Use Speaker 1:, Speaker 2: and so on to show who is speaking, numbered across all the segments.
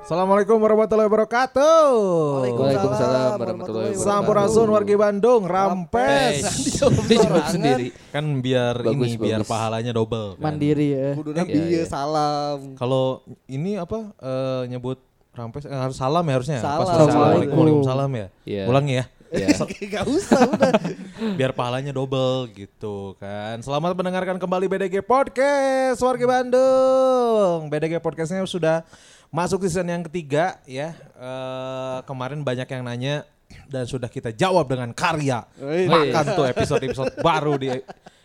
Speaker 1: Assalamualaikum warahmatullahi wabarakatuh.
Speaker 2: Waalaikumsalam warahmatullahi wabarakatuh.
Speaker 1: Sampurasun wargi Bandung, rampes.
Speaker 2: Dijawab sendiri.
Speaker 3: Kan biar
Speaker 2: Bagus,
Speaker 3: ini biar
Speaker 2: bagus.
Speaker 3: pahalanya double. kan.
Speaker 4: Mandiri ya.
Speaker 5: Kuduna
Speaker 2: Iya,
Speaker 5: bieu
Speaker 2: iya.
Speaker 5: salam.
Speaker 3: Kalau ini apa eh, nyebut rampes eh, harus salam ya harusnya.
Speaker 5: Salam.
Speaker 3: Assalamualaikum. Waalaikumsalam ya.
Speaker 2: Iya.
Speaker 3: Ulangi ya.
Speaker 2: Ya.
Speaker 5: Gak usah udah.
Speaker 3: Biar pahalanya double gitu kan. Selamat mendengarkan kembali BDG
Speaker 1: Podcast wargi Bandung. BDG podcastnya sudah masuk season yang ketiga ya. Eh, kemarin banyak yang nanya dan sudah kita jawab dengan karya.
Speaker 5: Wih,
Speaker 1: Makan tuh episode-episode baru di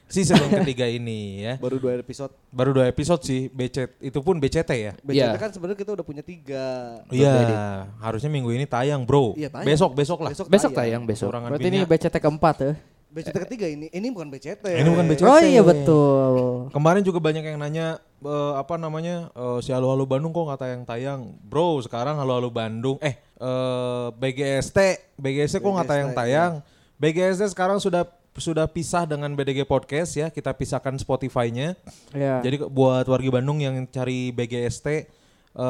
Speaker 1: season yang ketiga ini ya.
Speaker 5: Baru dua episode.
Speaker 1: Baru dua episode sih, BCT itu pun BCT ya.
Speaker 5: BCT
Speaker 2: Iya.
Speaker 5: kan sebenarnya kita udah punya tiga.
Speaker 1: Iya, harusnya minggu ini tayang, Bro.
Speaker 5: Iya, tayang.
Speaker 1: Besok, besok lah.
Speaker 2: Besok tayang besok.
Speaker 3: Orang
Speaker 4: Berarti ini BCT keempat ya.
Speaker 5: BCT ketiga ini. Ini bukan BCT.
Speaker 3: Ini bukan BCT.
Speaker 4: Oh iya betul.
Speaker 1: Kemarin juga banyak yang nanya eh, apa namanya eh, si Halo Halo Bandung kok nggak tayang-tayang, bro. Sekarang Halo Halo Bandung, eh eh, BGST, BGST kok nggak tayang-tayang. BGST sekarang sudah sudah pisah dengan BDG Podcast ya, kita pisahkan Spotify-nya.
Speaker 4: Ya.
Speaker 1: Jadi ke- buat wargi Bandung yang cari BGST eh,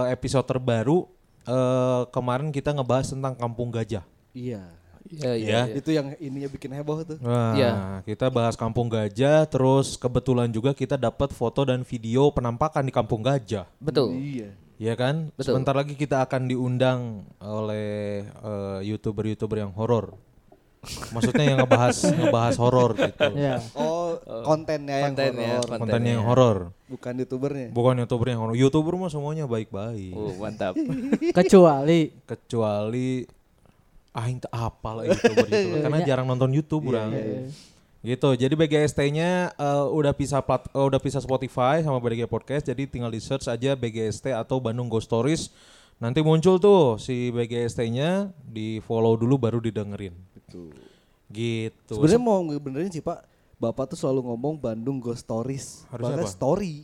Speaker 1: episode terbaru eh, kemarin kita ngebahas tentang Kampung Gajah.
Speaker 5: Iya.
Speaker 2: Iya,
Speaker 3: Ya.
Speaker 2: iya. iya.
Speaker 5: Itu yang ininya bikin heboh tuh.
Speaker 1: Nah,
Speaker 2: Iya.
Speaker 1: kita bahas Kampung Gajah, terus kebetulan juga kita dapat foto dan video penampakan di Kampung Gajah.
Speaker 2: Betul.
Speaker 5: Iya.
Speaker 1: Iya kan?
Speaker 2: Betul.
Speaker 1: Sebentar lagi kita akan diundang oleh eh, youtuber-youtuber yang horor. Maksudnya yang ngebahas ngebahas horor gitu.
Speaker 2: Iya.
Speaker 4: Ya.
Speaker 5: Oh, kontennya yang
Speaker 2: Kontennya,
Speaker 5: horor.
Speaker 1: Kontennya yang horor.
Speaker 5: Bukan youtubernya.
Speaker 1: Bukan youtuber yang horor. Youtuber mah semuanya baik-baik.
Speaker 2: Iya. Oh, mantap.
Speaker 4: Kecuali
Speaker 1: Kecuali "Ah, aing teu apal lah youtuber youtuber karena jarang nonton YouTube orang. Gitu. Jadi BGST-nya eh, udah pisah plat eh, udah pisah Spotify sama BDG Podcast. Jadi tinggal di search aja BGST atau Bandung Ghost Stories. Nanti muncul tuh si BGST-nya, di follow dulu baru didengerin. Gitu.
Speaker 5: Sebenarnya mau benerin sih Pak. Bapak tuh selalu ngomong Bandung Ghost Stories.
Speaker 1: Harusnya
Speaker 5: Bahkan
Speaker 1: apa?
Speaker 5: story.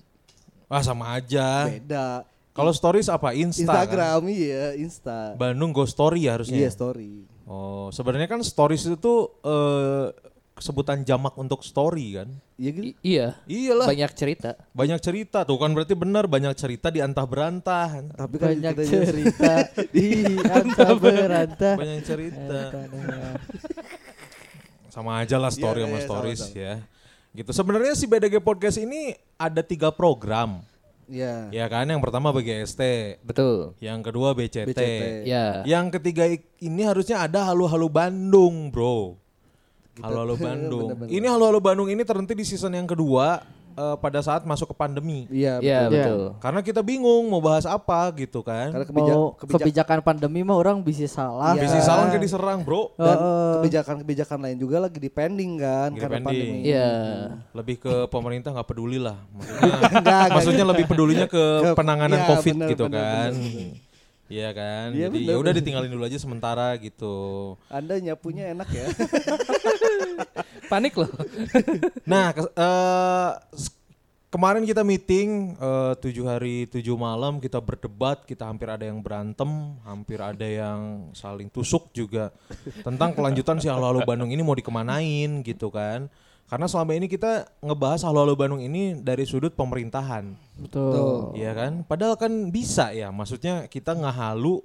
Speaker 1: Ah sama aja.
Speaker 5: Beda.
Speaker 1: Kalau stories apa Insta? kan?
Speaker 5: Instagram iya, Insta.
Speaker 1: Bandung Ghost Story ya harusnya.
Speaker 5: Iya, story.
Speaker 1: Oh, sebenarnya kan stories itu eh, sebutan jamak untuk story kan?
Speaker 5: Iya gitu.
Speaker 2: I- iya.
Speaker 1: Iyalah.
Speaker 2: Banyak cerita.
Speaker 1: Banyak cerita tuh kan berarti benar banyak cerita di antah berantah.
Speaker 5: Tapi kan
Speaker 4: banyak
Speaker 5: kita jadi-
Speaker 4: cerita di antara berantah.
Speaker 1: Banyak
Speaker 4: Iya, kan.
Speaker 1: cerita. Sama aja lah story
Speaker 5: Iya,
Speaker 1: sama
Speaker 5: iya,
Speaker 1: stories ya. Gitu. Sebenarnya si BDG Podcast ini ada tiga program.
Speaker 5: Iya.
Speaker 1: Ya kan, yang pertama BGST,
Speaker 2: Betul.
Speaker 1: yang kedua BCT.
Speaker 5: BCT.
Speaker 2: Ya.
Speaker 1: Iya. Yang ketiga i- ini harusnya ada halo-halo Bandung, Bro. Halo-halo Bandung. Ini halo-halo Bandung ini terhenti di season yang kedua eh, pada saat masuk ke pandemi.
Speaker 5: Iya,
Speaker 2: Iya,
Speaker 4: Betul.
Speaker 2: betul.
Speaker 1: Karena kita bingung mau bahas apa gitu kan.
Speaker 5: Karena kebijak,
Speaker 4: Mau
Speaker 5: kebijak-
Speaker 4: kebijakan pandemi mah orang bisa salah.
Speaker 5: Iya.
Speaker 1: Bisnis salon kayak diserang, Bro.
Speaker 5: dan kebijakan-kebijakan lain juga lagi dipending kan
Speaker 1: Lagi
Speaker 5: karena
Speaker 1: dipending.
Speaker 5: pandemi.
Speaker 2: Iya.
Speaker 1: Lebih ke pemerintah nggak peduli lah. Maksudnya,
Speaker 5: Enggak,
Speaker 1: maksudnya lebih pedulinya ke
Speaker 5: Ke-
Speaker 1: penanganan
Speaker 5: iya,
Speaker 1: Covid
Speaker 5: bener,
Speaker 1: gitu
Speaker 5: bener,
Speaker 1: kan.
Speaker 5: bener,
Speaker 1: Iya kan.
Speaker 5: Iya,
Speaker 1: Jadi
Speaker 5: bener,
Speaker 1: ya udah ditinggalin dulu aja sementara gitu.
Speaker 5: Anda nyapunya enak ya.
Speaker 2: Panik loh.
Speaker 1: Nah, kes- eh, s- kemarin kita meeting eh, tujuh hari tujuh malam kita berdebat, kita hampir ada yang berantem, hampir ada yang saling tusuk juga tentang kelanjutan si halo-halo Bandung ini mau dikemanain gitu kan. Karena selama ini kita ngebahas halo-halo Bandung ini dari sudut pemerintahan,
Speaker 4: Betul.
Speaker 1: iya kan? Padahal kan bisa ya, maksudnya kita ngehalu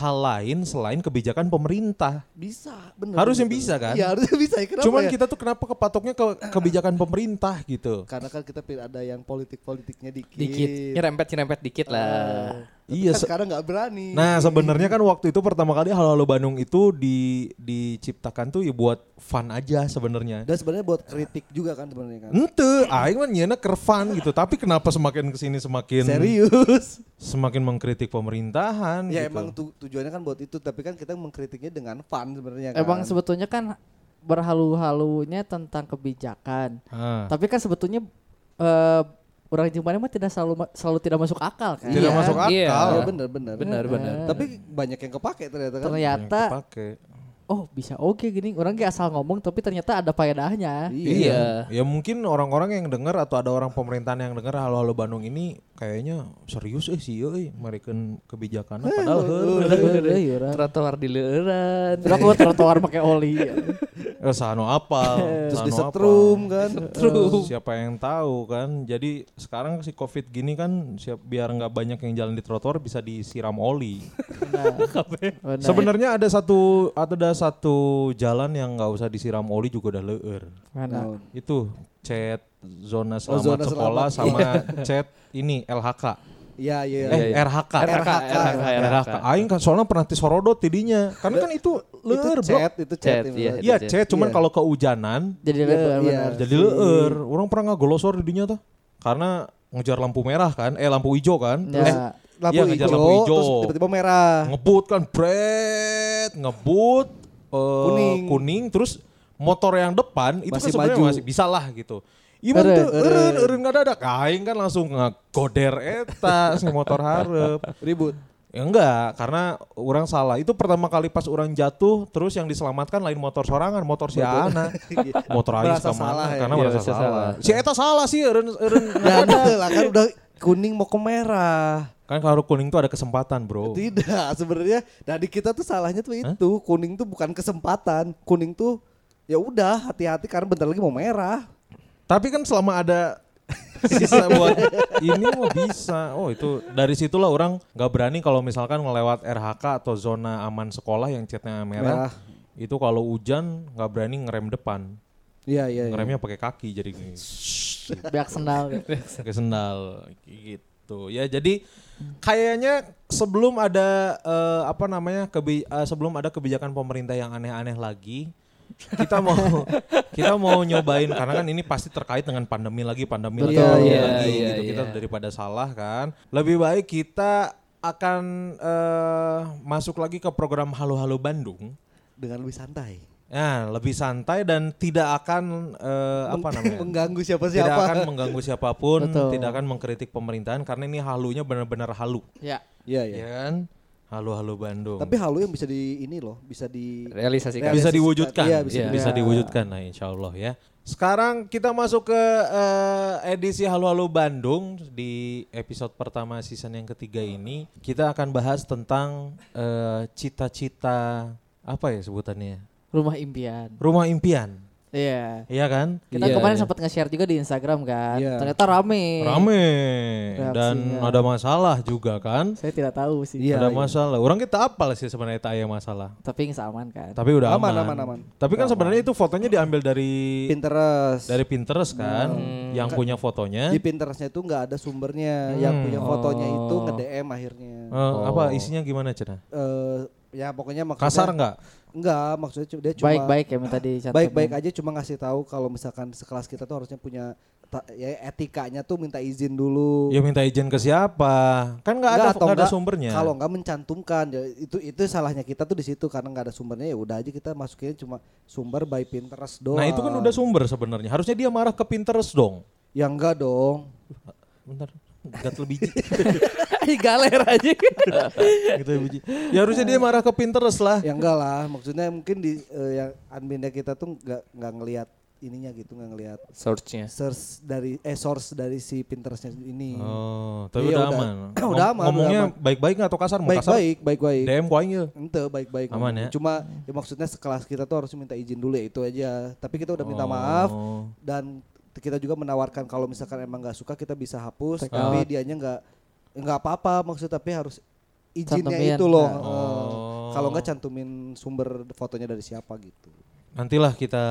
Speaker 1: hal lain selain kebijakan pemerintah.
Speaker 5: bisa, bener.
Speaker 1: Harusnya
Speaker 5: bener,
Speaker 1: bisa,
Speaker 5: bener.
Speaker 1: kan?
Speaker 5: Iya, harusnya bisa. ya. Kenapa
Speaker 1: Cuman
Speaker 5: ya?
Speaker 1: kita tuh kenapa kepatoknya ke kebijakan pemerintah gitu.
Speaker 5: karena kan kita pil- ada yang politik-politiknya dikit.
Speaker 2: Dikit. Nyerempet-nyerempet dikit lah.
Speaker 1: Iya,
Speaker 5: Kan
Speaker 1: se-
Speaker 5: sekarang nggak berani.
Speaker 1: Nah sebenarnya kan waktu itu pertama kali Halo Halo Bandung itu di diciptakan tuh ya buat fun aja sebenarnya.
Speaker 5: dan sebenarnya buat kritik juga kan sebenarnya kan.
Speaker 1: Ente, aing mah nyeuna keur fun gitu. Tapi kenapa semakin kesini semakin
Speaker 5: Serius.
Speaker 1: semakin mengkritik pemerintahan
Speaker 5: ya
Speaker 1: gitu.
Speaker 5: emang tu- tujuannya kan buat itu, tapi kan kita mengkritiknya dengan fun sebenarnya kan.
Speaker 4: Emang sebetulnya kan berhalu-halunya tentang kebijakan.
Speaker 1: Ah,
Speaker 4: Tapi kan sebetulnya eh orang Jepang mah tidak selalu ma- selalu tidak masuk akal kan.
Speaker 1: Tidak
Speaker 2: Iya,
Speaker 1: masuk akal.
Speaker 2: iya.
Speaker 5: Iya, bener-bener.
Speaker 2: Benar, benar.
Speaker 5: Tapi banyak yang kepake ternyata kan.
Speaker 4: Ternyata
Speaker 1: Pakai.
Speaker 4: oh bisa oke gini orang kayak asal ngomong tapi ternyata ada faedahnya.
Speaker 2: Iya.
Speaker 1: Ya mungkin orang-orang yang dengar atau ada orang pemerintahan yang dengar Halo Halo Bandung ini kayaknya serius eh sih euy mereken kebijakan padahal
Speaker 4: Iya,
Speaker 1: heuh.
Speaker 2: Ah. Trotoar di leuran.
Speaker 4: Terus aku trotoar pakai oli.
Speaker 1: Eh, sano apa
Speaker 5: Terus
Speaker 1: sano
Speaker 5: disetrum kan.
Speaker 1: apa. siapa yang tahu kan jadi sekarang si covid gini kan siap biar nggak banyak yang jalan di trotoar bisa disiram oli
Speaker 4: Benar.
Speaker 1: sebenarnya ada satu ada satu jalan yang nggak usah disiram oli juga udah leur
Speaker 4: Mana?
Speaker 5: Nah,
Speaker 1: itu chat zona
Speaker 5: Oh,
Speaker 1: selamat
Speaker 5: zona
Speaker 1: sekolah
Speaker 5: selamat.
Speaker 1: sama chat ini LHK
Speaker 5: Iya iya.
Speaker 1: eh
Speaker 5: iya.
Speaker 1: RHK
Speaker 5: RHK.
Speaker 1: RHK aing kan soalnya pernah disorodot tidinya karena kan itu
Speaker 5: Itu
Speaker 1: leur bro
Speaker 5: chat, itu chat.
Speaker 2: Chat,
Speaker 5: bener.
Speaker 2: iya.
Speaker 1: iya
Speaker 2: Itu
Speaker 1: chat cuman
Speaker 5: Iya.
Speaker 1: kalau keujanan
Speaker 4: Jadi
Speaker 5: Iya,
Speaker 4: lebar
Speaker 5: iya.
Speaker 4: benar.
Speaker 1: jadi leur orang pernah nggak golosor didinya tuh karena ngejar lampu merah kan eh lampu hijau kan
Speaker 4: Ya.
Speaker 1: eh Iya,
Speaker 5: Lampu
Speaker 1: ngejar
Speaker 5: hijau,
Speaker 1: lampu hijau.
Speaker 5: terus tiba-tiba merah.
Speaker 1: ngebut kan bret ngebut eh,
Speaker 5: Kuning.
Speaker 1: kuning terus motor yang depan itu kan
Speaker 5: Masih
Speaker 1: sebenarnya
Speaker 5: maju.
Speaker 1: masih bisa lah gitu Iman
Speaker 4: Eureun,
Speaker 1: tuh eureun eureun kada ada kain kan langsung ngegoder eta si motor hareup.
Speaker 5: Ribut.
Speaker 1: Ya enggak, karena orang salah. Itu pertama kali pas orang jatuh, terus yang diselamatkan lain motor sorangan, motor si Ana. motor Ais
Speaker 5: Merasa salah ya.
Speaker 1: karena
Speaker 2: Iya,
Speaker 1: merasa
Speaker 2: merasa
Speaker 1: salah.
Speaker 2: salah.
Speaker 1: Si Eta salah sih, eureun eureun.
Speaker 5: Ya betul lah kan udah kuning mau ke merah.
Speaker 1: kan kalau kuning tuh ada kesempatan, Bro.
Speaker 5: Tidak, sebenarnya dari kita tuh salahnya tuh itu, kuning tuh bukan kesempatan. Kuning tuh ya udah hati-hati karena bentar lagi mau merah.
Speaker 1: Tapi kan selama ada sisa buat ini mau bisa. Oh itu dari situlah orang nggak berani kalau misalkan ngelewat RHK atau zona aman sekolah yang catnya merah.
Speaker 5: Merah.
Speaker 1: Itu kalau hujan nggak berani ngerem depan.
Speaker 5: Iya iya. iya.
Speaker 1: Ngeremnya pakai kaki jadi gini.
Speaker 4: Beak sendal.
Speaker 1: pakai sendal gitu. Ya jadi kayaknya sebelum ada eh, apa namanya kebi- eh, sebelum ada kebijakan pemerintah yang aneh-aneh lagi kita mau kita mau nyobain karena kan ini pasti terkait dengan pandemi lagi pandemi lagi,
Speaker 5: Betul,
Speaker 1: pandemi
Speaker 5: iya,
Speaker 1: lagi
Speaker 2: iya,
Speaker 1: gitu kita
Speaker 2: iya.
Speaker 1: daripada salah kan lebih baik kita akan eh, masuk lagi ke program Halo Halo Bandung
Speaker 5: Dengan lebih santai.
Speaker 1: Nah, lebih santai dan tidak akan eh, apa namanya
Speaker 5: Mengganggu siapa-siapa.
Speaker 1: tidak akan mengganggu siapapun,
Speaker 4: Betul.
Speaker 1: tidak akan mengkritik pemerintahan karena ini halunya benar-benar halu,
Speaker 4: Ya.
Speaker 5: Iya iya.
Speaker 1: ya kan? Halu-halu Bandung.
Speaker 5: Tapi halu yang bisa di ini loh, bisa di
Speaker 2: Realisasikan.
Speaker 5: Realis-
Speaker 1: bisa diwujudkan,
Speaker 5: Iya, bisa
Speaker 1: bisa,
Speaker 2: diwujudkan.
Speaker 1: diwujudkan, nah, insya Allah ya. Sekarang kita masuk ke eh, edisi halu-halu Bandung di episode pertama season yang ketiga ini kita akan bahas tentang eh, cita-cita apa ya sebutannya
Speaker 4: Rumah impian.
Speaker 1: rumah impian,
Speaker 4: Iya.
Speaker 1: iya kan?
Speaker 4: Kita
Speaker 2: Iya,
Speaker 4: kemarin
Speaker 2: iya.
Speaker 4: sempat nge-share juga di Instagram kan.
Speaker 5: Iya.
Speaker 4: Ternyata rame.
Speaker 1: Rame dan
Speaker 4: Reaksinya.
Speaker 1: ada masalah juga kan?
Speaker 4: Saya tidak tahu sih.
Speaker 5: Iya,
Speaker 1: ada
Speaker 5: iya.
Speaker 1: masalah. Orang kita apal sih sebenarnya tak ada masalah.
Speaker 4: Tapi nggak aman kan.
Speaker 1: Tapi udah
Speaker 5: Aman,
Speaker 1: aman.
Speaker 5: aman, aman.
Speaker 1: Tapi kan sebenarnya itu fotonya diambil dari
Speaker 5: Pinterest. Hmm.
Speaker 1: dari Pinterest kan, yang punya fotonya.
Speaker 5: Di Pinterestnya itu nggak ada sumbernya.
Speaker 1: Hmm.
Speaker 5: Yang punya fotonya
Speaker 1: Oh.
Speaker 5: itu nge DM akhirnya.
Speaker 1: Eh, Apa
Speaker 5: Oh.
Speaker 1: isinya gimana cina?
Speaker 5: Eh, ya pokoknya maksudnya
Speaker 1: Kasar nggak?
Speaker 5: Enggak, maksudnya cu- dia cuma
Speaker 4: Baik-baik ya minta dicantumin.
Speaker 5: baik-baik aja cuma ngasih tahu kalau misalkan sekelas kita tuh harusnya punya ta- ya etikanya tuh minta izin dulu.
Speaker 1: Ya minta izin ke siapa? Kan nggak ada
Speaker 5: Enggak,
Speaker 1: nggak ada
Speaker 5: enggak,
Speaker 1: sumbernya.
Speaker 5: Kalau nggak mencantumkan ya itu itu salahnya kita tuh di situ karena nggak ada sumbernya ya udah aja kita masukin cuma sumber by Pinterest doang.
Speaker 1: Nah itu kan udah sumber sebenarnya. Harusnya dia marah ke Pinterest dong.
Speaker 5: Ya enggak dong.
Speaker 1: Bentar. Gat lebih biji.
Speaker 4: Ih, galer aja.
Speaker 1: Gitu ya, biji. Ya harusnya dia marah ke Pinterest lah.
Speaker 5: Ya enggak lah, maksudnya mungkin di eh, yang adminnya kita tuh nggak nggak ngelihat ininya gitu nggak ngelihat
Speaker 2: Searchnya.
Speaker 5: source dari eh source dari si Pinterestnya ini.
Speaker 1: Oh, tapi
Speaker 5: Iya,
Speaker 1: udah,
Speaker 5: udah.
Speaker 1: aman.
Speaker 5: Udah
Speaker 1: Ngom-
Speaker 5: aman, udah
Speaker 1: Ngomongnya
Speaker 5: aman.
Speaker 1: baik-baik nggak atau kasar? Mau kasar?
Speaker 5: Baik-baik, baik-baik.
Speaker 1: DM ku aing ya. yeuh.
Speaker 5: Ente baik-baik.
Speaker 1: Aman ya?
Speaker 5: Cuma ya maksudnya sekelas kita tuh harus minta izin dulu ya itu aja. Tapi kita udah minta maaf
Speaker 1: Oh.
Speaker 5: dan t- kita juga menawarkan kalau misalkan emang nggak suka kita bisa hapus, tapi dianya nggak nggak apa-apa maksud tapi harus izinnya
Speaker 4: Cantumin.
Speaker 5: itu loh.
Speaker 4: Nah.
Speaker 5: Eh,
Speaker 1: Oh.
Speaker 5: Kalau nggak cantumin sumber fotonya dari siapa gitu.
Speaker 1: Nantilah kita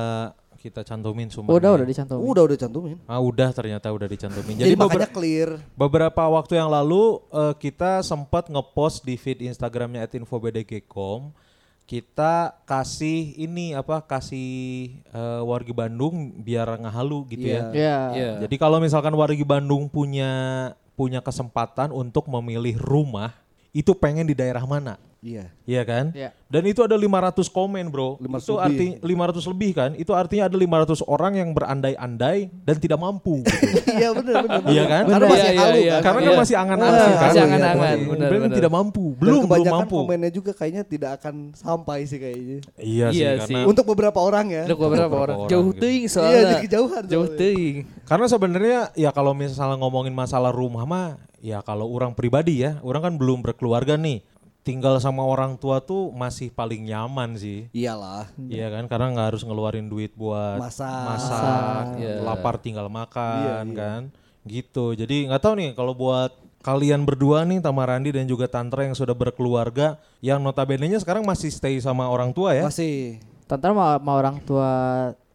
Speaker 1: kita cantumin sumbernya.
Speaker 4: Oh, udah udah dicantumin.
Speaker 5: Udah udah cantumin.
Speaker 1: Ah udah ternyata udah dicantumin.
Speaker 5: Jadi,
Speaker 1: Jadi, beber-
Speaker 5: makanya clear.
Speaker 1: beberapa waktu yang lalu eh, kita sempat ngepost di feed Instagramnya @infobdg.com kita kasih ini apa kasih eh, wargi Bandung biar ngehalu gitu
Speaker 5: Iya.
Speaker 1: ya.
Speaker 4: Iya.
Speaker 2: Iya.
Speaker 1: Jadi kalau misalkan wargi Bandung punya punya kesempatan untuk memilih rumah itu pengen di daerah mana?
Speaker 5: Iya.
Speaker 1: Iya kan?
Speaker 4: Iya.
Speaker 1: Dan itu ada 500 komen, Bro.
Speaker 5: 500
Speaker 1: itu arti 500 lebih kan? Itu artinya ada 500 orang yang berandai-andai dan tidak mampu. gitu.
Speaker 5: Iya benar benar.
Speaker 1: Iya kan?
Speaker 5: Karena
Speaker 2: Bener.
Speaker 5: masih
Speaker 2: Iya,
Speaker 5: halu
Speaker 2: iya,
Speaker 5: kan.
Speaker 2: iya.
Speaker 1: Karena kan masih angan-angan
Speaker 5: Wah,
Speaker 1: kan.
Speaker 5: masih
Speaker 1: Iya,
Speaker 2: angan-angan,
Speaker 1: iya.
Speaker 2: benar,
Speaker 1: Berarti
Speaker 2: benar.
Speaker 1: tidak mampu,
Speaker 5: Dan
Speaker 1: belum belum
Speaker 5: kebanyakan
Speaker 1: mampu.
Speaker 5: komennya juga kayaknya tidak akan sampai sih kayaknya.
Speaker 1: Iya,
Speaker 2: Iya
Speaker 1: sih,
Speaker 2: sih.
Speaker 1: karena
Speaker 5: Untuk beberapa orang ya.
Speaker 2: Ada beberapa
Speaker 1: Beberapa
Speaker 2: orang.
Speaker 1: orang
Speaker 2: Jauh
Speaker 1: gitu.
Speaker 2: teuing
Speaker 5: Iya,
Speaker 2: soalnya.
Speaker 5: jadi kejauhan.
Speaker 2: Jauh
Speaker 5: soalnya.
Speaker 2: teuing.
Speaker 1: karena sebenarnya ya kalau misalnya ngomongin masalah rumah mah ya kalau orang pribadi ya, orang kan belum berkeluarga nih. Tinggal sama orang tua tuh masih paling nyaman sih.
Speaker 5: Iyalah.
Speaker 1: Iya kan karena nggak harus ngeluarin duit buat
Speaker 5: Masak.
Speaker 1: masak, lapar tinggal makan kan, gitu. Jadi nggak tahu nih kalau buat kalian berdua nih Tamarandi dan juga Tantra yang sudah berkeluarga, yang notabene-nya sekarang masih stay sama orang tua ya?
Speaker 5: Masih.
Speaker 4: Tantan sama, sama orang tua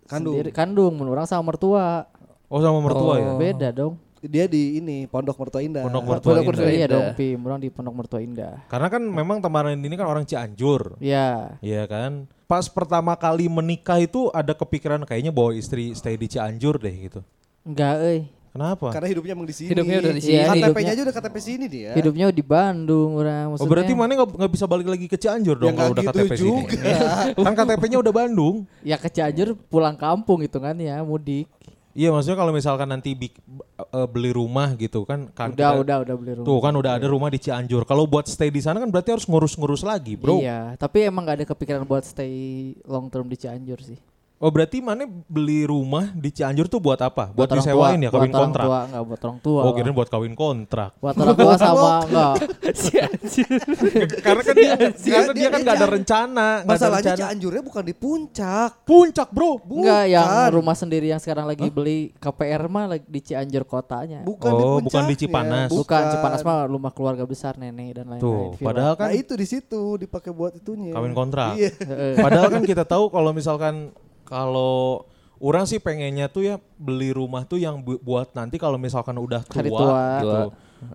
Speaker 5: Kandung.
Speaker 4: sendiri kandung, menurut orang sama mertua.
Speaker 1: Oh sama mertua ya?
Speaker 4: Beda dong.
Speaker 5: Dia di ini Pondok Mertua Indah.
Speaker 1: Pondok mertua
Speaker 2: Pondok
Speaker 1: Indah.
Speaker 2: Mertua
Speaker 4: Iya
Speaker 2: Indah.
Speaker 4: dong, Pi. Orang di Pondok Mertua Indah.
Speaker 1: Karena kan memang Tamarandi ini kan orang Cianjur.
Speaker 4: Iya.
Speaker 1: Iya kan? Pas pertama kali menikah itu ada kepikiran kayaknya bawa istri stay di Cianjur deh gitu.
Speaker 4: Enggak, eh. euy.
Speaker 1: Kenapa?
Speaker 5: Karena hidupnya emang di sini.
Speaker 2: Hidupnya udah di
Speaker 4: sini. Iya,
Speaker 5: KTP-nya
Speaker 4: hidupnya-
Speaker 5: aja udah KTP sini dia.
Speaker 4: Hidupnya di Bandung orang
Speaker 1: Oh
Speaker 4: maksudnya.
Speaker 1: berarti mana nggak nggak bisa balik lagi ke Cianjur
Speaker 5: Ya
Speaker 1: dong
Speaker 5: nggak
Speaker 1: kalau udah
Speaker 5: gitu
Speaker 1: KTP sini.
Speaker 5: juga.
Speaker 1: kan KTP-nya udah Bandung.
Speaker 4: ya ke Cianjur pulang kampung hitungannya mudik.
Speaker 1: Iya maksudnya kalau misalkan nanti bik- eh, beli rumah gitu kan kan
Speaker 4: Udah,
Speaker 1: kita-
Speaker 4: udah, udah beli rumah.
Speaker 1: Tuh kan udah ada rumah di Cianjur. Kalau buat stay di sana kan berarti harus ngurus-ngurus lagi, Bro.
Speaker 4: Iya, tapi emang gak ada kepikiran buat stay long term di Cianjur sih.
Speaker 1: Oh berarti mana beli rumah di Cianjur tuh buat apa? Buat,
Speaker 4: orang
Speaker 1: disewain
Speaker 4: tua,
Speaker 1: ya kawin
Speaker 4: buat orang
Speaker 1: kontrak.
Speaker 4: Tua, enggak buat orang tua.
Speaker 1: Oh
Speaker 4: lah.
Speaker 1: kirain buat kawin kontrak.
Speaker 4: buat orang tua sama enggak.
Speaker 2: si anjir.
Speaker 1: karena kan
Speaker 4: Iya
Speaker 1: dia karena dia
Speaker 5: dia-
Speaker 1: kan
Speaker 5: dia
Speaker 1: nggak ada
Speaker 5: Cianjur.
Speaker 1: rencana, nggak ada
Speaker 5: Masalahnya
Speaker 1: rencana.
Speaker 5: Cianjurnya bukan di puncak.
Speaker 1: Puncak, Bro.
Speaker 4: Enggak yang
Speaker 5: Bukan.
Speaker 4: rumah sendiri yang sekarang lagi beli KPR mah lagi di Cianjur kotanya.
Speaker 5: Bukan di
Speaker 1: Oh,
Speaker 5: puncak.
Speaker 1: bukan di Cipanas.
Speaker 4: Bukan Cipanas mah rumah keluarga besar nenek dan lain-lain.
Speaker 1: Tuh,
Speaker 4: villa.
Speaker 1: padahal kan
Speaker 5: Nah, itu di situ dipakai buat itunya.
Speaker 1: kawin kontrak.
Speaker 5: Iya.
Speaker 4: Heeh.
Speaker 1: Padahal kan kita tahu kalau misalkan kalau orang sih pengennya tuh ya beli rumah tuh yang bu- buat nanti kalau misalkan udah tua,
Speaker 4: Hari tua.
Speaker 1: gitu.
Speaker 2: Tua.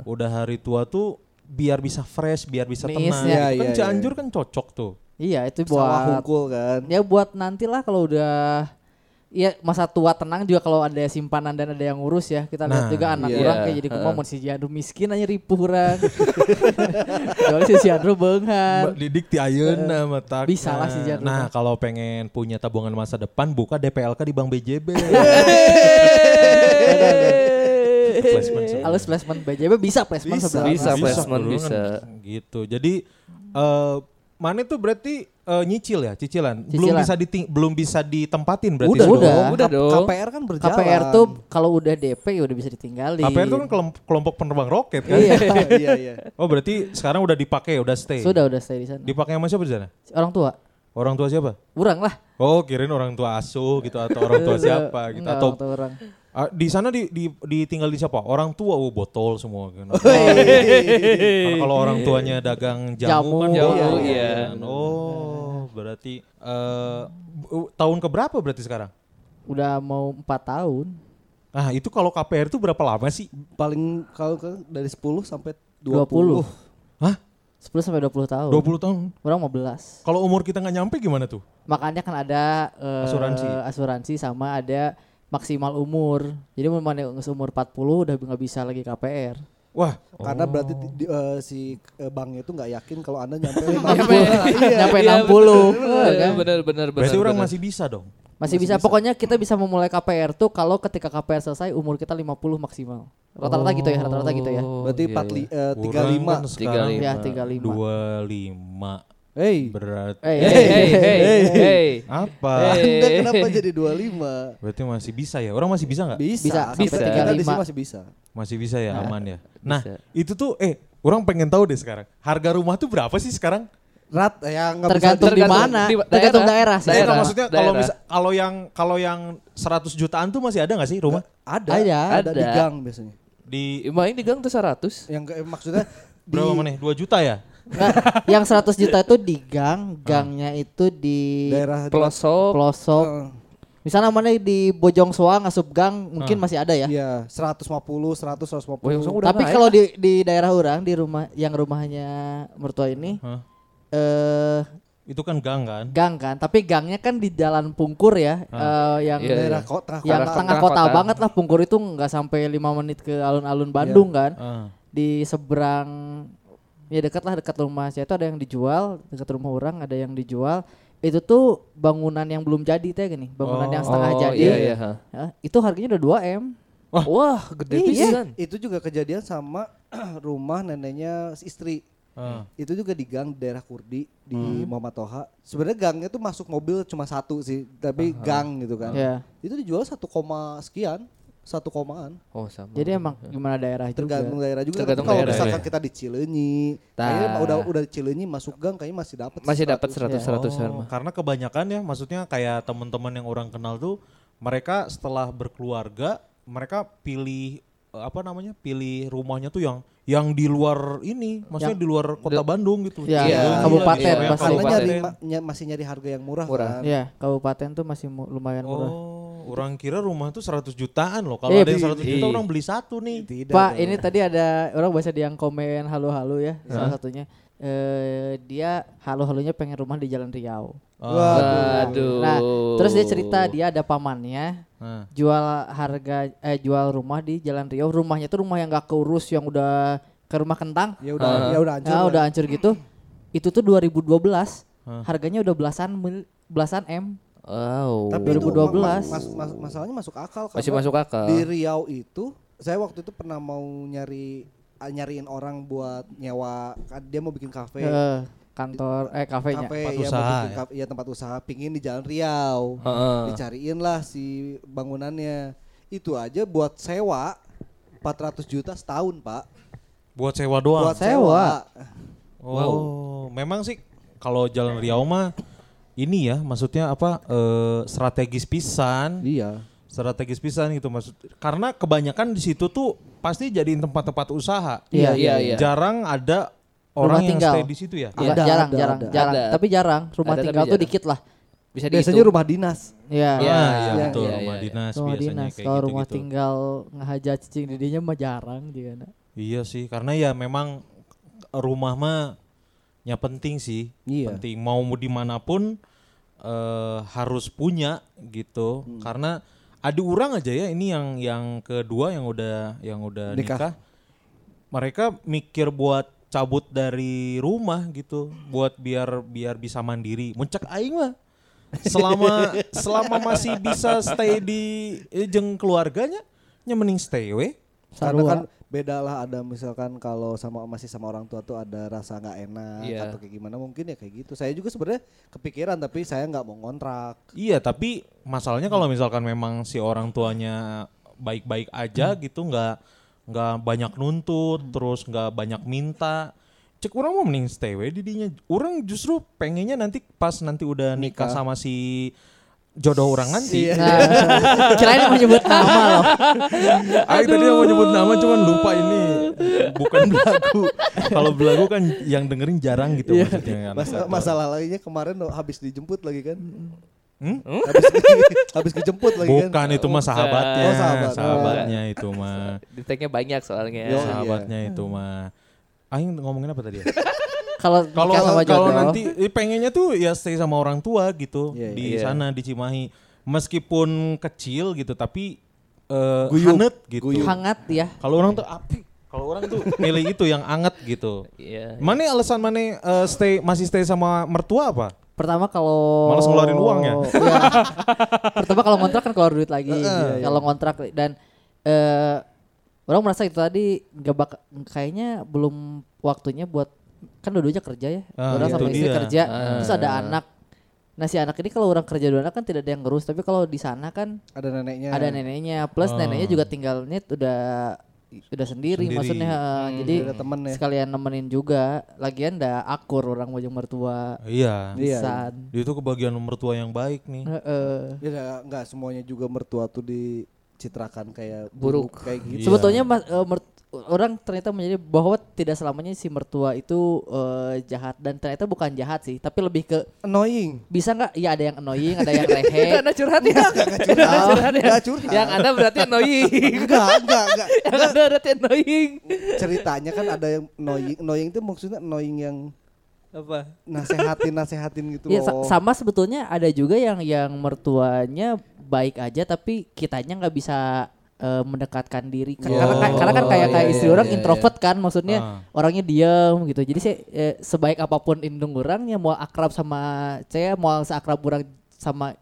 Speaker 1: Udah hari tua tuh biar bisa fresh, biar bisa
Speaker 4: Nice,
Speaker 1: tenang. Itu kan
Speaker 4: ya.
Speaker 5: Iya, iya,
Speaker 1: Cianjur kan cocok tuh.
Speaker 4: Iya, itu
Speaker 5: Sawah
Speaker 4: buat
Speaker 5: hukul kan.
Speaker 4: ya buat nantilah kalau udah ya masa tua tenang juga kalau ada simpanan dan ada yang ngurus ya kita lihat
Speaker 1: Nah,
Speaker 4: juga anak
Speaker 2: iya.
Speaker 4: orang kayak jadi kumau mau si Jandro miskin aja ripuh orang soalnya si Jandro
Speaker 1: Mbak
Speaker 4: beungan
Speaker 1: Didik ti ayeuna mata.
Speaker 4: eh, bisa lah si Jar
Speaker 1: Nah, kalau pengen punya tabungan masa depan buka DPLK di Bank BJB.
Speaker 4: Iya,
Speaker 1: Placement semua.
Speaker 4: halus placement BJB bisa placement
Speaker 5: Bisa.
Speaker 4: sebenarnya
Speaker 2: Bisa, placement
Speaker 1: dulu
Speaker 2: bisa.
Speaker 1: kan. Gitu. Jadi eh mana tuh berarti eh, nyicil ya, cicilan. Belum
Speaker 4: Cicilan.
Speaker 1: bisa diting- belum bisa ditempatin berarti.
Speaker 4: Udah
Speaker 1: sebelum-
Speaker 4: dong.
Speaker 2: udah Nah, dong.
Speaker 5: KPR kan berjalan.
Speaker 4: KPR tuh kalau udah DP ya udah bisa ditinggalin
Speaker 1: KPR itu kan kelom- kelompok penerbang roket kan.
Speaker 4: iya
Speaker 5: iya iya.
Speaker 1: Oh, berarti sekarang udah dipakai, udah stay.
Speaker 4: sudah udah stay di sana
Speaker 1: Dipakai sama siapa di sana?
Speaker 4: orang tua
Speaker 1: Orang tua siapa?
Speaker 4: kurang lah
Speaker 1: Oh, kirain orang tua asuh gitu atau orang tua siapa gitu
Speaker 4: Enggak,
Speaker 1: atau
Speaker 4: orang tua orang
Speaker 1: Ah, di sana di, di ditinggal di siapa? Orang tua oh botol semua kan. Karena kalau orang tuanya dagang
Speaker 4: Jamu,
Speaker 1: jamu, kan
Speaker 2: jamu,
Speaker 1: botol,
Speaker 2: iya.
Speaker 1: kan. Oh, berarti eh bu- tahun keberapa berarti sekarang?
Speaker 4: udah mau empat tahun
Speaker 1: Nah, itu kalau KPR itu berapa lama sih?
Speaker 5: Paling kalau ke- dari 10 sampai 20.
Speaker 4: 20.
Speaker 1: Hah?
Speaker 4: 10 sampai 20 tahun
Speaker 1: 20 tahun.
Speaker 4: Orang mau belas.
Speaker 1: Kalau umur kita nggak nyampe gimana tuh?
Speaker 4: Makanya kan ada eh,
Speaker 1: Asuransi.
Speaker 4: asuransi sama ada maksimal umur. Jadi mau mana ngeus umur 40 udah nggak bisa lagi KPR.
Speaker 1: Wah,
Speaker 5: Karena berarti
Speaker 4: Oh.
Speaker 5: di- di- eh, si eh, banknya itu nggak yakin kalau Anda nyampe
Speaker 4: Nyampe,
Speaker 5: 50.
Speaker 4: nyampe
Speaker 2: Iya,
Speaker 4: 60.
Speaker 2: bener,
Speaker 4: Eh, kan?
Speaker 2: Bener bener bener.
Speaker 1: berarti orang
Speaker 2: bener.
Speaker 1: masih bisa dong.
Speaker 4: Masih bisa. Pokoknya kita bisa memulai KPR tuh kalau ketika KPR selesai umur kita 50 maksimal. Rata-rata gitu ya, rata-rata gitu ya.
Speaker 2: Oh,
Speaker 5: Berarti
Speaker 2: iya,
Speaker 5: empat
Speaker 2: iya.
Speaker 5: li- eh,
Speaker 1: Kurang kan
Speaker 5: 35.
Speaker 1: sekarang
Speaker 2: 35.
Speaker 4: Ya 35.
Speaker 1: 25.
Speaker 5: Hei,
Speaker 1: Berarti
Speaker 4: Eh,
Speaker 2: Hey hey hey hey.
Speaker 1: apa?
Speaker 5: Anda kenapa jadi 25?
Speaker 1: Berarti masih bisa ya? Orang masih bisa nggak?
Speaker 5: Bisa.
Speaker 4: Bisa,
Speaker 5: Kita,
Speaker 4: sampai
Speaker 5: kita di
Speaker 4: 35.
Speaker 5: sini masih bisa.
Speaker 1: Masih bisa ya, aman ya. Nah, itu tuh eh orang pengen tahu deh sekarang. Harga rumah tuh berapa sih sekarang?
Speaker 5: Rat ya nggak bisa
Speaker 4: Tergantung di
Speaker 5: dibilang.
Speaker 4: mana,
Speaker 2: di-
Speaker 4: tergantung
Speaker 2: daerah.
Speaker 4: daerah sih.
Speaker 1: Saya nggak
Speaker 2: Daerah,
Speaker 1: Iya, maksudnya kalau
Speaker 2: daerah.
Speaker 1: misa- kalau yang kalau yang 100 jutaan tuh masih ada nggak sih rumah?
Speaker 5: Ada,
Speaker 4: Ada,
Speaker 5: ada, di
Speaker 2: ada.
Speaker 5: gang biasanya.
Speaker 1: Di
Speaker 2: Main di gang tuh 100.
Speaker 5: Yang nggak- maksudnya di
Speaker 1: berapa mana? 2 juta ya?
Speaker 4: Nggak, yang 100 juta itu di gang, gangnya itu di
Speaker 5: daerah
Speaker 2: Pelosok.
Speaker 4: pelosok. Misalnya mana di Bojong Soang ngasup gang mungkin masih ada ya.
Speaker 5: Iya, 150, 100, 150.
Speaker 2: Wah, yang sungguh udah
Speaker 4: Tapi
Speaker 2: naik.
Speaker 4: kalau di di daerah orang di rumah yang rumahnya mertua ini
Speaker 1: Hah?
Speaker 4: eh
Speaker 1: Itu kan gang kan?
Speaker 4: gang kan, tapi gangnya kan di jalan Pungkur ya, eh, yang
Speaker 2: Iya,
Speaker 5: daerah kota,
Speaker 4: yang
Speaker 2: Kota-
Speaker 4: tengah
Speaker 2: tengah
Speaker 4: kota,
Speaker 2: kota.
Speaker 4: banget lah Pungkur itu nggak sampai lima menit ke alun-alun
Speaker 2: Iya.
Speaker 4: Bandung kan,
Speaker 1: Ah.
Speaker 4: di seberang ya dekat lah dekat rumah saya itu ada yang dijual dekat rumah orang ada yang dijual itu tuh bangunan yang belum jadi teh gini bangunan yang setengah
Speaker 2: Oh,
Speaker 4: jadi
Speaker 2: iya, iya, ha.
Speaker 4: eh, itu harganya udah 2 m
Speaker 2: Wah, gede pisan.
Speaker 5: Itu juga kejadian sama rumah neneknya si istri.
Speaker 1: Ah.
Speaker 5: Itu juga di gang daerah Kurdi di
Speaker 2: Hmm.
Speaker 5: Muhammad Toha. Sebenarnya gangnya tuh
Speaker 2: Oh. Ya.
Speaker 5: masuk mobil cuma satu sih, tapi gang gitu kan.
Speaker 4: Iya.
Speaker 5: Itu dijual 1, koma sekian. satu komaan.
Speaker 2: Oh sama.
Speaker 4: Jadi emang gimana daerah juga.
Speaker 5: Tergantung daerah juga.
Speaker 2: Tergantung
Speaker 5: Tapi kalau
Speaker 2: daerah,
Speaker 5: misalkan
Speaker 2: ya. Nah.
Speaker 5: kita di Cileunyi, kayaknya
Speaker 2: Tah.
Speaker 5: udah udah di Cileunyi masuk gang kayaknya masih dapat.
Speaker 2: masih dapat 100 seratusan
Speaker 1: Oh,
Speaker 2: mah.
Speaker 1: karena kebanyakan ya maksudnya kayak teman-teman yang orang kenal tuh mereka setelah berkeluarga mereka pilih eh, apa namanya pilih rumahnya tuh yang yang di luar ini maksudnya di luar kota Bandung gitu
Speaker 4: Ya,
Speaker 5: Iya,
Speaker 4: kabupaten
Speaker 2: iya,
Speaker 4: pasti.
Speaker 5: Karena
Speaker 2: Kabupaten.
Speaker 5: nyari ma- ny- masih nyari harga yang murah, kan.
Speaker 2: Murah.
Speaker 4: Iya, kabupaten tuh masih mu- lumayan murah.
Speaker 1: oh orang kira rumah tuh 100 jutaan loh kalau
Speaker 4: Eh,
Speaker 1: ada yang 100
Speaker 4: bi-
Speaker 1: juta
Speaker 2: i-
Speaker 1: orang beli satu nih
Speaker 5: Tidak.
Speaker 4: Pak,
Speaker 5: dong.
Speaker 4: ini tadi ada orang bahasa yang komen halu-halu ya, salah satunya. Eh dia halu-halunya pengen rumah di Jalan Riau.
Speaker 2: Waduh.
Speaker 4: Nah,
Speaker 2: Oh.
Speaker 4: terus dia cerita dia ada pamannya
Speaker 1: Nah.
Speaker 4: jual harga eh jual rumah di Jalan Riau. Rumahnya tuh rumah yang gak keurus yang udah ke rumah kentang.
Speaker 5: ya udah ya udah
Speaker 2: Ah,
Speaker 5: hancur.
Speaker 4: Ya
Speaker 5: lah.
Speaker 4: udah hancur gitu. Itu tuh 2012. Harganya udah belasan mil- belasan M.
Speaker 2: Wow.
Speaker 5: Tapi itu
Speaker 4: 2012.
Speaker 5: ma- mas- mas- masalahnya masuk akal kan, karena
Speaker 2: masih masuk akal.
Speaker 5: Di Riau itu saya waktu itu pernah mau nyari ah, nyariin orang buat nyewa kan dia mau bikin kafe.
Speaker 4: Eh, kantor eh kafenya.
Speaker 5: Kafe
Speaker 1: Tempat
Speaker 5: ya, mau
Speaker 1: usaha,
Speaker 5: bikin
Speaker 1: ya.
Speaker 5: kafe- ya, tempat usaha pingin di Jalan Riau.
Speaker 2: Heeh.
Speaker 5: Dicariin lah si bangunannya. Itu aja buat sewa 400 juta setahun, Pak.
Speaker 1: buat sewa doang
Speaker 5: buat sewa.
Speaker 1: oh memang sih kalau Jalan Riau mah ini ya maksudnya apa eh, strategis pisan
Speaker 5: Iya.
Speaker 1: strategis pisan gitu maksud karena kebanyakan di situ tuh pasti jadiin tempat-tempat usaha
Speaker 2: Iya, iya, iya.
Speaker 1: jarang ada orang yang
Speaker 4: tinggal.
Speaker 1: stay di situ ya
Speaker 5: Ada,
Speaker 4: Agak Iya, jarang,
Speaker 5: ada,
Speaker 4: jarang,
Speaker 5: ada.
Speaker 4: jarang.
Speaker 2: Ada.
Speaker 4: Tapi jarang.
Speaker 2: Ada,
Speaker 4: Rumah
Speaker 2: tapi
Speaker 4: tinggal tuh
Speaker 2: jarang.
Speaker 4: dikit lah.
Speaker 2: Bisa
Speaker 5: Biasanya
Speaker 2: dihitung.
Speaker 5: rumah dinas.
Speaker 4: Iya.
Speaker 1: Ah,
Speaker 2: Iya,
Speaker 1: iya,
Speaker 5: iya,
Speaker 1: betul
Speaker 2: iya,
Speaker 1: rumah
Speaker 2: iya.
Speaker 1: dinas
Speaker 4: Rumah
Speaker 1: biasanya
Speaker 4: dinas.
Speaker 1: kayak
Speaker 4: Kalau
Speaker 1: gitu,
Speaker 4: rumah
Speaker 1: gitu
Speaker 4: tinggal ngehaja cicing didinya mah jarang juga. nah.
Speaker 1: iya sih karena ya memang rumah mah ya penting sih
Speaker 5: Iya.
Speaker 1: penting mau dimanapun eh, harus punya gitu karena ada orang aja ya ini yang yang kedua yang udah yang udah nikah,
Speaker 5: Nikah.
Speaker 1: mereka mikir buat cabut dari rumah gitu buat biar biar bisa mandiri mencek aing mah selama selama masih bisa stay di eh, jeung keluarganya nya mending stay we
Speaker 5: Karena
Speaker 4: Sarua.
Speaker 5: kan beda lah ada misalkan kalau sama masih sama orang tua tuh ada rasa nggak enak
Speaker 2: Iya.
Speaker 5: atau kayak gimana mungkin ya kayak gitu. Saya juga sebenarnya kepikiran tapi saya nggak mau ngontrak.
Speaker 1: Iya, tapi masalahnya kalau misalkan memang si orang tuanya baik-baik aja
Speaker 5: Hmm.
Speaker 1: gitu, nggak nggak banyak nuntut, terus nggak banyak minta. Cek orang mau mending stay we di dinya. Orang justru pengennya nanti pas nanti udah nikah, sama si jodoh orang nanti.
Speaker 5: Iya.
Speaker 4: Nah, selain mau nyebut nama loh.
Speaker 1: Ah itu dia mau nyebut nama cuman lupa ini bukan belagu. kalau belagu kan yang dengerin jarang
Speaker 5: Iya.
Speaker 1: gitu maksudnya kan.
Speaker 5: Mas- masalah lainnya kemarin lo habis dijemput lagi kan?
Speaker 1: Hmm?
Speaker 5: Habis, habis dijemput lagi kan?
Speaker 1: Bukan itu mah sahabatnya,
Speaker 5: Oh, sahabat. Iya.
Speaker 1: sahabatnya itu mah.
Speaker 2: Deteknya banyak soalnya.
Speaker 5: Yo, iya.
Speaker 1: sahabatnya itu mah Aing ngomongin apa tadi ya?
Speaker 4: Kalau
Speaker 1: Kalau
Speaker 4: nikah sama
Speaker 1: kalau
Speaker 4: jodoh.
Speaker 1: nanti eh, pengennya tuh ya stay sama orang tua gitu
Speaker 5: Iya, iya.
Speaker 1: di
Speaker 2: Iya.
Speaker 1: sana di Cimahi. Meskipun kecil gitu tapi eh
Speaker 5: Guyup.
Speaker 1: hangat gitu.
Speaker 4: hangat ya.
Speaker 1: Kalau orang tuh api, kalau orang tuh milih itu yang anget gitu.
Speaker 2: Iya.
Speaker 1: Mana alasan mana eh, stay masih stay sama mertua apa?
Speaker 4: Pertama kalau
Speaker 1: Males ngeluarin uang ya?
Speaker 4: Iya. Pertama kalau ngontrak kan keluar duit lagi.
Speaker 5: Iya,
Speaker 4: Kalau ngontrak dan eh orang merasa itu tadi gak bak- kayaknya belum waktunya buat kan dua-duanya kerja ya.
Speaker 1: Ah,
Speaker 4: orang
Speaker 1: itu
Speaker 4: sama istri
Speaker 1: dia.
Speaker 4: kerja,
Speaker 2: Ah.
Speaker 4: terus ada anak. Nah, si anak ini kalau orang kerja dua anak kan tidak ada yang ngurus, tapi kalau di sana kan
Speaker 5: Ada neneknya.
Speaker 4: ada neneknya. Plus neneknya juga tinggalnya udah udah
Speaker 1: Ah.
Speaker 4: sendiri,
Speaker 1: Sendiri.
Speaker 4: maksudnya eh, jadi
Speaker 5: Hmm, Ada temen ya.
Speaker 4: sekalian nemenin juga lagian dah akur orang wajah mertua
Speaker 1: Iya.
Speaker 5: Iya.
Speaker 4: pisan.
Speaker 1: Itu kebagian mertua yang baik
Speaker 4: Hmm.
Speaker 1: nih.
Speaker 4: Heeh.
Speaker 5: Ya nggak- nggak semuanya juga mertua tuh dicitrakan kayak
Speaker 2: Buruk.
Speaker 5: kayak gitu.
Speaker 1: Iya.
Speaker 4: Sebetulnya mas, eh, mert- orang ternyata menjadi bahwa tidak selamanya si mertua itu eh, jahat dan ternyata bukan jahat sih, tapi lebih ke
Speaker 5: Annoying.
Speaker 4: bisa nggak? Ya ada yang annoying, ada yang lehe.
Speaker 2: Anda curhat ya?
Speaker 5: Curhat, nggak curhat.
Speaker 2: Yang Anda berarti annoying.
Speaker 5: Enggak, enggak, enggak.
Speaker 2: Yang Anda berarti annoying.
Speaker 5: Ceritanya kan ada yang annoying. Annoying itu maksudnya annoying yang
Speaker 2: Apa?
Speaker 5: nasehatin nasehatin gitu
Speaker 4: Ya,
Speaker 5: loh.
Speaker 4: sa- sama sebetulnya ada juga yang yang mertuanya baik aja tapi kitanya nggak bisa eh, mendekatkan diri Kan-
Speaker 5: Oh,
Speaker 4: karena, kan- karena kan kayak kayak
Speaker 2: iya,
Speaker 4: istri
Speaker 2: iya,
Speaker 4: orang
Speaker 2: iya,
Speaker 4: introvert kan maksudnya
Speaker 1: Ah.
Speaker 4: orangnya diam gitu jadi saya eh, sebaik apapun indung orang ya mau akrab sama saya mau seakrab orang sama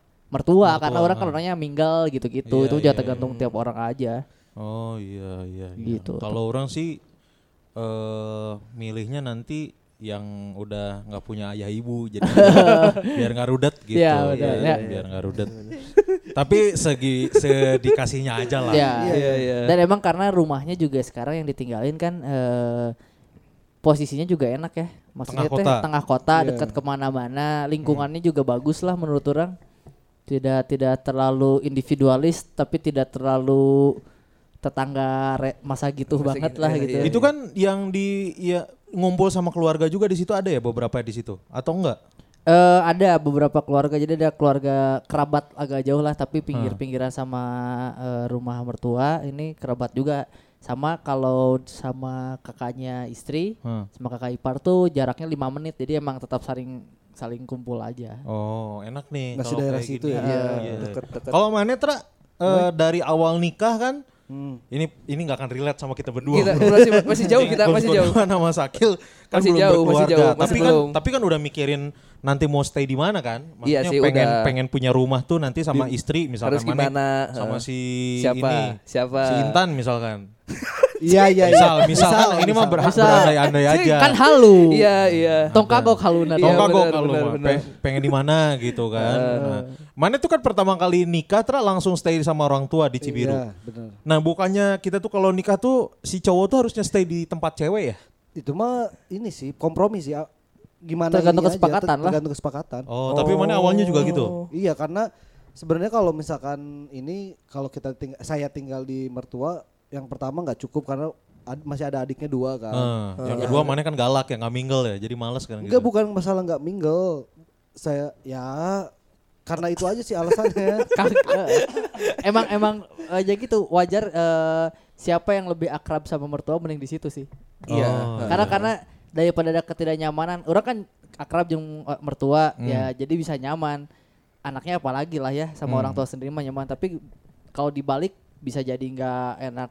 Speaker 1: Mertua,
Speaker 4: mertua, karena orang kan
Speaker 1: ah.
Speaker 4: orangnya minggal gitu-gitu
Speaker 1: Iya,
Speaker 4: itu
Speaker 1: iya,
Speaker 4: juga tergantung tiap orang aja
Speaker 1: Oh iya iya. iya.
Speaker 4: Gitu.
Speaker 1: Kalau orang sih eh milihnya nanti yang udah nggak punya ayah ibu jadi biar nggak rudet gitu.
Speaker 4: Iya, benar,
Speaker 1: Iya,
Speaker 4: ya.
Speaker 1: Biar nggak rudet. Tapi segi sedikasinya aja lah.
Speaker 4: Ya.
Speaker 2: Iya iya.
Speaker 4: Dan emang karena rumahnya juga sekarang yang ditinggalin kan eh, posisinya juga enak ya. Maksudnya
Speaker 1: Tengah
Speaker 4: teh
Speaker 1: kota.
Speaker 4: tengah kota,
Speaker 5: Iya.
Speaker 4: dekat
Speaker 2: Iya.
Speaker 4: kemana-mana, lingkungannya juga bagus lah menurut orang. Tidak tidak terlalu individualis, tapi tidak terlalu tetangga re- masa gitu
Speaker 2: Masa
Speaker 4: banget
Speaker 2: gitu,
Speaker 4: lah
Speaker 2: iya,
Speaker 4: gitu.
Speaker 2: iya.
Speaker 1: Itu kan yang di ya ngumpul sama keluarga juga di situ ada ya beberapa di situ atau enggak?
Speaker 4: Eh, ada beberapa keluarga jadi ada keluarga kerabat agak jauh lah tapi
Speaker 1: Hmm.
Speaker 4: pinggir-pinggiran sama eh, rumah mertua ini kerabat juga sama kalau sama kakaknya istri
Speaker 1: Hmm.
Speaker 4: sama kakak ipar tuh jaraknya lima menit jadi emang tetap saling saling kumpul aja
Speaker 1: Oh, enak nih
Speaker 5: Masih
Speaker 1: kalau
Speaker 5: daerah
Speaker 1: kayak
Speaker 5: situ
Speaker 1: gini.
Speaker 5: ya.
Speaker 1: Iya.
Speaker 5: Iya, deket-deket.
Speaker 1: Kalau mana Tra eh, dari awal nikah kan
Speaker 5: Hmm.
Speaker 1: ini ini nggak akan relate sama kita berdua.
Speaker 2: Kita
Speaker 1: bro.
Speaker 2: masih, masih jauh kita
Speaker 1: Kalau
Speaker 2: masih jauh.
Speaker 1: berdua Nama Sakil kan
Speaker 2: Masih
Speaker 1: belum
Speaker 2: jauh, masih
Speaker 1: berkeluarga.
Speaker 2: jauh, masih
Speaker 1: tapi kan
Speaker 2: belum.
Speaker 1: tapi kan udah mikirin nanti mau stay di mana kan?
Speaker 2: Iya
Speaker 1: Maksudnya
Speaker 2: sih,
Speaker 1: pengen
Speaker 2: udah.
Speaker 1: pengen punya rumah tuh nanti sama istri misalkan
Speaker 2: Harus
Speaker 1: Mane
Speaker 2: gimana?
Speaker 1: sama
Speaker 2: eh,
Speaker 1: si
Speaker 2: siapa?
Speaker 1: ini
Speaker 2: Siapa?
Speaker 1: si Intan misalkan.
Speaker 5: Iya iya iya.
Speaker 1: Misal, misal, kan ini mah berha-
Speaker 4: Misal.
Speaker 1: berandai-andai aja.
Speaker 4: kan halu
Speaker 2: Iya iya.
Speaker 4: tongkagok haluna
Speaker 2: Iya,
Speaker 1: Tau nggak
Speaker 2: benar,
Speaker 1: kok kalau
Speaker 2: benar,
Speaker 1: mah,
Speaker 2: benar.
Speaker 1: pe- pengen di mana gitu kan. Nah, Mana tuh kan pertama kali nikah Tra langsung stay sama orang tua di Cibiru.
Speaker 5: Iya, benar.
Speaker 1: Nah, bukannya kita tuh kalau nikah tuh si cowok tuh harusnya stay di tempat cewek ya?
Speaker 5: Itu mah ini sih kompromi sih. ah, Gimana ini
Speaker 4: Tergantung
Speaker 5: aja,
Speaker 4: kesepakatan
Speaker 5: ter-
Speaker 4: lah.
Speaker 5: Tergantung kesepakatan.
Speaker 1: Oh, tapi mana awalnya juga
Speaker 2: Oh.
Speaker 1: gitu.
Speaker 5: Iya, karena sebenarnya kalau misalkan ini kalau kita ting- saya tinggal di mertua yang pertama nggak cukup karena ad- masih ada adiknya dua kan.
Speaker 1: Eh, yang kedua mana kan galak ya, nggak mingle ya, jadi males kan
Speaker 5: Enggak
Speaker 1: gitu.
Speaker 5: bukan masalah nggak mingle. Saya ya karena itu aja sih alasannya.
Speaker 4: Kak- eh, emang emang aja gitu wajar eh, siapa yang lebih akrab sama mertua mending di situ sih
Speaker 2: Iya.
Speaker 1: Oh.
Speaker 4: karena kan karena daripada ada ketidaknyamanan orang kan akrab jeung eh, mertua ya jadi bisa nyaman anaknya apalagi lah ya sama orang tua sendiri mah nyaman tapi kalau dibalik bisa jadi nggak enak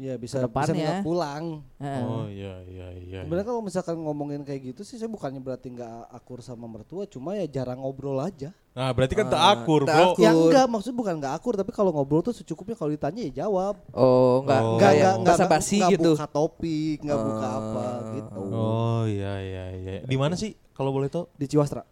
Speaker 4: Eh.
Speaker 5: ya bisa bisa
Speaker 4: Kedepannya.
Speaker 5: minta pulang.
Speaker 4: Heeh.
Speaker 1: Oh iya iya iya.
Speaker 5: Sebenarnya kalau misalkan ngomongin kayak gitu sih saya bukannya berarti nggak akur sama mertua, cuma ya jarang ngobrol aja.
Speaker 1: Nah, berarti kan tak akur, Bro.
Speaker 5: Ya enggak, maksud bukan nggak akur, tapi kalau ngobrol tuh secukupnya kalau ditanya ya jawab.
Speaker 2: Oh enggak
Speaker 1: Oh.
Speaker 2: enggak
Speaker 5: Nggak-
Speaker 2: ya.
Speaker 5: nggak- nggak-
Speaker 2: Basa basi
Speaker 5: nggak
Speaker 2: gitu. Ah.
Speaker 5: buka topik, nggak buka apa gitu.
Speaker 1: Oh iya iya iya. Di mana sih kalau boleh tahu?
Speaker 5: Di Ciwastra.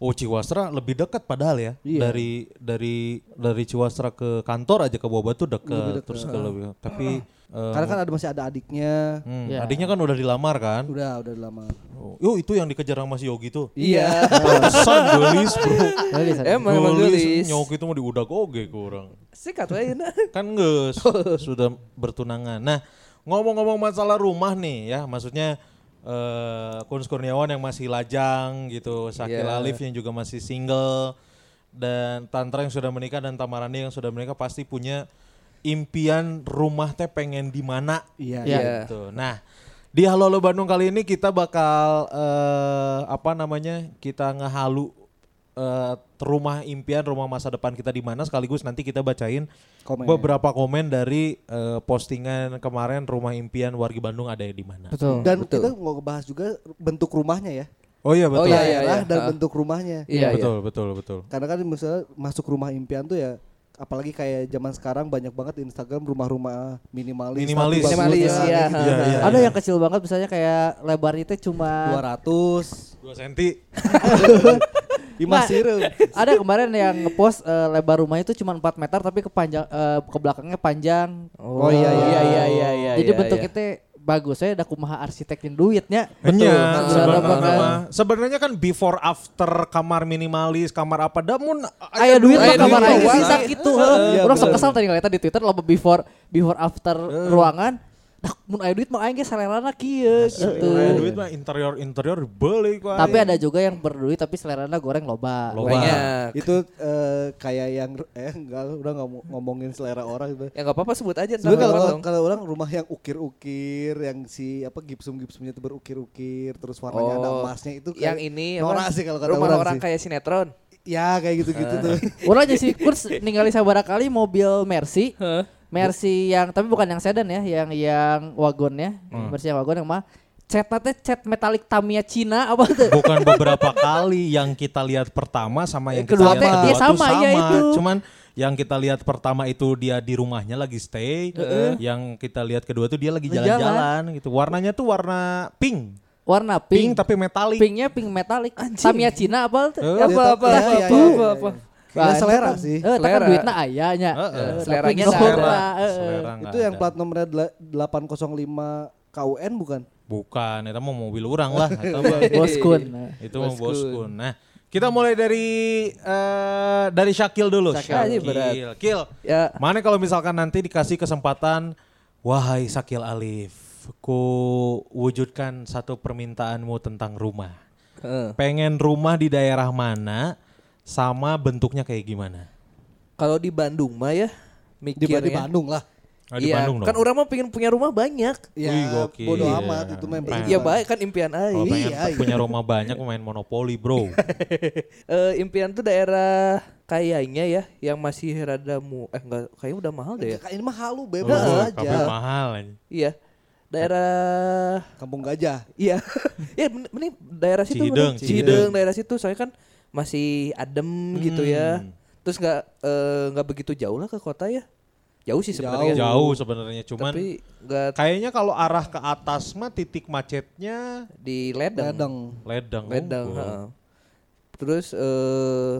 Speaker 1: Oh Ciwastra lebih dekat padahal ya
Speaker 5: Iya.
Speaker 1: dari dari dari Ciwastra ke kantor aja ke Boba tuh dekat terus ke lebih tapi
Speaker 2: Oh.
Speaker 1: eh,
Speaker 5: Karena kan ada masih ada adiknya.
Speaker 1: hmm,
Speaker 4: Ya.
Speaker 1: adiknya kan udah dilamar kan
Speaker 5: Udah, udah lama.
Speaker 1: oh, yo, itu yang dikejar sama si Yogi tuh
Speaker 2: Iya.
Speaker 1: Pantesan gelis bro
Speaker 4: Jadi saya-
Speaker 2: Emang emang gelis.
Speaker 1: nyok itu mau diudak oge ke orang
Speaker 2: Sikat wae na.
Speaker 1: kan nges sudah bertunangan nah ngomong-ngomong masalah rumah nih ya maksudnya eh Kunz Kurniawan yang masih lajang gitu Sakil
Speaker 2: Iya.
Speaker 1: Alif yang juga masih single dan Tantra yang sudah menikah dan Tamarani yang sudah menikah pasti punya impian rumah teh pengen di mana
Speaker 5: Iya.
Speaker 4: Iya.
Speaker 1: gitu. Nah, di Halo Halo Bandung kali ini kita bakal eh, apa namanya? Kita ngehalu eh, rumah impian, rumah masa depan kita di mana sekaligus nanti kita bacain
Speaker 5: Komen.
Speaker 1: beberapa komen dari eh, postingan kemarin rumah impian wargi Bandung ada di mana.
Speaker 4: betul
Speaker 5: Dan kita mau ngebahas juga bentuk rumahnya ya.
Speaker 1: Oh iya betul.
Speaker 2: iya. Oh, iya, iya.
Speaker 5: Daerah dan
Speaker 2: Ah.
Speaker 5: bentuk rumahnya.
Speaker 2: Iya iya.
Speaker 1: betul, betul, betul.
Speaker 5: Karena kan misalnya masuk rumah impian tuh ya apalagi kayak zaman sekarang banyak banget di Instagram rumah-rumah minimalis.
Speaker 1: Minimalis.
Speaker 5: tapi bagus
Speaker 2: Minimalis,
Speaker 5: lah,
Speaker 2: iya.
Speaker 5: gitu.
Speaker 1: Iya, iya,
Speaker 4: ada
Speaker 1: iya.
Speaker 4: yang kecil banget misalnya kayak lebarnya itu cuma
Speaker 5: 200
Speaker 1: 2 senti.
Speaker 5: Ima sirup.
Speaker 4: ada kemarin yang ngepost eh, lebar rumahnya itu cuma 4 meter tapi kepanjang eh, ke belakangnya panjang
Speaker 5: Oh, iya, iya.
Speaker 2: iya iya iya iya.
Speaker 4: jadi
Speaker 2: iya,
Speaker 4: bentuknya
Speaker 2: iya.
Speaker 4: teh bagus saya ada kumaha arsiteknya duitnya
Speaker 1: Iya,
Speaker 4: Bisa
Speaker 1: sebenarnya
Speaker 4: dapat,
Speaker 1: mah.
Speaker 4: kan?
Speaker 1: sebenarnya kan before after kamar minimalis, kamar apa damun
Speaker 4: Aya duit
Speaker 2: Aya duit
Speaker 4: mah
Speaker 1: gitu.
Speaker 4: kamar
Speaker 2: mah,
Speaker 4: aing
Speaker 2: Wan.
Speaker 4: bisa kitu.
Speaker 5: Iya,
Speaker 4: heuh. Urang sok
Speaker 5: bener.
Speaker 4: kesal tadi ngeliatnya di Twitter loba before before after ruangan. Dah mun aya duit mah aing ge selerana kieu gitu.
Speaker 1: Aya duit mah interior interior beli kok.
Speaker 4: Tapi ada juga yang berduit tapi selerana goreng loba.
Speaker 1: Loba. Iya.
Speaker 2: banyak.
Speaker 5: itu eh, kayak yang eh enggak udah nggak mau ngomongin selera orang gitu.
Speaker 2: Ya enggak apa-apa sebut aja ntar
Speaker 5: Sebenarnya
Speaker 2: gua
Speaker 5: kalau
Speaker 2: potong.
Speaker 5: kalau orang rumah yang ukir-ukir, yang si apa gipsum-gipsumnya itu berukir-ukir, terus warnanya ada emasnya itu kayak
Speaker 2: Oh, yang ini
Speaker 5: norak
Speaker 2: apa?
Speaker 5: sih kalau kata
Speaker 2: rumah
Speaker 5: orang,
Speaker 2: orang
Speaker 5: sih.
Speaker 2: kayak Eh. sinetron.
Speaker 5: ya kayak gitu-gitu tuh.
Speaker 4: Urang aja sih kurs ningali sabaraha kali mobil Mercy.
Speaker 2: Heeh.
Speaker 4: Mercy yang tapi bukan yang sedan ya, yang yang wagonnya. Mercy yang wagon yang mah catnya teh cat metalik Tamiya Cina apa tuh?
Speaker 1: bukan beberapa kali yang kita lihat pertama sama yang kita
Speaker 4: Kedua
Speaker 1: lihat
Speaker 4: teh,
Speaker 1: kedua
Speaker 4: dia
Speaker 1: tuh
Speaker 4: sama, ya itu.
Speaker 1: cuman yang kita lihat pertama itu dia di rumahnya lagi stay yang kita lihat kedua tuh dia lagi
Speaker 4: Lagi
Speaker 1: jalan-jalan gitu warnanya tuh warna pink
Speaker 4: Warna
Speaker 1: pink,
Speaker 4: pink.
Speaker 1: tapi metalik
Speaker 4: Pinknya pink metalik. Tamiya Cina apa tuh?
Speaker 1: Eh,
Speaker 2: Apa apa
Speaker 5: iya, iya,
Speaker 2: apa apa
Speaker 5: iya,
Speaker 2: apa,
Speaker 5: iya,
Speaker 2: apa.
Speaker 5: Ya,
Speaker 4: ente
Speaker 5: selera
Speaker 4: kan-
Speaker 5: sih.
Speaker 4: Eh, ente kan
Speaker 2: Selera.
Speaker 4: duitnya ayahnya.
Speaker 1: Heeh.
Speaker 4: Tapi
Speaker 2: Seleranya
Speaker 4: nggak
Speaker 2: selera.
Speaker 4: ora, eh, eh.
Speaker 1: Selera nggak
Speaker 5: Itu yang
Speaker 1: ada.
Speaker 5: plat nomornya dla- 805 KUN bukan?
Speaker 1: Bukan, itu mau mobil orang lah. Itu mah-
Speaker 4: Boskun.
Speaker 1: itu mau
Speaker 2: Boskun.
Speaker 1: boskun. Nah, kita mulai dari eh, dari Syakil dulu.
Speaker 2: Syakil aja berat.
Speaker 1: Kil.
Speaker 2: Ya.
Speaker 1: Mana kalau misalkan nanti dikasih kesempatan, wahai Syakil Alif, ku wujudkan satu permintaanmu tentang rumah.
Speaker 2: Heeh.
Speaker 1: Pengen rumah di daerah mana, sama bentuknya kayak gimana?
Speaker 2: Kalau di Bandung mah ya
Speaker 5: Di,
Speaker 2: mikirnya.
Speaker 5: di Bandung lah.
Speaker 1: Ah, di
Speaker 2: Iya,
Speaker 1: Bandung dong.
Speaker 2: kan orang mah pengen punya rumah banyak.
Speaker 5: Ya,
Speaker 1: Wih, gokil.
Speaker 5: bodo amat itu memang.
Speaker 1: Pengen.
Speaker 2: Iya baik kan impian ai.
Speaker 1: Kalau pengen
Speaker 5: Iya, iya.
Speaker 1: punya rumah banyak main monopoli bro.
Speaker 2: Eh, impian tuh daerah kayaknya ya yang masih rada mu eh enggak kayaknya udah mahal deh ya.
Speaker 5: Ini mah halu bebas
Speaker 1: Oh,
Speaker 5: aja.
Speaker 1: kabeh mahal. anjing.
Speaker 2: Iya. Daerah
Speaker 5: Kampung Gajah.
Speaker 2: iya. ya men- mending daerah situ
Speaker 1: Cihideng,
Speaker 2: bener.
Speaker 1: Cihideng.
Speaker 2: daerah situ soalnya kan masih adem gitu ya.
Speaker 1: Hmm.
Speaker 2: Terus nggak eh, nggak begitu jauh lah ke kota ya. Jauh sih sebenarnya. kan.
Speaker 1: Jauh sebenarnya cuman
Speaker 2: Tapi nggak
Speaker 1: kayaknya kalau arah ke atas mah titik macetnya
Speaker 2: di ledeng.
Speaker 5: Ledeng.
Speaker 1: ledeng. oh.
Speaker 2: Ledeng,
Speaker 1: unggul.
Speaker 2: heeh. Terus eh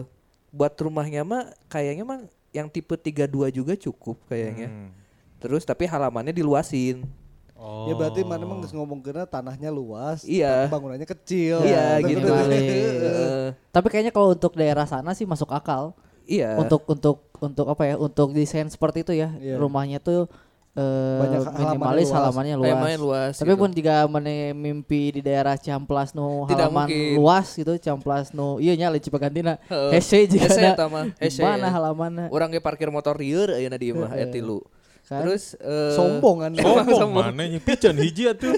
Speaker 2: buat rumahnya mah kayaknya mah yang tipe 32 juga cukup kayaknya.
Speaker 1: Hmm.
Speaker 2: Terus tapi halamannya diluasin.
Speaker 1: Oh.
Speaker 5: Ya berarti mana emang geus ngomong kena tanahnya luas,
Speaker 2: Iya.
Speaker 5: tapi bangunannya kecil.
Speaker 2: Iya,
Speaker 5: Tapi
Speaker 2: gitu.
Speaker 5: bener-
Speaker 4: Balik.
Speaker 2: Heeh.
Speaker 4: Tapi kayaknya kalau untuk daerah sana sih masuk akal.
Speaker 2: iya.
Speaker 4: Untuk untuk untuk apa ya? Untuk desain seperti itu ya.
Speaker 5: Iya.
Speaker 4: Rumahnya tuh eh,
Speaker 5: Banyak halamannya
Speaker 4: minimalis
Speaker 5: luas.
Speaker 4: halamannya luas.
Speaker 2: luas. luas.
Speaker 4: Tapi
Speaker 2: gitu.
Speaker 4: pun jika mene mimpi di daerah Ciamplas nu
Speaker 2: Tidak
Speaker 4: halaman
Speaker 2: mungkin.
Speaker 4: luas gitu, Ciamplas nu iya nya leucih pagantina.
Speaker 2: Heeh.
Speaker 4: Hese juga
Speaker 2: Hese
Speaker 4: ada.
Speaker 2: eta mah, hese, ya.
Speaker 4: Mana halamannya?
Speaker 2: orang ge parkir motor eh, lieur ayeuna di imah aya tilu.
Speaker 4: Eh. Kan?
Speaker 2: Terus eh
Speaker 5: Sombong kan.
Speaker 1: Sombong mana pican hiji atuh.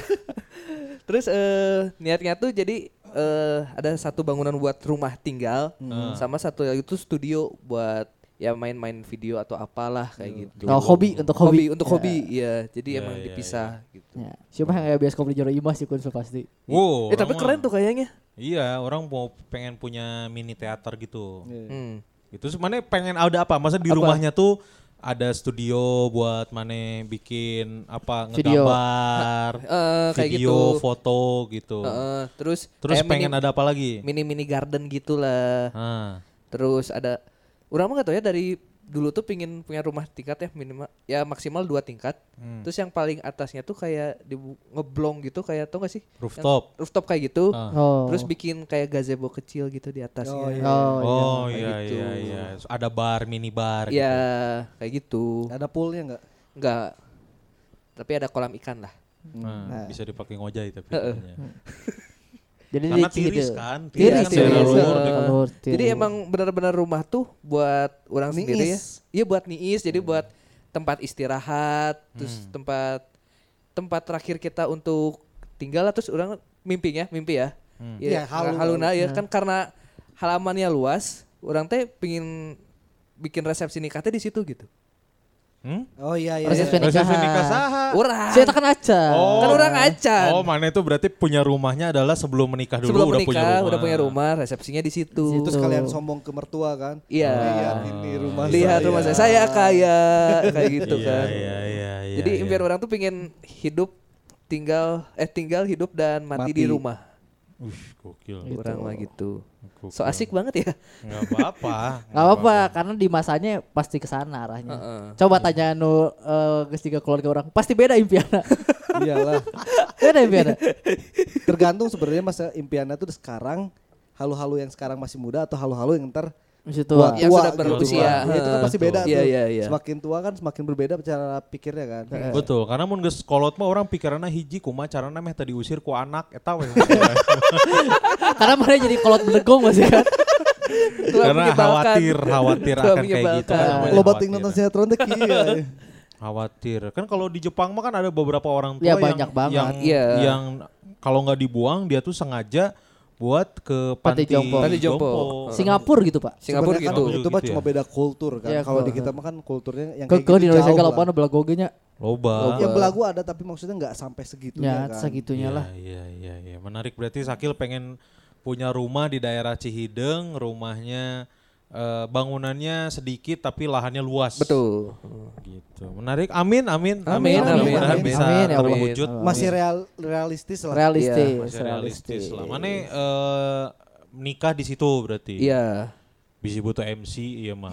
Speaker 2: Terus eh niatnya tuh jadi eh ada satu bangunan buat rumah tinggal
Speaker 1: Ah.
Speaker 2: sama satu lagi tuh studio buat ya main-main video atau apalah
Speaker 1: Iya.
Speaker 2: kayak gitu.
Speaker 4: Kalau hobi untuk
Speaker 2: hobi,
Speaker 4: hobi.
Speaker 2: untuk
Speaker 4: Ya.
Speaker 2: hobi iya jadi emang dipisah
Speaker 1: iya.
Speaker 2: gitu
Speaker 4: Ya. Siapa yang kayak bioskop di Joro Imah sih Kunsul pasti.
Speaker 1: Wow.
Speaker 2: eh
Speaker 1: orang
Speaker 2: tapi
Speaker 1: mah-
Speaker 2: keren tuh kayaknya
Speaker 1: Iya, orang mau pengen punya mini teater gitu.
Speaker 2: hmm.
Speaker 1: Itu sebenarnya pengen ada apa? Masa di
Speaker 2: Apa?
Speaker 1: rumahnya tuh ada studio buat mana bikin apa
Speaker 4: Video.
Speaker 1: ngegambar,
Speaker 2: Eh, kayak
Speaker 1: video,
Speaker 2: gitu.
Speaker 1: foto gitu.
Speaker 2: Heeh, terus
Speaker 1: Terus
Speaker 2: kayak
Speaker 1: pengen
Speaker 2: mini,
Speaker 1: ada apa lagi?
Speaker 2: mini mini garden gitulah
Speaker 1: Ah.
Speaker 2: terus ada orang mah gak tau ya dari dulu tuh pingin punya rumah tingkat ya minimal ya maksimal dua tingkat
Speaker 1: Hmm.
Speaker 2: terus yang paling atasnya tuh kayak di ngeblong gitu kayak tau gak sih Yang
Speaker 1: Rooftop.
Speaker 2: rooftop kayak gitu
Speaker 1: Ah.
Speaker 4: Oh.
Speaker 2: terus bikin kayak gazebo kecil gitu di atasnya
Speaker 5: Oh, iya.
Speaker 4: Oh,
Speaker 1: Oh,
Speaker 2: iya,
Speaker 1: iya
Speaker 2: kayak
Speaker 1: iya
Speaker 2: gitu.
Speaker 1: iya. Ada bar, mini bar
Speaker 2: ya kayak gitu
Speaker 5: Ada poolnya enggak?
Speaker 2: enggak tapi ada kolam ikan lah
Speaker 1: gitu. Nah, bisa dipakai ngojai tapi. sebenarnya.
Speaker 2: Hmm.
Speaker 4: Jadi
Speaker 1: Karena
Speaker 4: di Cihideu.
Speaker 1: tiris
Speaker 2: gitu.
Speaker 1: kan,
Speaker 4: Tiris,
Speaker 1: tiris,
Speaker 4: tiris.
Speaker 1: daerah
Speaker 4: tiris.
Speaker 1: luar,
Speaker 4: Daerah luar, tiris.
Speaker 2: Iya, Jadi emang benar-benar rumah tuh buat orang sendiri ya. Iya buat niis, jadi
Speaker 1: Hmm.
Speaker 2: buat tempat istirahat, terus tempat tempat terakhir kita untuk tinggal lah, terus orang mimpinya, mimpi ya.
Speaker 1: Hmm.
Speaker 5: Iya,
Speaker 2: Iya,
Speaker 5: halu-
Speaker 2: haluna ya kan karena halamannya luas, orang teh pingin bikin resepsi nikahnya di situ gitu.
Speaker 1: Hmm?
Speaker 5: Oh iya iya.
Speaker 4: Resepsi
Speaker 5: iya.
Speaker 1: Resepsi
Speaker 4: nikahan.
Speaker 1: nikah saha?
Speaker 2: Orang
Speaker 4: Saya tekan aja.
Speaker 2: kan orang acan.
Speaker 1: Oh, mana itu berarti punya rumahnya adalah sebelum menikah dulu
Speaker 2: Sebelum
Speaker 1: udah
Speaker 2: menikah
Speaker 1: punya rumah.
Speaker 2: udah punya rumah, resepsinya di situ.
Speaker 5: Terus kalian sombong ke mertua kan?
Speaker 2: Iya.
Speaker 5: Lihat ini rumah
Speaker 2: Lihat
Speaker 5: saya.
Speaker 2: rumah saya, saya kaya kayak gitu
Speaker 1: Iya,
Speaker 2: kan.
Speaker 1: Iya, iya, iya.
Speaker 2: Jadi
Speaker 1: iya.
Speaker 2: impian orang tuh pengen hidup tinggal eh tinggal hidup dan mati, di
Speaker 5: Mati.
Speaker 2: rumah.
Speaker 1: Ush, gokil.
Speaker 2: Kurang lah gitu.
Speaker 1: Gokil.
Speaker 2: So asik banget ya.
Speaker 1: Enggak apa-apa.
Speaker 4: Gak apa-apa karena di masanya pasti ke sana arahnya.
Speaker 2: Heeh.
Speaker 4: Coba tanya nu eh, geus tiga keluarga orang, pasti beda impianna.
Speaker 5: Iyalah.
Speaker 4: beda impianna.
Speaker 5: Tergantung sebenarnya masa impiannya tuh sekarang halu-halu yang sekarang masih muda atau halu-halu yang ntar
Speaker 4: Di situ.
Speaker 5: tua,
Speaker 2: Yang
Speaker 5: tua
Speaker 2: sudah
Speaker 5: gitu.
Speaker 2: berusia.
Speaker 5: Iya, itu kan pasti beda
Speaker 2: Iya,
Speaker 5: tuh.
Speaker 2: iya, iya.
Speaker 5: Semakin tua kan semakin berbeda cara pikirnya kan.
Speaker 1: Iya. Betul, karena mun geus kolot mah orang pikirannya hiji kumaha carana meh tadi usir ku anak eta we.
Speaker 4: karena mana jadi kolot bedegong gak sih kan?
Speaker 2: Tua
Speaker 1: karena
Speaker 2: menyebalkan.
Speaker 1: khawatir, khawatir
Speaker 2: Tua
Speaker 1: akan kayak gitu.
Speaker 2: menyebalkan.
Speaker 1: kan namanya
Speaker 5: Lo batik
Speaker 1: khawatir.
Speaker 5: nonton sinetron teh
Speaker 1: Iya.
Speaker 5: kieu.
Speaker 1: Khawatir. Kan kalau di Jepang mah kan ada beberapa orang tua
Speaker 4: Ya,
Speaker 1: yang
Speaker 4: banyak banget.
Speaker 1: yang,
Speaker 2: Iya.
Speaker 1: yang kalau nggak dibuang dia tuh sengaja buat ke
Speaker 4: Panti
Speaker 1: panti,
Speaker 4: jompo.
Speaker 2: Panti jompo.
Speaker 1: Oh.
Speaker 4: Singapura gitu, Pak.
Speaker 2: Singapura
Speaker 5: Sebenarnya
Speaker 2: gitu.
Speaker 5: Kan, itu
Speaker 1: Gitu
Speaker 5: mah
Speaker 1: ya.
Speaker 5: cuma beda kultur kan.
Speaker 4: Iya,
Speaker 5: Kalau di
Speaker 4: kultur.
Speaker 5: kita mah kan kulturnya yang
Speaker 4: Ke
Speaker 3: gitu
Speaker 4: ke di Indonesia
Speaker 5: jauh
Speaker 4: kalau
Speaker 5: lah.
Speaker 4: mana belagogenya
Speaker 1: Loba. Iya,
Speaker 5: Yang belagu ada tapi maksudnya nggak sampai segitunya
Speaker 4: ya
Speaker 5: kan.
Speaker 4: segitunya lah.
Speaker 1: Iya, iya, iya. Menarik berarti Sakil pengen punya rumah di daerah Cihideng, rumahnya eh, bangunannya sedikit tapi lahannya luas.
Speaker 2: Betul.
Speaker 1: Gitu. Menarik. Amin, amin.
Speaker 2: Amin, amin,
Speaker 1: Mudah-mudahan
Speaker 2: amin.
Speaker 1: bisa
Speaker 4: Amin, ya Allah.
Speaker 1: terwujud.
Speaker 5: Masih
Speaker 2: Iya.
Speaker 5: real- realistis lah.
Speaker 3: Iya,
Speaker 4: Realistis,
Speaker 1: Masih realistis lah. Mana eh, nikah di situ berarti.
Speaker 2: Iya.
Speaker 3: Bisi butuh MC iya mah.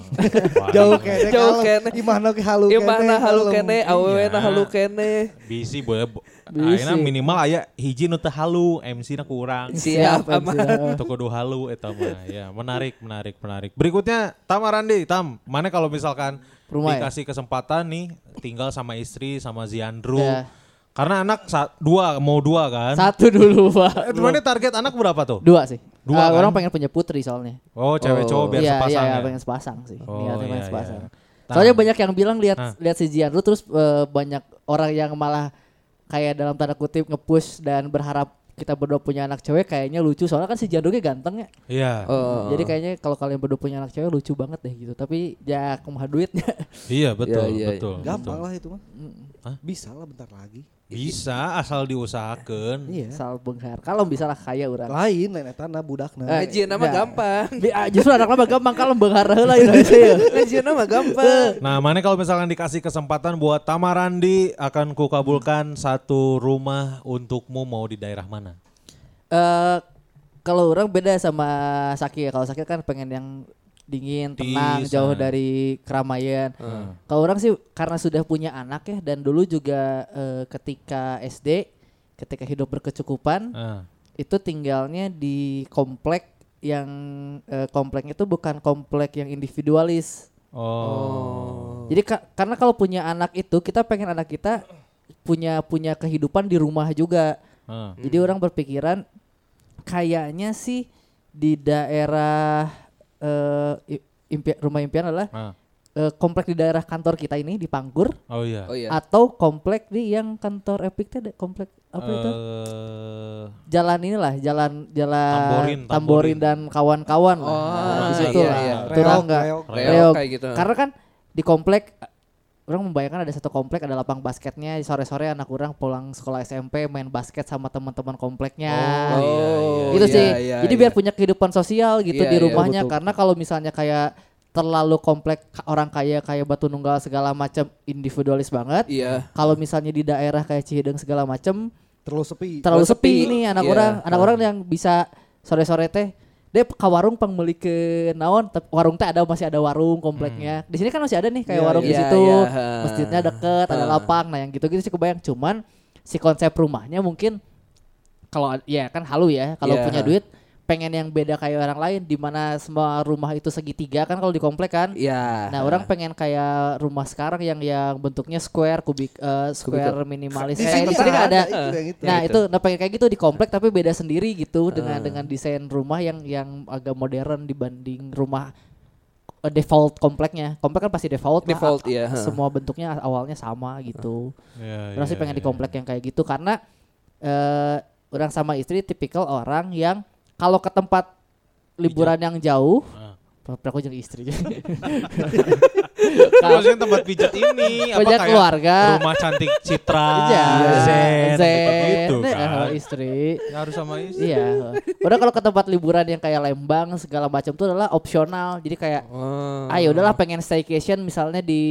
Speaker 5: Jauh kene
Speaker 2: Jauh
Speaker 5: kalau
Speaker 2: kene.
Speaker 5: imah nu ki halu
Speaker 2: Iya mana halu kene,
Speaker 5: kalem.
Speaker 2: awewe
Speaker 3: Iya.
Speaker 2: na halu kene.
Speaker 3: Bisi boleh. bo-
Speaker 4: Bisi.
Speaker 3: Ayeuna minimal aya hiji nu teu halu, MC na kurang.
Speaker 2: Siap,
Speaker 4: Siap,
Speaker 2: aman.
Speaker 4: siap.
Speaker 3: Toko do halu eta mah. Ya, menarik, menarik, menarik. Berikutnya Tam Arandi, Tam. Mana kalau misalkan
Speaker 4: Rumah ya?
Speaker 3: dikasih kesempatan nih tinggal sama istri sama Ziandru.
Speaker 4: Ya.
Speaker 3: Karena anak sa- dua mau dua kan.
Speaker 4: Satu
Speaker 3: Eh,
Speaker 4: dulu pak.
Speaker 3: cuman ini target anak berapa tuh?
Speaker 4: Dua sih.
Speaker 3: Dua,
Speaker 4: Ah, Orang
Speaker 3: kan?
Speaker 4: pengen punya putri soalnya.
Speaker 3: Oh, cewek cowok biar
Speaker 4: iya,
Speaker 3: sepasang
Speaker 4: iya,
Speaker 3: ya.
Speaker 4: pengen sepasang sih.
Speaker 3: Oh,
Speaker 4: Niatnya pengen
Speaker 3: iya,
Speaker 4: sepasang.
Speaker 3: iya.
Speaker 4: Soalnya
Speaker 3: Nah.
Speaker 4: banyak yang bilang lihat
Speaker 3: Nah.
Speaker 4: lihat si Jian lu terus eh, banyak orang yang malah kayak dalam tanda kutip nge-push dan berharap kita berdua punya anak cewek kayaknya lucu soalnya kan si Jandungnya ganteng ya.
Speaker 3: Iya.
Speaker 2: Oh.
Speaker 4: Jadi kayaknya kalau kalian berdua punya anak cewek lucu banget deh gitu. Tapi ya kumaha duitnya.
Speaker 3: Iya, betul,
Speaker 2: iya, iya.
Speaker 3: betul.
Speaker 5: Gampang
Speaker 3: betul.
Speaker 5: lah itu mah. Bisa lah bentar lagi.
Speaker 3: Bisa asal diusahakan.
Speaker 5: Iya.
Speaker 4: Soal benghar. Kalau bisa lah kaya orang.
Speaker 5: Lain lain etana budakna.
Speaker 4: Eh,
Speaker 2: Ngajian Iya, nama
Speaker 4: Nah.
Speaker 2: gampang. Iya.
Speaker 4: Bi- ah, Justru anak lama gampang kalau benghar heula Indonesia ya.
Speaker 2: Ngajian nama gampang.
Speaker 3: Nah, mana kalau misalkan dikasih kesempatan buat Tamarandi akan kukabulkan satu rumah untukmu mau di daerah mana?
Speaker 4: Eh, kalau orang beda sama Saki ya. Kalau Saki kan pengen yang dingin,
Speaker 3: Di
Speaker 4: tenang, jauh
Speaker 3: sana.
Speaker 4: dari keramaian. Kalau orang sih karena sudah punya anak ya dan dulu juga eh, ketika SD, ketika hidup berkecukupan,
Speaker 3: Ah.
Speaker 1: Hmm.
Speaker 4: itu tinggalnya di komplek yang eh, kompleknya itu bukan komplek yang individualis.
Speaker 3: Oh.
Speaker 4: Jadi ka- karena kalau punya anak itu kita pengen anak kita punya punya kehidupan di rumah juga.
Speaker 3: Ah.
Speaker 4: Jadi
Speaker 2: Hmm.
Speaker 4: orang berpikiran kayaknya sih di daerah eh, i- impi- rumah impian adalah
Speaker 3: Ah.
Speaker 4: eh, komplek di daerah kantor kita ini di Panggur
Speaker 3: Oh iya.
Speaker 2: Oh iya.
Speaker 4: atau komplek di yang kantor Epic teh ada komplek apa itu?
Speaker 3: Eh,
Speaker 4: Jalan inilah jalan jalan
Speaker 3: Tamborin,
Speaker 4: Tamborin,
Speaker 3: Tamborin.
Speaker 4: dan kawan-kawan lah. Nah,
Speaker 2: Oh,
Speaker 4: Di situ
Speaker 2: iya,
Speaker 4: lah.
Speaker 2: iya.
Speaker 4: Itu orang
Speaker 5: Reog,
Speaker 4: nggak-
Speaker 5: reog.
Speaker 2: Reog
Speaker 4: reog.
Speaker 2: kayak gitu.
Speaker 4: Karena kan di komplek orang membayangkan ada satu komplek ada lapang basketnya sore-sore anak orang pulang sekolah SMP main basket sama teman-teman kompleknya
Speaker 2: Oh,
Speaker 4: gitu
Speaker 2: iya,
Speaker 4: sih.
Speaker 2: iya,
Speaker 4: Jadi
Speaker 2: iya.
Speaker 4: biar punya kehidupan sosial gitu
Speaker 2: Iya,
Speaker 4: di
Speaker 2: iya,
Speaker 4: rumahnya
Speaker 5: betul.
Speaker 4: karena kalau misalnya kayak terlalu komplek ka- orang kaya kayak Batu Nunggal segala macam individualis banget.
Speaker 2: Iya.
Speaker 4: Kalau misalnya di daerah kayak Cihideng segala macam
Speaker 5: Terlalu sepi.
Speaker 2: Terlalu
Speaker 4: terlalu sepi
Speaker 2: sepi.
Speaker 4: nih anak
Speaker 2: Iya.
Speaker 4: orang, anak orang yang bisa sore-sore teh dia ke warung pembeli ke naon tep- warung teh ada masih ada warung kompleknya di sini kan masih ada nih kayak
Speaker 5: Iya,
Speaker 4: warung di
Speaker 2: Hmm. iya,
Speaker 4: situ
Speaker 2: iya.
Speaker 4: masjidnya deket ada
Speaker 2: Ah.
Speaker 4: lapang nah yang gitu-gitu sih kebayang cuman si konsep rumahnya mungkin kalau ad- ya kan halu ya kalau
Speaker 2: Iya.
Speaker 4: punya duit pengen yang beda kayak orang lain di mana semua rumah itu segitiga kan kalau di komplek kan
Speaker 2: Iya.
Speaker 4: Nah, orang pengen kayak rumah sekarang yang yang bentuknya square kubik eh, square minimalis.
Speaker 5: Di
Speaker 4: Kayak
Speaker 5: sini
Speaker 4: di sini kan ada.
Speaker 5: itu yang
Speaker 3: Ya,
Speaker 5: itu.
Speaker 4: Nah,
Speaker 2: Gitu.
Speaker 4: itu nah pengen kayak gitu di komplek tapi beda sendiri
Speaker 3: Ah.
Speaker 4: gitu dengan dengan desain rumah yang yang agak modern dibanding rumah eh, default kompleknya. Komplek kan pasti default. lah,
Speaker 2: Default,
Speaker 4: a-
Speaker 2: iya,
Speaker 4: a-
Speaker 2: heeh.
Speaker 4: Semua bentuknya awalnya sama gitu.
Speaker 3: iya,
Speaker 4: Orang sih
Speaker 3: iya,
Speaker 4: pengen di
Speaker 3: iya.
Speaker 4: komplek yang kayak gitu karena eh orang sama istri tipikal orang yang kalau ke tempat liburan yang jauh,
Speaker 3: Ah.
Speaker 4: Pra- pra- aku jadi istri.
Speaker 3: Maksudnya tempat pijat ini apa
Speaker 4: Pijat
Speaker 3: kayak
Speaker 4: keluarga.
Speaker 3: rumah cantik Citra,
Speaker 4: Iya,
Speaker 3: Zen, gitu
Speaker 4: Zen, eh,
Speaker 3: kan.
Speaker 4: istri.
Speaker 3: Ya, harus sama istri.
Speaker 4: Iya. Udah kalau ke tempat liburan yang kayak Lembang segala macam tuh adalah opsional. Jadi kayak
Speaker 2: Oh.
Speaker 4: ayo udahlah pengen staycation misalnya di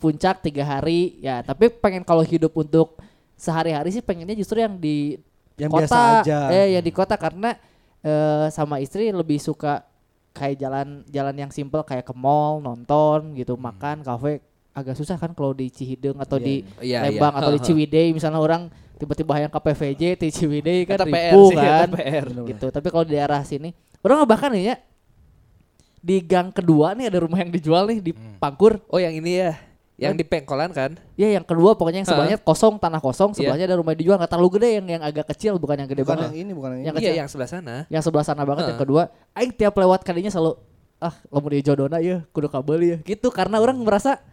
Speaker 4: puncak tiga hari ya tapi pengen kalau hidup untuk sehari-hari sih pengennya justru yang di
Speaker 5: Yang
Speaker 4: kota
Speaker 5: biasa aja.
Speaker 4: eh yang di kota karena eh, sama istri lebih suka kayak jalan jalan yang simple kayak ke mall nonton gitu
Speaker 5: Hmm.
Speaker 4: makan kafe agak susah kan kalau di Cihideng atau di
Speaker 2: Iya, iya.
Speaker 4: Lembang atau di
Speaker 2: Ha, ha.
Speaker 4: Ciwidey misalnya orang tiba-tiba yang ke PVJ di Ciwidey kan
Speaker 2: Eta PR
Speaker 4: ribu
Speaker 2: sih, eta
Speaker 4: kan
Speaker 2: PR.
Speaker 4: gitu tapi kalau di daerah sini orang bahkan nih ya di gang kedua nih ada rumah yang dijual nih di Pangkur
Speaker 2: Oh, yang ini ya. Yang di pengkolan kan?
Speaker 4: ya yang kedua pokoknya yang
Speaker 2: Heeh.
Speaker 4: sebelahnya kosong tanah
Speaker 2: Iya.
Speaker 4: kosong sebelahnya ada rumah yang dijual nggak terlalu gede yang yang agak kecil bukan yang gede
Speaker 5: Bukan
Speaker 4: banget
Speaker 5: yang ini, bukan yang
Speaker 4: Yang
Speaker 5: ini.
Speaker 2: Iya,
Speaker 4: kecil.
Speaker 2: yang sebelah sana.
Speaker 4: yang sebelah sana banget
Speaker 2: Heeh.
Speaker 4: yang kedua aing tiap lewat kalinya selalu ah lamun di jodona ya kudu kabel ya gitu karena orang merasa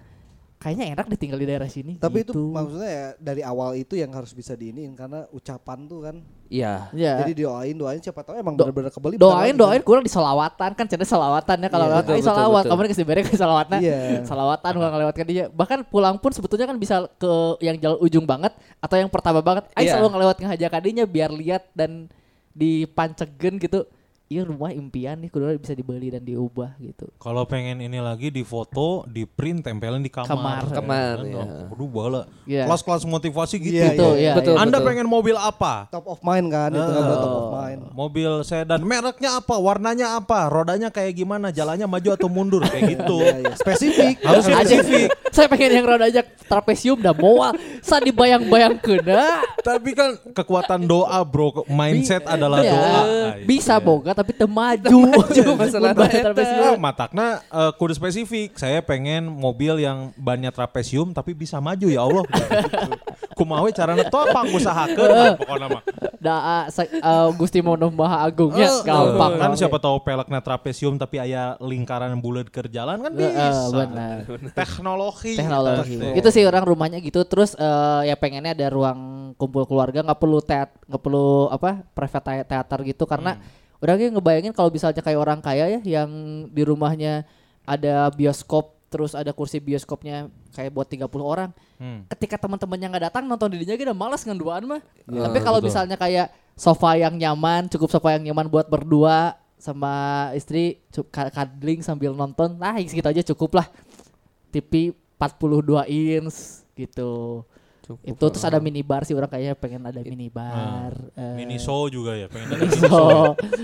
Speaker 4: kayaknya enak ditinggal di daerah sini
Speaker 5: Tapi itu
Speaker 4: gitu.
Speaker 5: maksudnya ya dari awal itu yang harus bisa diiniin karena ucapan tuh kan.
Speaker 2: Iya.
Speaker 4: ya.
Speaker 5: Jadi doain doain siapa tahu emang
Speaker 4: Do-
Speaker 5: benar-benar kebeli. bentar lagi
Speaker 4: doain
Speaker 5: kan.
Speaker 4: doain kurang di solawatan kan cerita solawatan ya kalau
Speaker 5: Iya,
Speaker 4: lewat
Speaker 2: betul,
Speaker 4: "Ay,
Speaker 2: betul,
Speaker 4: solawat
Speaker 2: betul.
Speaker 4: kamu kasih bareng ke solawatnya
Speaker 5: Iya.
Speaker 4: solawatan kurang ngelewatkan dia bahkan pulang pun sebetulnya kan bisa ke yang jalan ujung banget atau yang pertama banget Ayo
Speaker 2: Iya.
Speaker 4: selalu ngelewat ngehajak kadinya biar lihat dan dipancegen gitu iya rumah impian nih kudu bisa dibeli dan diubah gitu.
Speaker 1: Kalau pengen ini lagi di foto, di print, tempelin di
Speaker 4: Kamar.
Speaker 1: kamar. Iya kan?
Speaker 2: Kamar, ya.
Speaker 1: Aduh, bala.
Speaker 4: Iya.
Speaker 1: Kelas-kelas motivasi gitu.
Speaker 5: Iya,
Speaker 4: Betul, iya,
Speaker 2: betul,
Speaker 1: Anda
Speaker 2: betul.
Speaker 1: pengen mobil apa? Eh,
Speaker 5: Top of mind kan itu kan
Speaker 4: Ah.
Speaker 5: buat top of mind.
Speaker 1: Mobil sedan. Mereknya apa? Warnanya apa? Rodanya kayak gimana? Jalannya maju atau mundur? Kayak gitu.
Speaker 5: Iya, iya. Spesifik.
Speaker 1: Harus
Speaker 4: Aja, saya pengen yang roda aja trapesium dah moal. Saya dibayang-bayang kena.
Speaker 1: Tapi kan kekuatan doa bro, mindset adalah
Speaker 4: Ya,
Speaker 5: Iya.
Speaker 1: doa. Iya.
Speaker 4: bisa boga tapi temaju.
Speaker 2: Temaju, masalahnya
Speaker 4: Mun bayar
Speaker 2: eta.
Speaker 4: trapesium.
Speaker 1: Nah, matakna eh, kudu spesifik. Saya pengen mobil yang bannya trapesium tapi bisa maju ya Allah. Kumawe caranya topang usahakeun Nah, pokoknya mah.
Speaker 4: Daa sa- eh, Gusti Mono Maha Agungnya
Speaker 1: Eh,
Speaker 4: Ya, gampang
Speaker 1: kan
Speaker 4: we.
Speaker 1: siapa tahu peleknya trapesium tapi aya lingkaran bulat ke jalan kan
Speaker 4: Eh, eh,
Speaker 1: bisa.
Speaker 4: benar.
Speaker 1: Teknologi.
Speaker 4: teknologi. Itu sih orang rumahnya gitu. Terus eh, ya pengennya ada ruang kumpul keluarga, nggak perlu teat, nggak perlu apa private thea- theater gitu karena
Speaker 1: Hmm.
Speaker 4: udah kayak ngebayangin kalau misalnya kayak orang kaya ya yang di rumahnya ada bioskop terus ada kursi bioskopnya kayak buat 30 orang.
Speaker 1: Hmm.
Speaker 4: Ketika teman-temannya nggak datang nonton dirinya gitu udah malas ngenduaan mah.
Speaker 5: Iya,
Speaker 4: Tapi kalau misalnya kayak sofa yang nyaman, cukup sofa yang nyaman buat berdua sama istri cu- ka- cuddling sambil nonton. Nah, segitu aja cukup lah. TV 42 inch gitu. itu terus ada minibar sih orang kayaknya pengen ada minibar.
Speaker 5: ah,
Speaker 4: eh,
Speaker 1: Mini show juga ya pengen ada mini
Speaker 4: Miniso.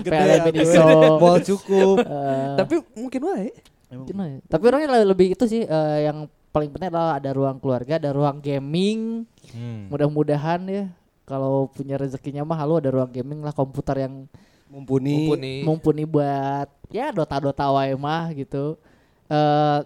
Speaker 4: pengen ada
Speaker 5: Gitu ya,
Speaker 4: miniso.
Speaker 5: Mall cukup.
Speaker 4: Eh,
Speaker 2: Tapi mungkin wae.
Speaker 4: gitu lah ya. Tapi orangnya le- lebih itu sih eh, yang paling penting adalah ada ruang keluarga, ada ruang gaming.
Speaker 1: Hmm.
Speaker 4: Mudah-mudahan ya kalau punya rezekinya mah lu ada ruang gaming lah komputer yang
Speaker 5: Mumpuni.
Speaker 2: Mumpuni.
Speaker 4: mumpuni buat ya dota-dota wae mah gitu. eh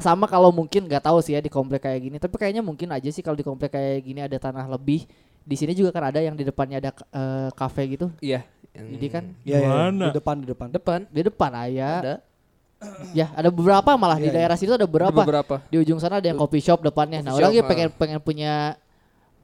Speaker 4: sama kalau mungkin nggak tahu sih ya di komplek kayak gini, tapi kayaknya mungkin aja sih kalau di komplek kayak gini ada tanah lebih. Di sini juga kan ada yang di depannya ada eh, kafe gitu.
Speaker 2: Iya. yang
Speaker 4: Jadi kan
Speaker 5: Iya, iya.
Speaker 1: Mana?
Speaker 5: Di depan, di depan.
Speaker 2: depan
Speaker 4: di depan aya.
Speaker 2: ada
Speaker 4: Ya, ada beberapa malah di
Speaker 5: Iya, iya.
Speaker 4: daerah situ ada
Speaker 2: berapa?
Speaker 4: beberapa.
Speaker 2: Beberapa.
Speaker 4: Di ujung sana ada yang kopi shop depannya. Nah,
Speaker 2: Coffee
Speaker 4: orang
Speaker 2: shop,
Speaker 4: ya pengen pengen punya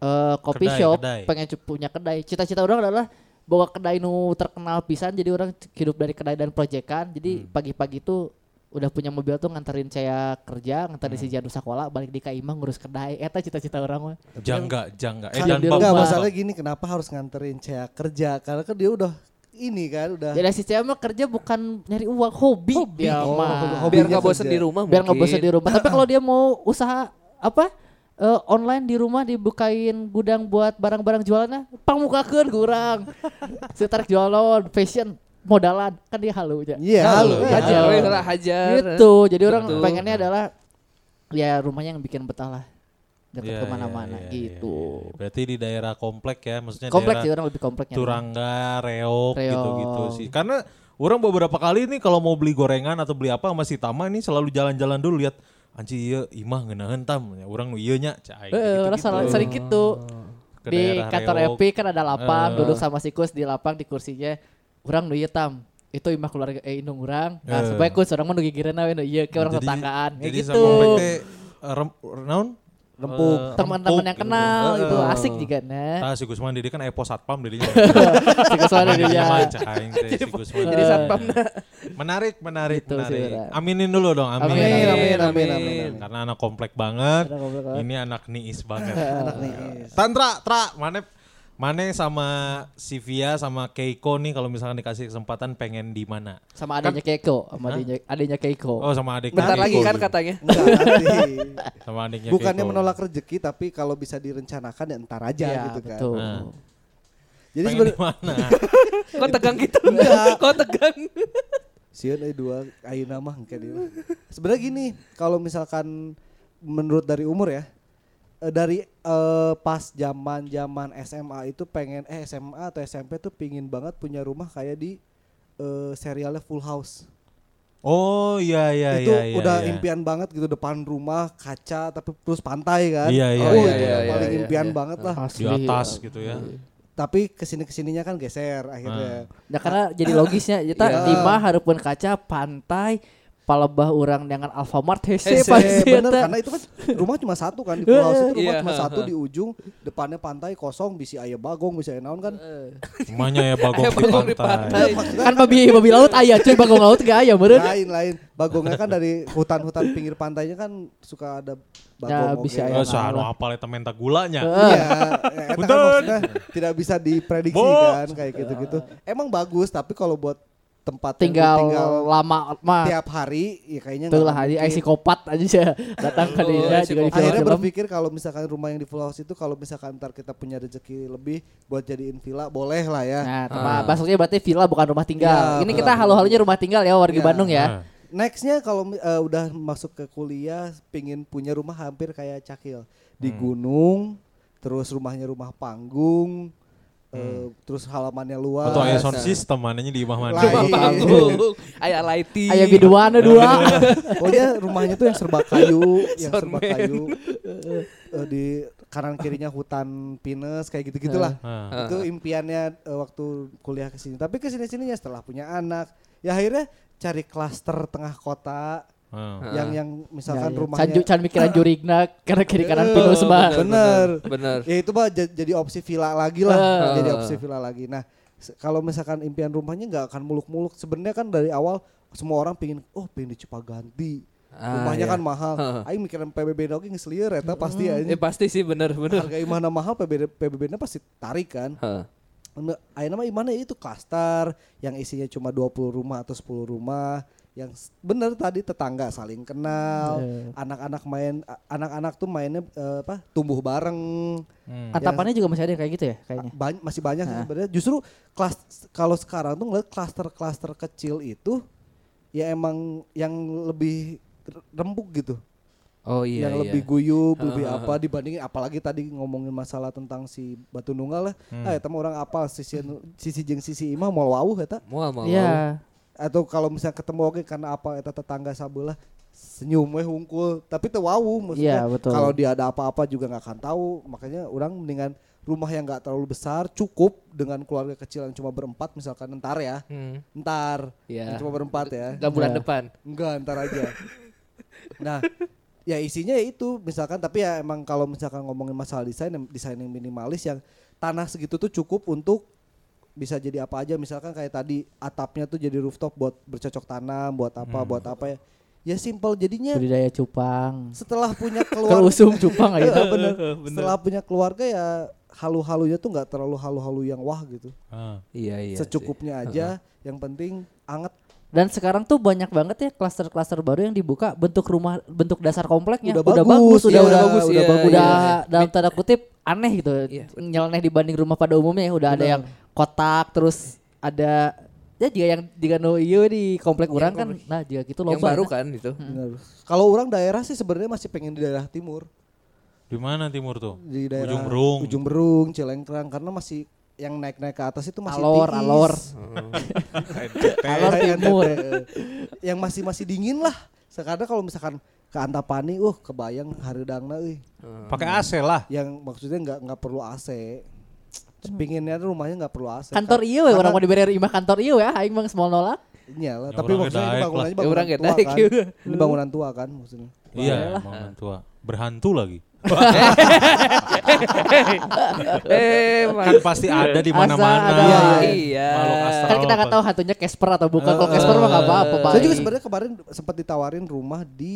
Speaker 4: eh kopi
Speaker 1: Kedai,
Speaker 4: shop,
Speaker 1: kedai.
Speaker 4: pengen cu- punya kedai. Cita-cita orang adalah bahwa kedai nu terkenal pisan jadi orang c- hidup dari kedai dan proyekan. Jadi
Speaker 1: Hmm.
Speaker 4: pagi-pagi tuh udah punya mobil tuh nganterin saya kerja, nganterin
Speaker 1: Hmm.
Speaker 4: si Janu sekolah, balik di Kaimah ngurus kedai. Eta cita-cita orang mah.
Speaker 1: Jangga, jangga. Eh,
Speaker 4: Kan
Speaker 1: jangan
Speaker 4: di
Speaker 1: bang,
Speaker 5: Enggak,
Speaker 4: rumah.
Speaker 5: masalahnya gini kenapa harus nganterin Cea kerja? Karena kan dia udah ini kan udah
Speaker 4: Jadi si Cea mah kerja bukan nyari uang, hobi, dia
Speaker 5: Oh, hobi.
Speaker 2: Biar
Speaker 4: mah.
Speaker 5: Hobinya
Speaker 2: nggak bosan
Speaker 5: kerja.
Speaker 2: di
Speaker 1: Oh,
Speaker 2: rumah
Speaker 4: biar nggak
Speaker 2: mungkin.
Speaker 4: bosan di rumah. Tapi kalau dia mau usaha apa eh, online di rumah dibukain gudang buat barang-barang jualannya, pamukakeun kurang. Saya tarik jualan fashion modalan kan dia halunya.
Speaker 5: Iya,
Speaker 2: Halo,
Speaker 5: halo.
Speaker 4: ya.
Speaker 2: hajar,
Speaker 4: Halo.
Speaker 2: we, lah, hajar.
Speaker 4: Gitu. Jadi orang
Speaker 2: Betul.
Speaker 4: pengennya adalah ya rumahnya yang bikin betah lah.
Speaker 1: Iya,
Speaker 4: Dekat
Speaker 1: iya,
Speaker 4: kemana-mana
Speaker 1: iya, iya,
Speaker 4: gitu.
Speaker 1: iya. Berarti di daerah komplek ya, maksudnya
Speaker 4: Kompleks
Speaker 1: daerah
Speaker 4: sih orang lebih kompleksnya.
Speaker 1: Turangga, Reok,
Speaker 4: Reog.
Speaker 1: gitu-gitu sih. Karena orang beberapa kali nih kalau mau beli gorengan atau beli apa masih Tama nih selalu jalan-jalan dulu lihat anci ieu imah ngeunaheun tam ya urang nu ieu nya cai
Speaker 4: Eh, orang salah- sering gitu.
Speaker 1: Ke
Speaker 4: di
Speaker 1: daerah
Speaker 4: kantor
Speaker 1: Reog.
Speaker 4: Epi kan ada lapang,
Speaker 1: Eh.
Speaker 4: duduk sama sikus di lapang di kursinya. Urang nu ieu tam. Itu imah keluarga eh indung urang. Nah,
Speaker 1: Eh.
Speaker 4: supaya kus urang mah nu gigireunna we nu ieu ke urang tetanggaan. Ya
Speaker 1: Jadi
Speaker 4: gitu.
Speaker 1: sama pete, eh, rem, naon?
Speaker 5: Rempuk.
Speaker 1: Eh,
Speaker 4: Teman-teman yang
Speaker 1: rempuk
Speaker 4: kenal
Speaker 1: gitu.
Speaker 4: itu
Speaker 1: Eh,
Speaker 4: asik juga nah.
Speaker 1: Tah si Gusman Didi kan epo satpam dirinya. kan
Speaker 4: Sikus mana dia.
Speaker 1: Jadi
Speaker 2: Jadi satpam nah.
Speaker 1: Menarik, menarik,
Speaker 4: Gitu sih,
Speaker 1: menarik.
Speaker 4: Ra.
Speaker 1: Aminin dulu dong, amin.
Speaker 4: Amin,
Speaker 5: Amin, amin, amin, amin.
Speaker 1: Karena anak komplek banget.
Speaker 4: Anak komplek banget.
Speaker 1: Ini anak niis banget. anak niis. Tantra, tra, mana Mane sama Sivia sama Keiko nih kalau misalkan dikasih kesempatan pengen di mana?
Speaker 4: Sama adanya Keiko, sama adanya, adanya Keiko.
Speaker 1: Kan- Oh sama adiknya
Speaker 2: Bentar
Speaker 1: Keiko
Speaker 2: lagi kan
Speaker 1: juga.
Speaker 2: katanya.
Speaker 5: Enggak, nanti.
Speaker 1: Sama adiknya
Speaker 5: Bukannya
Speaker 1: Keiko.
Speaker 5: menolak rezeki tapi kalau bisa direncanakan ya entar aja
Speaker 4: Iya,
Speaker 5: gitu kan.
Speaker 4: betul.
Speaker 1: Nah.
Speaker 5: Jadi
Speaker 1: pengen di
Speaker 5: sebenarnya
Speaker 1: mana?
Speaker 2: Kok tegang gitu? Kok tegang?
Speaker 5: sieun euy eh, dua ayeuna mah engke dia. Sebenarnya gini, kalau misalkan menurut dari umur ya eh, dari eh, pas zaman zaman SMA itu pengen eh SMA atau SMP tuh pingin banget punya rumah kayak di eh, serialnya Full House.
Speaker 1: Oh iya iya
Speaker 5: itu
Speaker 1: iya. iya,
Speaker 5: udah
Speaker 1: iya.
Speaker 5: impian banget gitu depan rumah kaca tapi terus pantai kan.
Speaker 1: Iya, iya, iya,
Speaker 5: Oh, itu
Speaker 2: iya,
Speaker 5: yang paling
Speaker 2: iya,
Speaker 5: impian
Speaker 2: iya.
Speaker 5: banget lah.
Speaker 4: Asli.
Speaker 1: di atas gitu ya.
Speaker 5: Tapi kesini kesininya
Speaker 1: Ah.
Speaker 5: kan geser akhirnya.
Speaker 4: ya,
Speaker 5: Iya.
Speaker 4: Nah, karena jadi logisnya kita imah hareupeun kaca pantai palebah orang dengan Alfamart hese
Speaker 2: Hese,
Speaker 4: pasti
Speaker 5: bener
Speaker 1: Iya,
Speaker 4: eta.
Speaker 5: karena itu kan rumah cuma satu kan di pulau itu rumah
Speaker 2: Iya,
Speaker 5: cuma
Speaker 2: ha,
Speaker 5: satu
Speaker 2: ha.
Speaker 5: di ujung depannya pantai kosong bisa ayah bagong bisa ayah naon kan
Speaker 3: Emangnya ya bagong
Speaker 2: Aya
Speaker 3: di
Speaker 2: bagong di
Speaker 3: pantai.
Speaker 2: pantai.
Speaker 4: kan babi babi laut ayah cuy bagong laut gak ayah meren
Speaker 5: lain lain bagongnya kan dari hutan-hutan pinggir pantainya kan suka ada bagong
Speaker 4: Ya,
Speaker 5: oge.
Speaker 4: bisa
Speaker 3: Eh,
Speaker 4: aya.
Speaker 3: Sanu hafal eta menta gulanya.
Speaker 5: Iya,
Speaker 1: Ah.
Speaker 5: ya, eta kan
Speaker 3: Punten.
Speaker 5: maksudnya tidak bisa diprediksi
Speaker 3: Bo.
Speaker 5: kan kayak gitu-gitu.
Speaker 1: Ah.
Speaker 5: Emang bagus tapi kalau buat tempat yang
Speaker 4: tinggal,
Speaker 5: tinggal
Speaker 4: lama mah
Speaker 5: tiap hari ya kayaknya
Speaker 4: tuh
Speaker 5: nggak
Speaker 4: lah hari
Speaker 5: mungkin.
Speaker 4: ay psikopat aja sih datang ke
Speaker 2: Oh,
Speaker 4: dia juga di
Speaker 2: psikopat.
Speaker 4: film
Speaker 5: Akhirnya
Speaker 4: film
Speaker 5: berpikir kalau misalkan rumah yang di Full House itu kalau misalkan ntar kita punya rezeki lebih buat jadiin villa boleh lah ya.
Speaker 4: nah tempat maksudnya berarti villa bukan rumah tinggal
Speaker 5: Ya,
Speaker 4: ini
Speaker 5: betul.
Speaker 4: kita halu-halunya rumah tinggal ya warga
Speaker 5: Ya.
Speaker 4: Bandung ya
Speaker 5: Nextnya kalau eh, udah masuk ke kuliah pingin punya rumah hampir kayak Cakil di
Speaker 4: Hmm.
Speaker 5: gunung, terus rumahnya rumah panggung, eh,
Speaker 4: Hmm.
Speaker 5: terus halamannya luas.
Speaker 3: Atau aya sound system mananya di imah mana.
Speaker 5: Lain.
Speaker 2: Panggung,
Speaker 5: Iya.
Speaker 2: aya lighting.
Speaker 4: ayah biduan ada dua
Speaker 5: Pokoknya rumahnya tuh yang serba kayu, yang serba
Speaker 2: Soundman.
Speaker 5: kayu. Eh, di kanan kirinya hutan pinus kayak gitu
Speaker 4: Eh.
Speaker 5: gitulah.
Speaker 3: Heeh.
Speaker 5: Itu impiannya eh, waktu kuliah ke sini. Tapi ke sini sininya setelah punya anak, ya akhirnya cari klaster tengah kota
Speaker 3: Heeh.
Speaker 2: Heeh.
Speaker 5: yang yang
Speaker 4: Ya,
Speaker 5: misalkan rumahnya
Speaker 4: Iya,
Speaker 5: Iya.
Speaker 4: Sanju can mikiran jurigna karena kiri kanan
Speaker 5: Eh,
Speaker 4: pinus mah
Speaker 5: Bener.
Speaker 2: Bener.
Speaker 5: Ya itu mah ja- jadi opsi villa lagi lah,
Speaker 4: Eh.
Speaker 5: jadi opsi villa lagi. Nah, se- kalau misalkan impian rumahnya nggak akan muluk-muluk. Sebenarnya kan dari awal semua orang pingin, oh pingin di Cipaganti.
Speaker 2: Ah,
Speaker 5: rumahnya
Speaker 2: iya.
Speaker 5: kan mahal.
Speaker 2: Heeh.
Speaker 5: Aing mikiran PBB oke ngeselier eta pasti aja.
Speaker 2: Eh, pasti sih bener bener.
Speaker 5: Harga imahna mahal PBB PBB-nya pasti tarik kan.
Speaker 2: Heeh.
Speaker 5: Ayo nama imahna itu klaster yang isinya cuma 20 rumah atau 10 rumah yang s- bener tadi tetangga saling kenal,
Speaker 4: Eh.
Speaker 5: anak-anak main a- anak-anak tuh mainnya eh, apa tumbuh bareng.
Speaker 4: Atapannya juga masih ada yang kayak
Speaker 5: Iya.
Speaker 4: gitu ya kayaknya
Speaker 5: Bany- masih banyak sih sebenarnya. Justru kelas kalau sekarang tuh ngeliat klaster-klaster kecil itu ya emang yang lebih r- rembuk gitu,
Speaker 2: Oh iya.
Speaker 5: yang
Speaker 2: iya.
Speaker 5: lebih guyub, lebih apa dibandingin apalagi tadi ngomongin masalah tentang si Batu Nunggal lah. Ah eta mah orang apa sisi sisi jeung sisi imah mau wawuh eta
Speaker 2: Mual mual.
Speaker 4: Iya
Speaker 5: atau kalau misalnya ketemu oke karena apa eta tetangga sabelah senyum we hungkul tapi teu wawuh maksudnya
Speaker 4: Iya, betul.
Speaker 5: kalau dia ada apa-apa juga nggak akan tahu makanya orang mendingan rumah yang nggak terlalu besar cukup dengan keluarga kecil yang cuma berempat misalkan ntar ya
Speaker 2: Hmm.
Speaker 5: ntar yang
Speaker 2: Iya.
Speaker 5: cuma berempat ya
Speaker 2: Gak bulan
Speaker 4: Iya.
Speaker 2: depan.
Speaker 5: enggak ntar aja nah ya isinya ya itu misalkan tapi ya emang kalau misalkan ngomongin masalah desain em- desain yang minimalis yang tanah segitu tuh cukup untuk bisa jadi apa aja misalkan kayak tadi atapnya tuh jadi rooftop buat bercocok tanam buat apa buat apa ya ya simple jadinya
Speaker 4: budidaya cupang
Speaker 5: setelah punya keluarga
Speaker 4: Keusum cupang aja
Speaker 5: Iya, bener. setelah punya keluarga ya halu-halunya tuh nggak terlalu halu-halu yang wah gitu
Speaker 3: Heeh.
Speaker 2: Iya iya.
Speaker 5: secukupnya aja yang penting anget
Speaker 4: Dan sekarang tuh banyak banget ya klaster-klaster baru yang dibuka bentuk rumah bentuk dasar kompleknya
Speaker 5: Udah bagus,
Speaker 4: bagus, Ya, udah
Speaker 5: iya,
Speaker 4: udah
Speaker 5: bagus,
Speaker 4: bagus, udah
Speaker 2: iya,
Speaker 4: bagus, udah
Speaker 2: iya.
Speaker 4: dalam tanda kutip aneh gitu,
Speaker 2: Iya.
Speaker 4: nyeleneh dibanding rumah pada umumnya ya udah ada yang kotak terus ada ya juga yang jika no iyo di komplek
Speaker 5: Iya,
Speaker 4: orang kan nah jika gitu
Speaker 2: Yang
Speaker 4: loba
Speaker 2: baru
Speaker 4: nah.
Speaker 2: kan itu.
Speaker 5: Bener. Kalau orang daerah sih sebenarnya masih pengen di daerah timur,
Speaker 3: Di mana timur tuh?
Speaker 5: di daerah
Speaker 3: Ujung Berung.
Speaker 5: Ujung Berung, Cilengkrang karena masih yang naik-naik ke atas itu masih
Speaker 4: alor
Speaker 5: tiis.
Speaker 4: alor alor
Speaker 5: Kayak NTT,
Speaker 4: timur
Speaker 5: eh. yang masih masih dingin lah. Sekarang kalau misalkan ke Antapani, uh kebayang hareudangna euy.
Speaker 3: Pakai AC lah.
Speaker 5: Yang maksudnya nggak nggak perlu AC. Pinginnya tuh rumahnya nggak perlu AC.
Speaker 4: Hmm. kantor
Speaker 5: Kar-
Speaker 4: iyo we, orang
Speaker 5: karena-
Speaker 4: mau diberi imah kantor iyo ya aing mang semua nolak
Speaker 3: Ya
Speaker 5: Iyalah, Iya tapi
Speaker 3: orang
Speaker 5: maksudnya
Speaker 3: ngedaek
Speaker 5: ini
Speaker 3: lah.
Speaker 5: bangunannya
Speaker 2: Ya orang
Speaker 5: bangunan tua
Speaker 2: ngedaek,
Speaker 5: kan.
Speaker 2: iya.
Speaker 5: Ini bangunan tua kan maksudnya.
Speaker 3: Iya, emang tua. Berhantu lagi.
Speaker 2: eh
Speaker 3: Kan pasti ada di
Speaker 4: Asa
Speaker 3: mana-mana.
Speaker 4: ada.
Speaker 5: Iya, iya.
Speaker 2: Iya.
Speaker 3: Makhluk astral
Speaker 4: kan kita nggak
Speaker 3: apa.
Speaker 4: tahu hantunya Casper atau bukan kalau Casper mah nggak apa-apa
Speaker 3: Eh.
Speaker 5: Saya juga
Speaker 4: paling.
Speaker 5: sebenarnya kemarin sempat ditawarin rumah di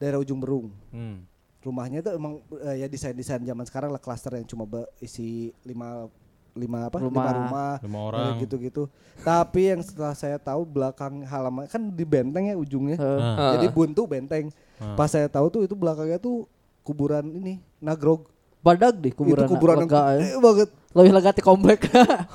Speaker 5: daerah Ujung Berung.
Speaker 3: Hmm.
Speaker 5: rumahnya itu emang eh, ya desain-desain zaman sekarang lah klaster yang cuma berisi lima lima apa
Speaker 4: Rumah.
Speaker 5: lima rumah
Speaker 3: Lima
Speaker 5: ya,
Speaker 3: orang.
Speaker 5: gitu-gitu tapi yang setelah saya tahu belakang halaman kan di benteng ya
Speaker 3: Ah.
Speaker 5: ujungnya
Speaker 4: Heeh.
Speaker 2: Heeh.
Speaker 5: jadi buntu benteng pas saya tahu tuh itu belakangnya tuh kuburan ini nagrog
Speaker 4: badag deh kuburan ya.
Speaker 5: itu kuburan yang
Speaker 4: lega,
Speaker 5: gede banget
Speaker 4: lebih lega di komplek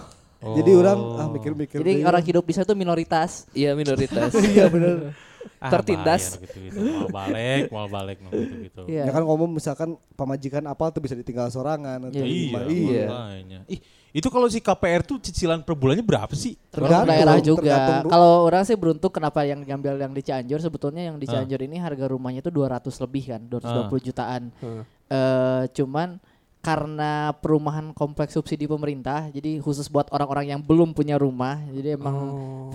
Speaker 5: jadi orang ah mikir-mikir deh.
Speaker 4: Jadi orang hidup bisa itu minoritas.
Speaker 2: Iya minoritas.
Speaker 5: iya bener
Speaker 3: Ah,
Speaker 2: tertindas.
Speaker 3: bayar gitu-gitu. gitu. Mau balik, mau balik no, gitu-gitu.
Speaker 1: gitu.
Speaker 4: Iya.
Speaker 5: ya kan ngomong misalkan pemajikan apa tuh bisa ditinggal sorangan
Speaker 4: Ya,
Speaker 5: atau
Speaker 3: Iya,
Speaker 5: gimana.
Speaker 3: iya. makanya. Ih, itu kalau si KPR tuh cicilan per bulannya berapa sih?
Speaker 4: Tergantung
Speaker 5: Tergantung,
Speaker 4: daerah juga.
Speaker 5: tergantung ru-
Speaker 4: Kalau orang sih beruntung kenapa yang ngambil yang di Cianjur sebetulnya yang di Cianjur ini harga rumahnya itu 200 lebih kan, 220 jutaan.
Speaker 5: Ah.
Speaker 4: Eh cuman karena perumahan kompleks subsidi pemerintah, jadi khusus buat orang-orang
Speaker 5: Oh.
Speaker 4: yang belum punya rumah, jadi emang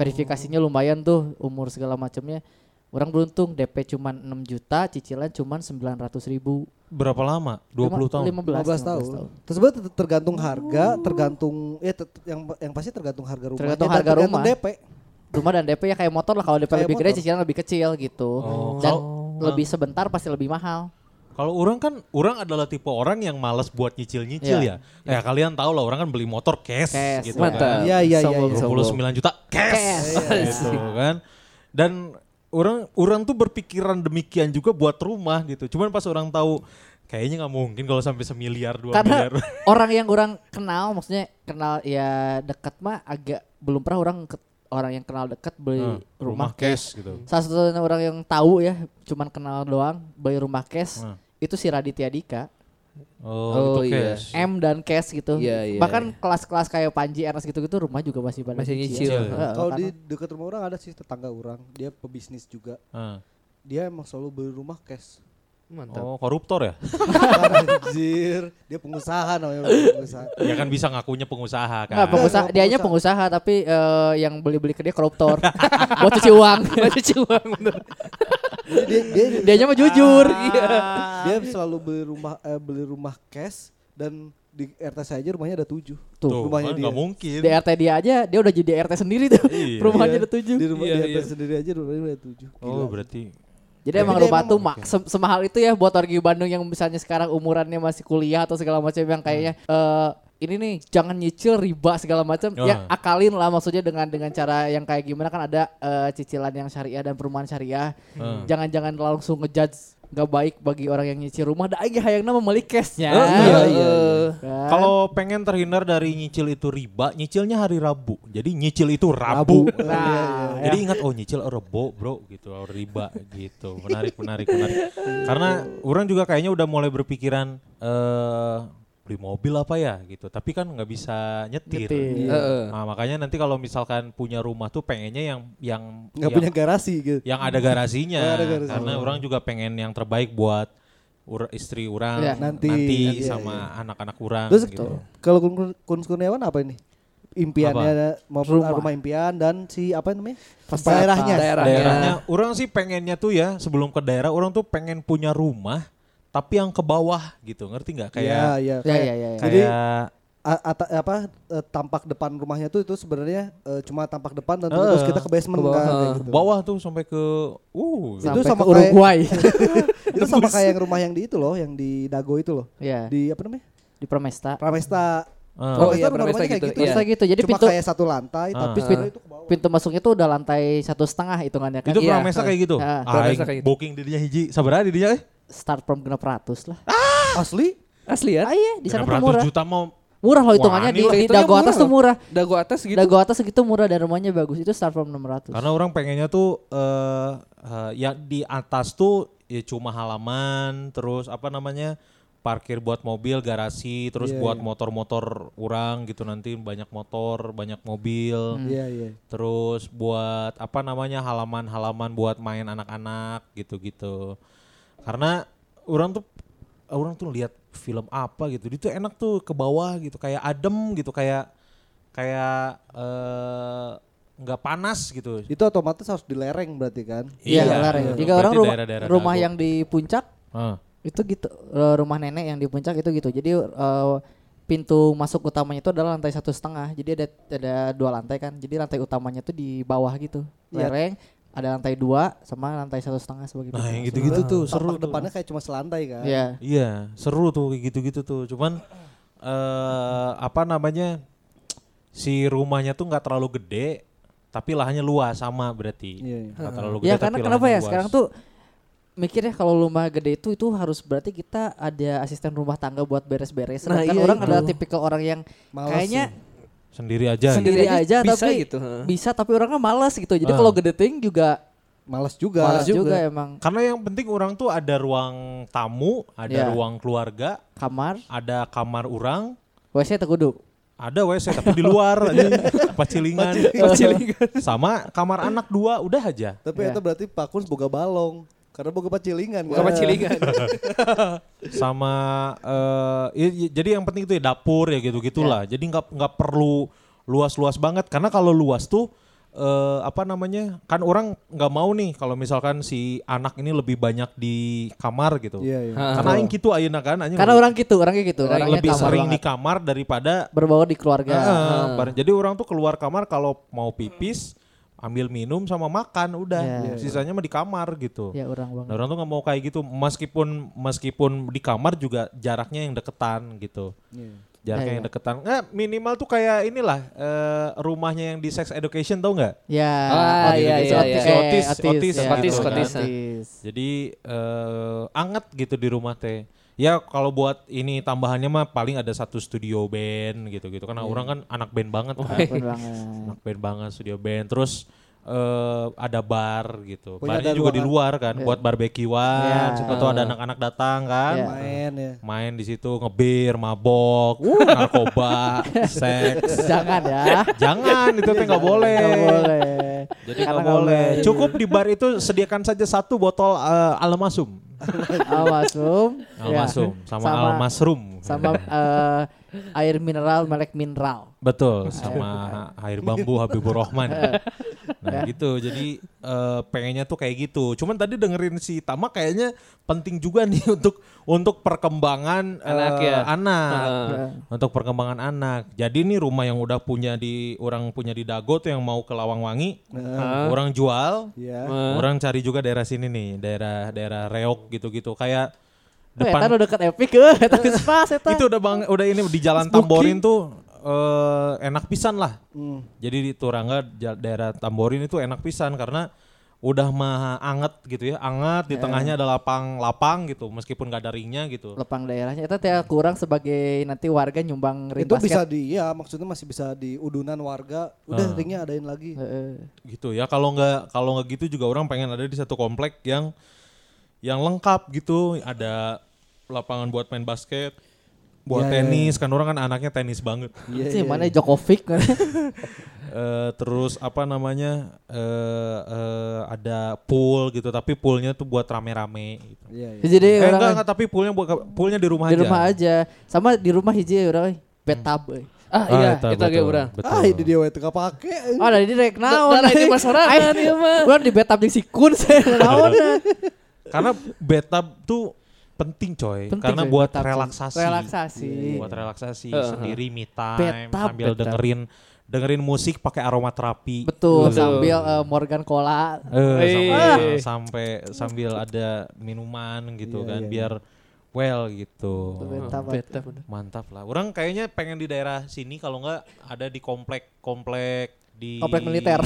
Speaker 4: verifikasinya lumayan tuh umur segala macamnya. Orang beruntung DP cuman 6 juta, cicilan cuman 900 ribu.
Speaker 1: Berapa lama? 20 tahun.
Speaker 4: 15,
Speaker 5: 15 tahun. Terus sebenarnya ter- tergantung harga, tergantung ya ter- yang yang pasti tergantung harga rumah.
Speaker 4: Oh.
Speaker 5: Ya,
Speaker 4: Tergantung harga rumah.
Speaker 5: DP.
Speaker 4: Rumah dan DP ya kayak motor lah kalau DP
Speaker 5: Kayak
Speaker 4: lebih gede
Speaker 5: motor.
Speaker 4: cicilan lebih kecil gitu.
Speaker 1: Oh.
Speaker 4: Dan
Speaker 1: Kalau-
Speaker 4: lebih sebentar pasti lebih mahal.
Speaker 1: Kalau orang kan, orang adalah tipe orang yang malas buat nyicil-nyicil
Speaker 4: Iya.
Speaker 1: ya. Ya kalian tahu lah orang kan beli motor cash,
Speaker 4: Cash,
Speaker 1: gitu.
Speaker 4: mantap.
Speaker 1: Kan.
Speaker 5: Iya iya iya. iya.
Speaker 1: 29 juta
Speaker 4: Cash.
Speaker 1: cash, gitu kan. Dan orang orang tuh berpikiran demikian juga buat rumah gitu. Cuman pas orang tahu kayaknya nggak mungkin kalau sampai semiliar dua
Speaker 4: Karena
Speaker 1: miliar.
Speaker 4: orang yang orang kenal maksudnya kenal ya dekat mah agak belum pernah orang ke- orang yang kenal dekat beli
Speaker 1: Nah,
Speaker 4: rumah, cash. Hmm.
Speaker 1: gitu.
Speaker 4: Salah satu orang yang tahu ya cuman kenal doang beli rumah cash
Speaker 1: Nah.
Speaker 4: itu si Raditya Dika.
Speaker 1: Oh,
Speaker 2: Oh,
Speaker 1: itu
Speaker 2: iya.
Speaker 1: cash.
Speaker 4: M dan cash gitu.
Speaker 2: Iya, iya,
Speaker 4: Bahkan kelas-kelas kayak Panji Ernest gitu-gitu rumah juga masih pada
Speaker 2: Masih nyicil.
Speaker 4: Heeh,
Speaker 5: Kalau
Speaker 4: karena-
Speaker 5: di dekat rumah orang ada sih tetangga orang, dia pebisnis juga.
Speaker 1: Ah.
Speaker 5: Dia emang selalu beli rumah cash.
Speaker 2: Mantap.
Speaker 1: Oh, koruptor ya?
Speaker 5: Anjir, dia pengusaha namanya pengusaha.
Speaker 1: ya kan bisa ngakunya pengusaha kan.
Speaker 4: Enggak, Nah, pengusaha,
Speaker 5: Enggak,
Speaker 4: dianya pengusaha tapi eh, yang beli-beli ke dia koruptor. buat cuci uang, buat cuci uang. bener.
Speaker 5: Jadi dia dia,
Speaker 4: dianya mah jujur. Iya.
Speaker 5: dia selalu beli rumah eh, beli rumah cash dan di RT saya aja rumahnya ada tujuh.
Speaker 4: Tuh,
Speaker 1: Tuh, kan
Speaker 5: rumahnya dia.
Speaker 1: nggak mungkin.
Speaker 4: Iya. Di RT dia aja dia udah jadi RT sendiri tuh.
Speaker 1: Iya.
Speaker 4: Perumahannya
Speaker 5: Iya.
Speaker 4: ada tujuh.
Speaker 5: Di rumah
Speaker 1: Iya,
Speaker 5: di RT
Speaker 1: iya.
Speaker 5: sendiri aja rumahnya ada tujuh.
Speaker 1: Oh,
Speaker 5: Gila.
Speaker 1: berarti
Speaker 4: Jadi
Speaker 5: Jadi
Speaker 4: emang
Speaker 5: dia
Speaker 4: rumah
Speaker 5: emang-
Speaker 4: tuh mak- se- semahal itu ya buat warga Bandung yang misalnya sekarang umurannya masih kuliah atau segala macam yang kayaknya eh, ini nih jangan nyicil riba segala macam ya
Speaker 1: Ah.
Speaker 4: akalin lah maksudnya dengan dengan cara yang kayak gimana kan ada eh, cicilan yang syariah dan perumahan syariah
Speaker 1: Hmm.
Speaker 4: jangan-jangan langsung ngejudge nggak baik bagi orang yang nyicil rumah dah aja hayang nama Oh, beli cashnya
Speaker 1: Eh, iya,
Speaker 5: iya,
Speaker 4: Kan?
Speaker 1: Kalau pengen terhindar dari nyicil itu riba, nyicilnya hari Rabu. Jadi nyicil itu Rabu.
Speaker 5: Rabu.
Speaker 4: nah
Speaker 5: Iya,
Speaker 4: ya.
Speaker 1: Jadi ingat oh nyicil oh, rebo bro gitu, oh, riba gitu. Menarik, menarik, menarik. Karena orang juga kayaknya udah mulai berpikiran eh beli mobil apa ya gitu. Tapi kan nggak bisa nyetir.
Speaker 4: Nyetir.
Speaker 2: Heeh.
Speaker 1: Nah, makanya nanti kalau misalkan punya rumah tuh pengennya yang yang
Speaker 5: nggak
Speaker 1: yang-
Speaker 5: punya garasi gitu.
Speaker 1: yang ada garasinya
Speaker 5: Oh, ada garasi.
Speaker 1: karena orang juga pengen yang terbaik buat ur- istri orang
Speaker 4: Iya.
Speaker 5: Nanti. Iya,
Speaker 1: sama
Speaker 5: iya.
Speaker 1: anak-anak orang
Speaker 5: Terus
Speaker 1: gitu.
Speaker 5: kalau kun, kun Kurniawan apa ini? Impiannya mau rumah.
Speaker 4: Rumah.
Speaker 5: impian dan si apa namanya?
Speaker 4: Pes-
Speaker 5: Daerahnya.
Speaker 2: Daerahnya.
Speaker 1: Daerahnya orang sih pengennya tuh ya sebelum ke daerah orang tuh pengen punya rumah tapi yang ke bawah gitu. Ngerti nggak
Speaker 5: Iya,
Speaker 1: kayak
Speaker 5: iya.
Speaker 4: ya
Speaker 5: Kayak-
Speaker 4: ya ya, ya.
Speaker 1: kayak
Speaker 5: Jadi- A- ata- apa eh, tampak depan rumahnya tuh itu sebenarnya eh, cuma tampak depan dan terus
Speaker 1: Eh,
Speaker 5: kita ke basement
Speaker 2: ke bawah.
Speaker 5: kan, kayak gitu.
Speaker 1: bawah tuh sampai ke uh
Speaker 5: Itu
Speaker 4: Kan sampai
Speaker 5: sama
Speaker 4: ke
Speaker 5: kayak-
Speaker 4: Uruguay
Speaker 5: Itu sama kayak yang rumah yang di itu loh, yang di Dago itu loh.
Speaker 4: ya
Speaker 5: Di apa namanya?
Speaker 4: di Permesta
Speaker 5: Pramesta.
Speaker 1: eh,
Speaker 2: Oh,
Speaker 5: rumah-rumahnya
Speaker 2: iya, Pramesta
Speaker 5: kayak
Speaker 2: gitu, iya.
Speaker 4: Permesta gitu jadi
Speaker 5: cuma
Speaker 4: pintu
Speaker 5: kayak satu lantai
Speaker 1: Ah.
Speaker 5: tapi
Speaker 4: Ah.
Speaker 5: sebenarnya Nah, itu ke bawah.
Speaker 4: pintu masuknya tuh udah lantai satu setengah hitungannya kan
Speaker 1: itu
Speaker 2: Iya,
Speaker 1: Pramesta kayak gitu. Ah,
Speaker 4: Nah,
Speaker 2: Pramesta
Speaker 1: yang
Speaker 2: kayak gitu.
Speaker 1: booking dirinya hiji. Sabar aja dirinya eh.
Speaker 4: start from genep ratus lah
Speaker 5: Asli?
Speaker 2: Asli ya?
Speaker 4: ah iya di sana tuh
Speaker 1: 600
Speaker 4: murah
Speaker 1: juta mau
Speaker 4: murah loh hitungannya di,
Speaker 2: Wah,
Speaker 4: di
Speaker 2: hitungnya
Speaker 4: dago atas
Speaker 2: murah
Speaker 4: tuh murah
Speaker 2: Dago atas gitu.
Speaker 4: dago atas segitu murah dan rumahnya bagus itu start from 600
Speaker 1: Karena orang pengennya tuh eh eh, ya di atas tuh ya cuma halaman, terus apa namanya parkir buat mobil, garasi, terus
Speaker 5: Iya,
Speaker 1: buat
Speaker 5: iya.
Speaker 1: motor-motor orang gitu nanti banyak motor, banyak mobil,
Speaker 5: Iya, iya.
Speaker 1: terus buat apa namanya halaman-halaman buat main anak-anak gitu-gitu. Karena orang tuh orang tuh lihat film apa gitu, itu enak tuh ke bawah gitu, kayak adem gitu, kayak kayak eh, nggak panas gitu.
Speaker 5: Itu otomatis harus di lereng berarti kan?
Speaker 1: Iya,
Speaker 4: iya kelar ya
Speaker 1: iya.
Speaker 4: jika
Speaker 1: Berarti
Speaker 4: orang rumah,
Speaker 1: daerah-daerah
Speaker 4: rumah
Speaker 1: Dago.
Speaker 4: yang di puncak
Speaker 1: Heeh.
Speaker 4: itu gitu eh, rumah nenek yang di puncak itu gitu jadi eh, pintu masuk utamanya itu adalah lantai satu setengah jadi ada ada dua lantai kan jadi lantai utamanya tuh di bawah gitu
Speaker 5: Iya.
Speaker 4: lereng ada lantai dua sama lantai satu setengah sebagai
Speaker 1: Nah,
Speaker 4: pintu
Speaker 1: yang
Speaker 4: masuk.
Speaker 1: gitu-gitu tuh seru
Speaker 5: Tampak
Speaker 1: tuh.
Speaker 5: depannya kayak cuma selantai kan?
Speaker 4: Iya.
Speaker 1: Iya, seru tuh kayak gitu-gitu tuh. Cuman eh apa namanya? Si rumahnya tuh nggak terlalu gede, tapi lahannya luas sama berarti.
Speaker 5: Iya, iya.
Speaker 1: Nggak terlalu gede.
Speaker 4: Ya karena
Speaker 1: tapi
Speaker 4: kenapa
Speaker 1: lahannya
Speaker 4: ya
Speaker 1: luas.
Speaker 4: sekarang tuh mikirnya kalau rumah gede itu itu harus berarti kita ada asisten rumah tangga buat beres-beres.
Speaker 2: Nah,
Speaker 4: Sedangkan
Speaker 2: iya
Speaker 4: orang
Speaker 2: itu.
Speaker 4: adalah tipikal orang yang
Speaker 5: Malas
Speaker 4: kayaknya
Speaker 1: sendiri aja. ya.
Speaker 4: Sendiri. aja,
Speaker 2: bisa
Speaker 4: tapi-
Speaker 2: gitu. heeh.
Speaker 4: bisa tapi orangnya malas gitu. Jadi
Speaker 1: Ah.
Speaker 4: kalau gede ting juga
Speaker 5: Males juga. Iya.
Speaker 4: malas juga.
Speaker 5: juga.
Speaker 4: emang
Speaker 1: Karena yang penting orang tuh ada ruang tamu, ada
Speaker 4: Iya.
Speaker 1: ruang keluarga,
Speaker 4: kamar,
Speaker 1: ada kamar orang,
Speaker 4: WC terkudu.
Speaker 1: ada WC tapi di luar aja, pacilingan,
Speaker 2: Pacilingan.
Speaker 1: sama kamar anak dua udah aja.
Speaker 5: Tapi
Speaker 4: Iya.
Speaker 5: itu berarti Pak Kun boga balong. Karena boga pacilingan. kan?
Speaker 2: Bukan pacilingan.
Speaker 1: sama eh, i- i- jadi yang penting itu ya dapur ya gitu gitulah jadi nggak nggak perlu luas-luas banget karena kalau luas tuh eh, apa namanya? Kan orang nggak mau nih kalau misalkan si anak ini lebih banyak di kamar gitu.
Speaker 5: Iya, iya.
Speaker 1: Karena aing gitu ayeuna kan anjing
Speaker 4: Karena orang gitu, orangnya gitu.
Speaker 1: orang
Speaker 4: orangnya
Speaker 1: Iya, lebih
Speaker 4: kamar
Speaker 1: sering
Speaker 4: banget. Ya,
Speaker 1: di Ah. kamar daripada
Speaker 4: berbaur di keluarga.
Speaker 1: Heeh, bareng. Jadi orang tuh keluar kamar kalau mau pipis ambil minum sama makan udah. Sisanya mah di kamar gitu.
Speaker 4: Ya orang
Speaker 1: Nah,
Speaker 4: banget.
Speaker 1: orang tuh nggak mau kayak gitu meskipun meskipun di kamar juga jaraknya yang deketan gitu. Jaraknya
Speaker 4: Ya,
Speaker 1: yang deketan. Nggak, minimal tuh kayak inilah eh, rumahnya yang di sex education tau nggak?
Speaker 4: Ya.
Speaker 1: Oh,
Speaker 2: Ah,
Speaker 4: otis,
Speaker 2: iya, iya,
Speaker 4: otis,
Speaker 2: iya.
Speaker 4: eh,
Speaker 1: Otis, otis,
Speaker 4: ya,
Speaker 2: otis,
Speaker 4: gitu kan.
Speaker 2: otis, ah.
Speaker 4: Otis.
Speaker 1: Jadi eh, anget gitu di rumah teh. Ya kalau buat ini tambahannya mah paling ada satu studio band gitu-gitu. Karena orang kan anak band banget kan.
Speaker 4: Bener banget.
Speaker 1: anak band banget studio band terus eh ada bar gitu
Speaker 5: Punya
Speaker 1: barnya
Speaker 5: ada
Speaker 1: juga di
Speaker 5: ruangan.
Speaker 1: luar kan buat barbekyuan
Speaker 4: Ya.
Speaker 1: suka tuh ada anak-anak datang kan
Speaker 4: Ya.
Speaker 5: Main ya.
Speaker 1: main di situ ngebir mabok narkoba seks
Speaker 4: Jangan ya.
Speaker 1: jangan itu teh nggak boleh
Speaker 4: Nggak boleh.
Speaker 1: jadi nggak boleh cukup di bar itu sediakan saja satu botol eh, almasum
Speaker 4: Almasum. ya.
Speaker 1: almasum sama,
Speaker 4: Sama-
Speaker 1: almasrum
Speaker 4: Sama eh, air mineral melek mineral.
Speaker 2: Nah,
Speaker 1: Betul,
Speaker 2: kan.
Speaker 1: sama air bambu Habibur Rahman. nah
Speaker 2: Ya.
Speaker 1: gitu, jadi eh, pengennya tuh kayak gitu. Cuman tadi dengerin si Tama kayaknya penting juga nih untuk untuk perkembangan eh,
Speaker 2: Anak ya.
Speaker 1: anak.
Speaker 2: Heeh.
Speaker 1: Untuk perkembangan anak. Jadi nih rumah yang udah punya di orang punya di Dago tuh yang mau ke Lawangwangi, orang jual,
Speaker 5: Iya.
Speaker 1: orang cari juga daerah sini nih, daerah daerah Reok gitu-gitu. Kayak
Speaker 2: Oh, ya,
Speaker 4: Depan.
Speaker 1: depan
Speaker 4: udah deket epic eh, eta geus pas eta.
Speaker 1: itu udah bang udah ini di jalan Tamborin tuh eh, enak pisan lah jadi di Turangga ja- daerah Tamborin itu enak pisan karena udah mah anget gitu ya anget di tengahnya ada lapang-lapang gitu meskipun gak ada ringnya gitu
Speaker 4: Lepang daerahnya eta teh kurang sebagai nanti warga nyumbang ring
Speaker 5: Itu bisa
Speaker 4: basket.
Speaker 5: di ya maksudnya masih bisa di udunan warga. Udah ringnya adain lagi.
Speaker 4: Heeh.
Speaker 1: gitu ya kalau nggak kalau nggak gitu juga orang pengen ada di satu komplek yang yang lengkap gitu ada lapangan buat main basket buat tenis kan orang kan anaknya tenis banget
Speaker 2: Iya,
Speaker 4: si mana Djokovic kan?
Speaker 1: Eh, terus apa namanya eh eh, ada pool gitu tapi poolnya tuh buat rame-rame gitu.
Speaker 5: Iya, iya.
Speaker 4: Jadi
Speaker 1: Eh,
Speaker 4: orang kan-
Speaker 1: enggak, enggak, tapi poolnya buat poolnya di rumah
Speaker 4: di
Speaker 1: aja. Hmm.
Speaker 4: rumah aja. Sama di rumah hiji orang petab euy.
Speaker 2: Ah, iya, itu ge urang.
Speaker 1: Betul.
Speaker 5: Ah, ini dia we teu kapake.
Speaker 4: Oh, dari direk naon.
Speaker 2: Da- da- di masyarakat
Speaker 4: Aing-
Speaker 2: ieu mah.
Speaker 4: Urang di petab jeung sikun saya naon.
Speaker 1: Karena bathtub tuh penting coy,
Speaker 4: Penting,
Speaker 1: karena
Speaker 4: coy,
Speaker 1: buat
Speaker 4: bathtub, coy.
Speaker 1: relaksasi. Iya,
Speaker 4: Relaksasi.
Speaker 1: Buat relaksasi
Speaker 2: Heeh.
Speaker 1: sendiri me time
Speaker 4: Bathtub,
Speaker 1: sambil
Speaker 4: bathtub.
Speaker 1: dengerin dengerin musik pakai aromaterapi.
Speaker 4: Betul,
Speaker 2: Betul.
Speaker 4: sambil eh, Morgan Cola.
Speaker 1: Eh, sampai,
Speaker 2: Eh.
Speaker 1: sampai sambil ada minuman gitu
Speaker 5: Iya,
Speaker 1: kan
Speaker 5: iya.
Speaker 1: biar well gitu.
Speaker 4: Petab.
Speaker 2: Beta bener.
Speaker 1: Mantap lah. Orang kayaknya pengen di daerah sini kalau nggak ada di komplek komplek di
Speaker 4: Komplek militer.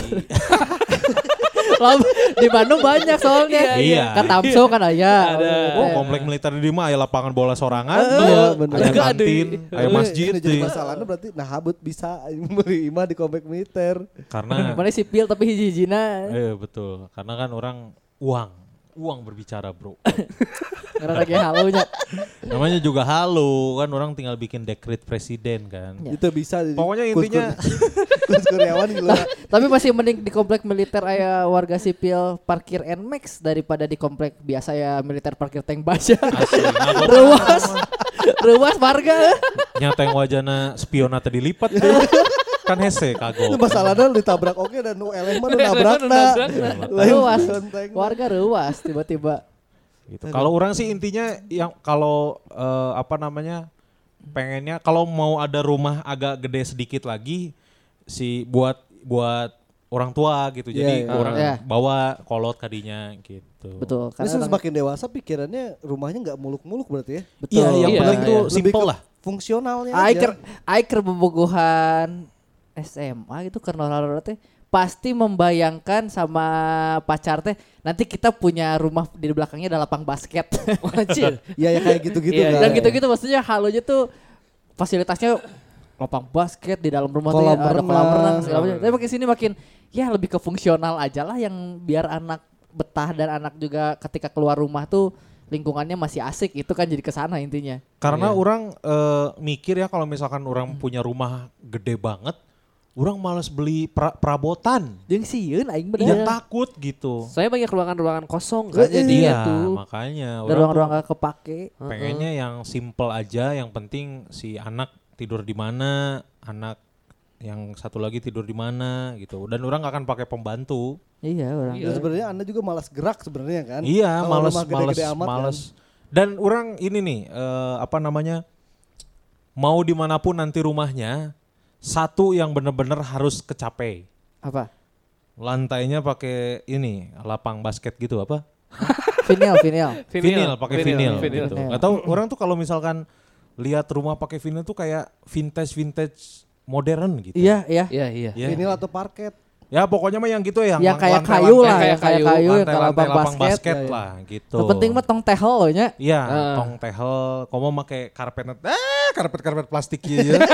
Speaker 4: Lah, di Bandung banyak soalnya.
Speaker 1: Iya.
Speaker 4: Ke Tamso kan aya.
Speaker 2: Ada.
Speaker 1: oh, komplek militer di mah aya lapangan bola sorangan,
Speaker 5: Iya, bener.
Speaker 1: ada
Speaker 2: Enggak ada.
Speaker 1: kantin, ada masjid iya.
Speaker 5: Ini jadi
Speaker 1: deh.
Speaker 5: masalahnya berarti nah habut bisa beli imah di komplek militer.
Speaker 1: Karena
Speaker 4: Mana sipil tapi hiji-hijina
Speaker 1: eh betul, karena kan orang uang, uang berbicara, Bro.
Speaker 4: karena lagi halunya.
Speaker 1: Namanya juga halo, kan orang tinggal bikin dekret presiden kan.
Speaker 4: Ya.
Speaker 5: Itu bisa jadi
Speaker 1: Pokoknya
Speaker 5: Kus-
Speaker 1: intinya-
Speaker 5: Kus- Kus Kurniawan gitu. lah.
Speaker 4: Tapi masih mending di komplek militer aya warga sipil parkir NMAX daripada di komplek biasa ya militer parkir tank baja. Ruas. Ruas warga.
Speaker 1: Nyata yang wajana spiona tadi lipat kan hese
Speaker 5: Itu
Speaker 1: kagok.
Speaker 5: masalahnya ditabrak oke dan nu eleh mah nu
Speaker 2: Nu eleh mah
Speaker 5: nabrak nah. iya.
Speaker 2: nu
Speaker 5: na.
Speaker 2: nabrak na.
Speaker 5: Lain
Speaker 4: Ruas.
Speaker 5: kelenteng.
Speaker 4: Warga ruas tiba-tiba.
Speaker 1: gitu. Kalau orang sih intinya yang kalau eh, apa namanya pengennya kalau mau ada rumah agak gede sedikit lagi si buat buat orang tua gitu. Jadi
Speaker 5: Iya, iya.
Speaker 1: orang
Speaker 4: Iya.
Speaker 1: bawa kolot kadinya gitu.
Speaker 4: Betul.
Speaker 5: Ini
Speaker 4: Karena orang-
Speaker 5: semakin dewasa pikirannya rumahnya nggak muluk-muluk berarti ya.
Speaker 4: betul.
Speaker 1: Iya, yang
Speaker 2: Iya,
Speaker 1: penting
Speaker 2: iya.
Speaker 1: tuh
Speaker 5: Lebih
Speaker 1: simple
Speaker 5: ke
Speaker 1: lah.
Speaker 5: Fungsionalnya aja.
Speaker 4: Aiker Aiker bobogohan SMA itu karena orang teh pasti membayangkan sama pacar teh nanti kita punya rumah di belakangnya ada lapang basket. Wajib.
Speaker 5: Ya ya kayak gitu-gitu
Speaker 2: Iya,
Speaker 5: kan.
Speaker 4: Dan gitu-gitu maksudnya halunya tuh fasilitasnya lapang basket di dalam rumah tuh
Speaker 5: Kolam
Speaker 4: ya ada kolam
Speaker 5: renang.
Speaker 4: renang segala macam. Tapi makin sini makin ya lebih ke fungsional aja lah yang biar anak betah dan anak juga ketika keluar rumah tuh lingkungannya masih asik itu kan jadi kesana intinya.
Speaker 1: Karena orang eh, mikir ya kalau misalkan orang punya rumah gede banget, orang malas beli pra- perabotan.
Speaker 4: Jeung sieun aing
Speaker 1: Yang
Speaker 4: bener.
Speaker 1: takut gitu.
Speaker 2: Soalnya banyak ruangan-ruangan kosong kan jadi
Speaker 1: Iya,
Speaker 2: tuh.
Speaker 1: makanya
Speaker 4: Ada
Speaker 1: orang tuh-
Speaker 4: ruang-ruang gak kepake.
Speaker 1: pengennya yang simple aja yang penting si anak tidur di mana anak yang satu lagi tidur di mana gitu dan orang nggak akan pakai pembantu
Speaker 4: Iya orang.
Speaker 5: Dan sebenarnya Anda juga malas gerak sebenarnya kan?
Speaker 1: iya
Speaker 5: Kalau
Speaker 1: males
Speaker 5: rumah
Speaker 1: males
Speaker 5: gede-gede amat kan?
Speaker 1: males dan orang ini nih eh, apa namanya mau dimanapun nanti rumahnya satu yang bener-bener harus kecapai
Speaker 4: Apa?
Speaker 1: lantainya pakai ini lapang basket gitu apa
Speaker 4: Vinyl, vinyl.
Speaker 1: vinil pakai vinil,
Speaker 2: vinil.
Speaker 1: gitu. Atau orang tuh kalau misalkan lihat rumah pakai vinil tuh kayak vintage vintage modern gitu.
Speaker 4: Iya, iya.
Speaker 2: Iya iya.
Speaker 5: kan?
Speaker 1: Ya,
Speaker 5: Vinil atau parket.
Speaker 1: ya pokoknya mah yang gitu ya.
Speaker 4: Yang
Speaker 1: lang-
Speaker 4: kayak
Speaker 1: lantai-
Speaker 4: kayu
Speaker 1: lantai-
Speaker 4: lah,
Speaker 2: kayak
Speaker 4: yang kayak
Speaker 2: kayu,
Speaker 4: kayu,
Speaker 1: lantai- lantai
Speaker 4: kalau lapang
Speaker 1: lapang
Speaker 4: basket. iya,
Speaker 1: basket lah gitu.
Speaker 4: Yang penting mah tong tehel loh nya.
Speaker 1: Iya,
Speaker 2: Ah.
Speaker 1: tong tehel, komo make karpet, eh karpet karpet plastik gitu ya.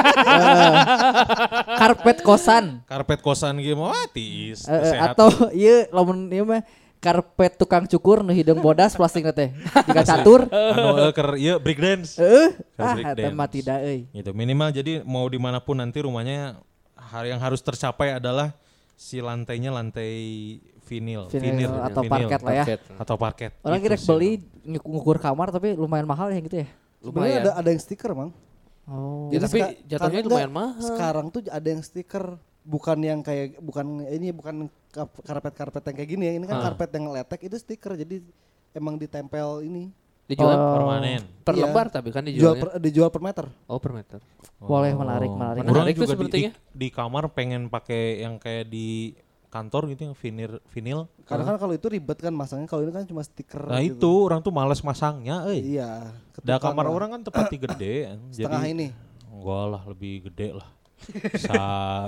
Speaker 4: Karpet kosan.
Speaker 1: karpet kosan gitu, wah tiis,
Speaker 4: Eh, eh,
Speaker 1: sehat.
Speaker 4: atau iya lamun ieu mah karpet tukang cukur nu hidung bodas plastik teh. Tiga catur.
Speaker 1: Anu eh, ker, iya break dance.
Speaker 4: Heeh. Ah,
Speaker 1: Fabric
Speaker 4: eta
Speaker 1: dance.
Speaker 4: mah tidak euy.
Speaker 1: Gitu minimal jadi mau dimanapun nanti rumahnya hari yang harus tercapai adalah si lantainya lantai vinil,
Speaker 4: Vinyl atau
Speaker 1: vinil,
Speaker 4: parket lah ya.
Speaker 2: Parket.
Speaker 1: atau parket.
Speaker 4: Orang
Speaker 1: Gitu
Speaker 4: kira
Speaker 1: sih.
Speaker 4: beli nyuk- ngukur kamar tapi lumayan mahal ya gitu ya.
Speaker 5: Sebenarnya ada
Speaker 2: Lumayan.
Speaker 5: ada yang stiker, Mang.
Speaker 4: Oh.
Speaker 2: Ya, tapi
Speaker 5: seka-
Speaker 2: jatuhnya
Speaker 5: karena
Speaker 2: lumayan
Speaker 5: enggak,
Speaker 2: mahal.
Speaker 5: Sekarang tuh ada yang stiker bukan yang kayak bukan ini bukan kap- karpet-karpet yang kayak gini ya. Ini kan
Speaker 2: Ah.
Speaker 5: karpet yang letek itu stiker jadi emang ditempel ini.
Speaker 2: Dijual
Speaker 1: Oh, permanen.
Speaker 2: per
Speaker 5: Iya.
Speaker 2: lembar tapi kan
Speaker 5: Dijual
Speaker 2: dijualnya.
Speaker 5: per, dijual per meter.
Speaker 2: Oh per meter.
Speaker 4: Boleh
Speaker 1: Oh.
Speaker 4: menarik, menarik.
Speaker 2: Menarik.
Speaker 1: Orang
Speaker 2: tuh
Speaker 1: juga di,
Speaker 2: sepertinya.
Speaker 1: di, di kamar pengen pakai yang kayak di kantor gitu yang vinil vinil.
Speaker 2: Ah.
Speaker 5: Karena kan kalau itu ribet kan masangnya kalau ini kan cuma stiker.
Speaker 1: Nah
Speaker 5: gitu.
Speaker 1: itu orang tuh males masangnya, eh.
Speaker 5: Iya.
Speaker 1: Da
Speaker 5: ketukan
Speaker 1: kamar
Speaker 5: lah.
Speaker 1: orang kan tepati gede,
Speaker 5: setengah
Speaker 1: jadi
Speaker 5: ini.
Speaker 1: enggak lah lebih gede lah. Sa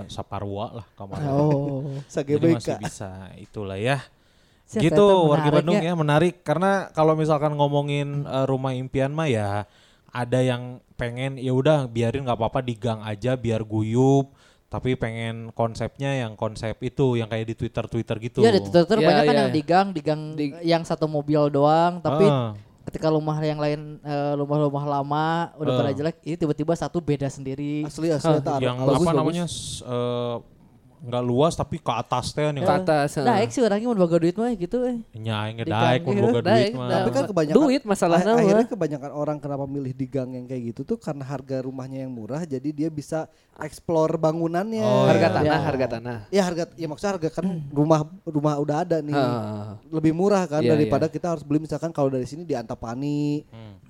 Speaker 1: saparwa lah kamar.
Speaker 4: Oh.
Speaker 1: Jadi
Speaker 5: Sagebeka.
Speaker 1: masih bisa itulah ya.
Speaker 4: Siap,
Speaker 1: gitu
Speaker 4: ternyata
Speaker 1: warga
Speaker 4: menarik
Speaker 1: Bandung
Speaker 4: ya.
Speaker 1: ya menarik karena kalau misalkan ngomongin eh, rumah impian mah ya ada yang pengen ya udah biarin nggak apa-apa di gang aja biar guyup tapi pengen konsepnya yang konsep itu yang kayak di Twitter Twitter gitu.
Speaker 4: Iya di Twitter
Speaker 2: Iya,
Speaker 4: banyak kan
Speaker 2: iya,
Speaker 4: yang
Speaker 2: iya.
Speaker 4: digang, digang
Speaker 2: Di-
Speaker 4: yang satu mobil doang, tapi
Speaker 1: Ah.
Speaker 4: ketika rumah yang lain eh, rumah-rumah lama udah
Speaker 1: Ah.
Speaker 4: pada jelek, ini tiba-tiba satu beda sendiri.
Speaker 5: Asli asli
Speaker 2: Ah,
Speaker 5: eta ada.
Speaker 1: yang
Speaker 5: Bagus,
Speaker 1: apa
Speaker 5: bagus.
Speaker 1: namanya s- eh, nggak luas tapi ke atas teh nih
Speaker 2: Ke atas.
Speaker 4: Nah,
Speaker 2: eh.
Speaker 4: ek sih orangnya mau boga duit mah gitu eh.
Speaker 1: nyaingnya
Speaker 4: Di
Speaker 1: daek
Speaker 4: gang,
Speaker 1: mun
Speaker 4: iya,
Speaker 1: boga duit
Speaker 2: daek,
Speaker 1: mah.
Speaker 2: daek.
Speaker 5: Tapi kan kebanyakan
Speaker 2: Duit masalahnya
Speaker 5: Ah,
Speaker 2: mah.
Speaker 5: akhirnya kebanyakan orang kenapa milih di gang yang kayak gitu tuh karena harga rumahnya yang murah jadi dia bisa explore bangunannya.
Speaker 1: Oh,
Speaker 2: eh, harga
Speaker 1: iya.
Speaker 2: tanah, harga tanah.
Speaker 5: Ya harga ya maksudnya harga kan rumah rumah udah ada nih.
Speaker 2: Heeh.
Speaker 5: Lebih murah kan
Speaker 2: Iya,
Speaker 5: daripada kita harus beli misalkan kalau dari sini di Antapani.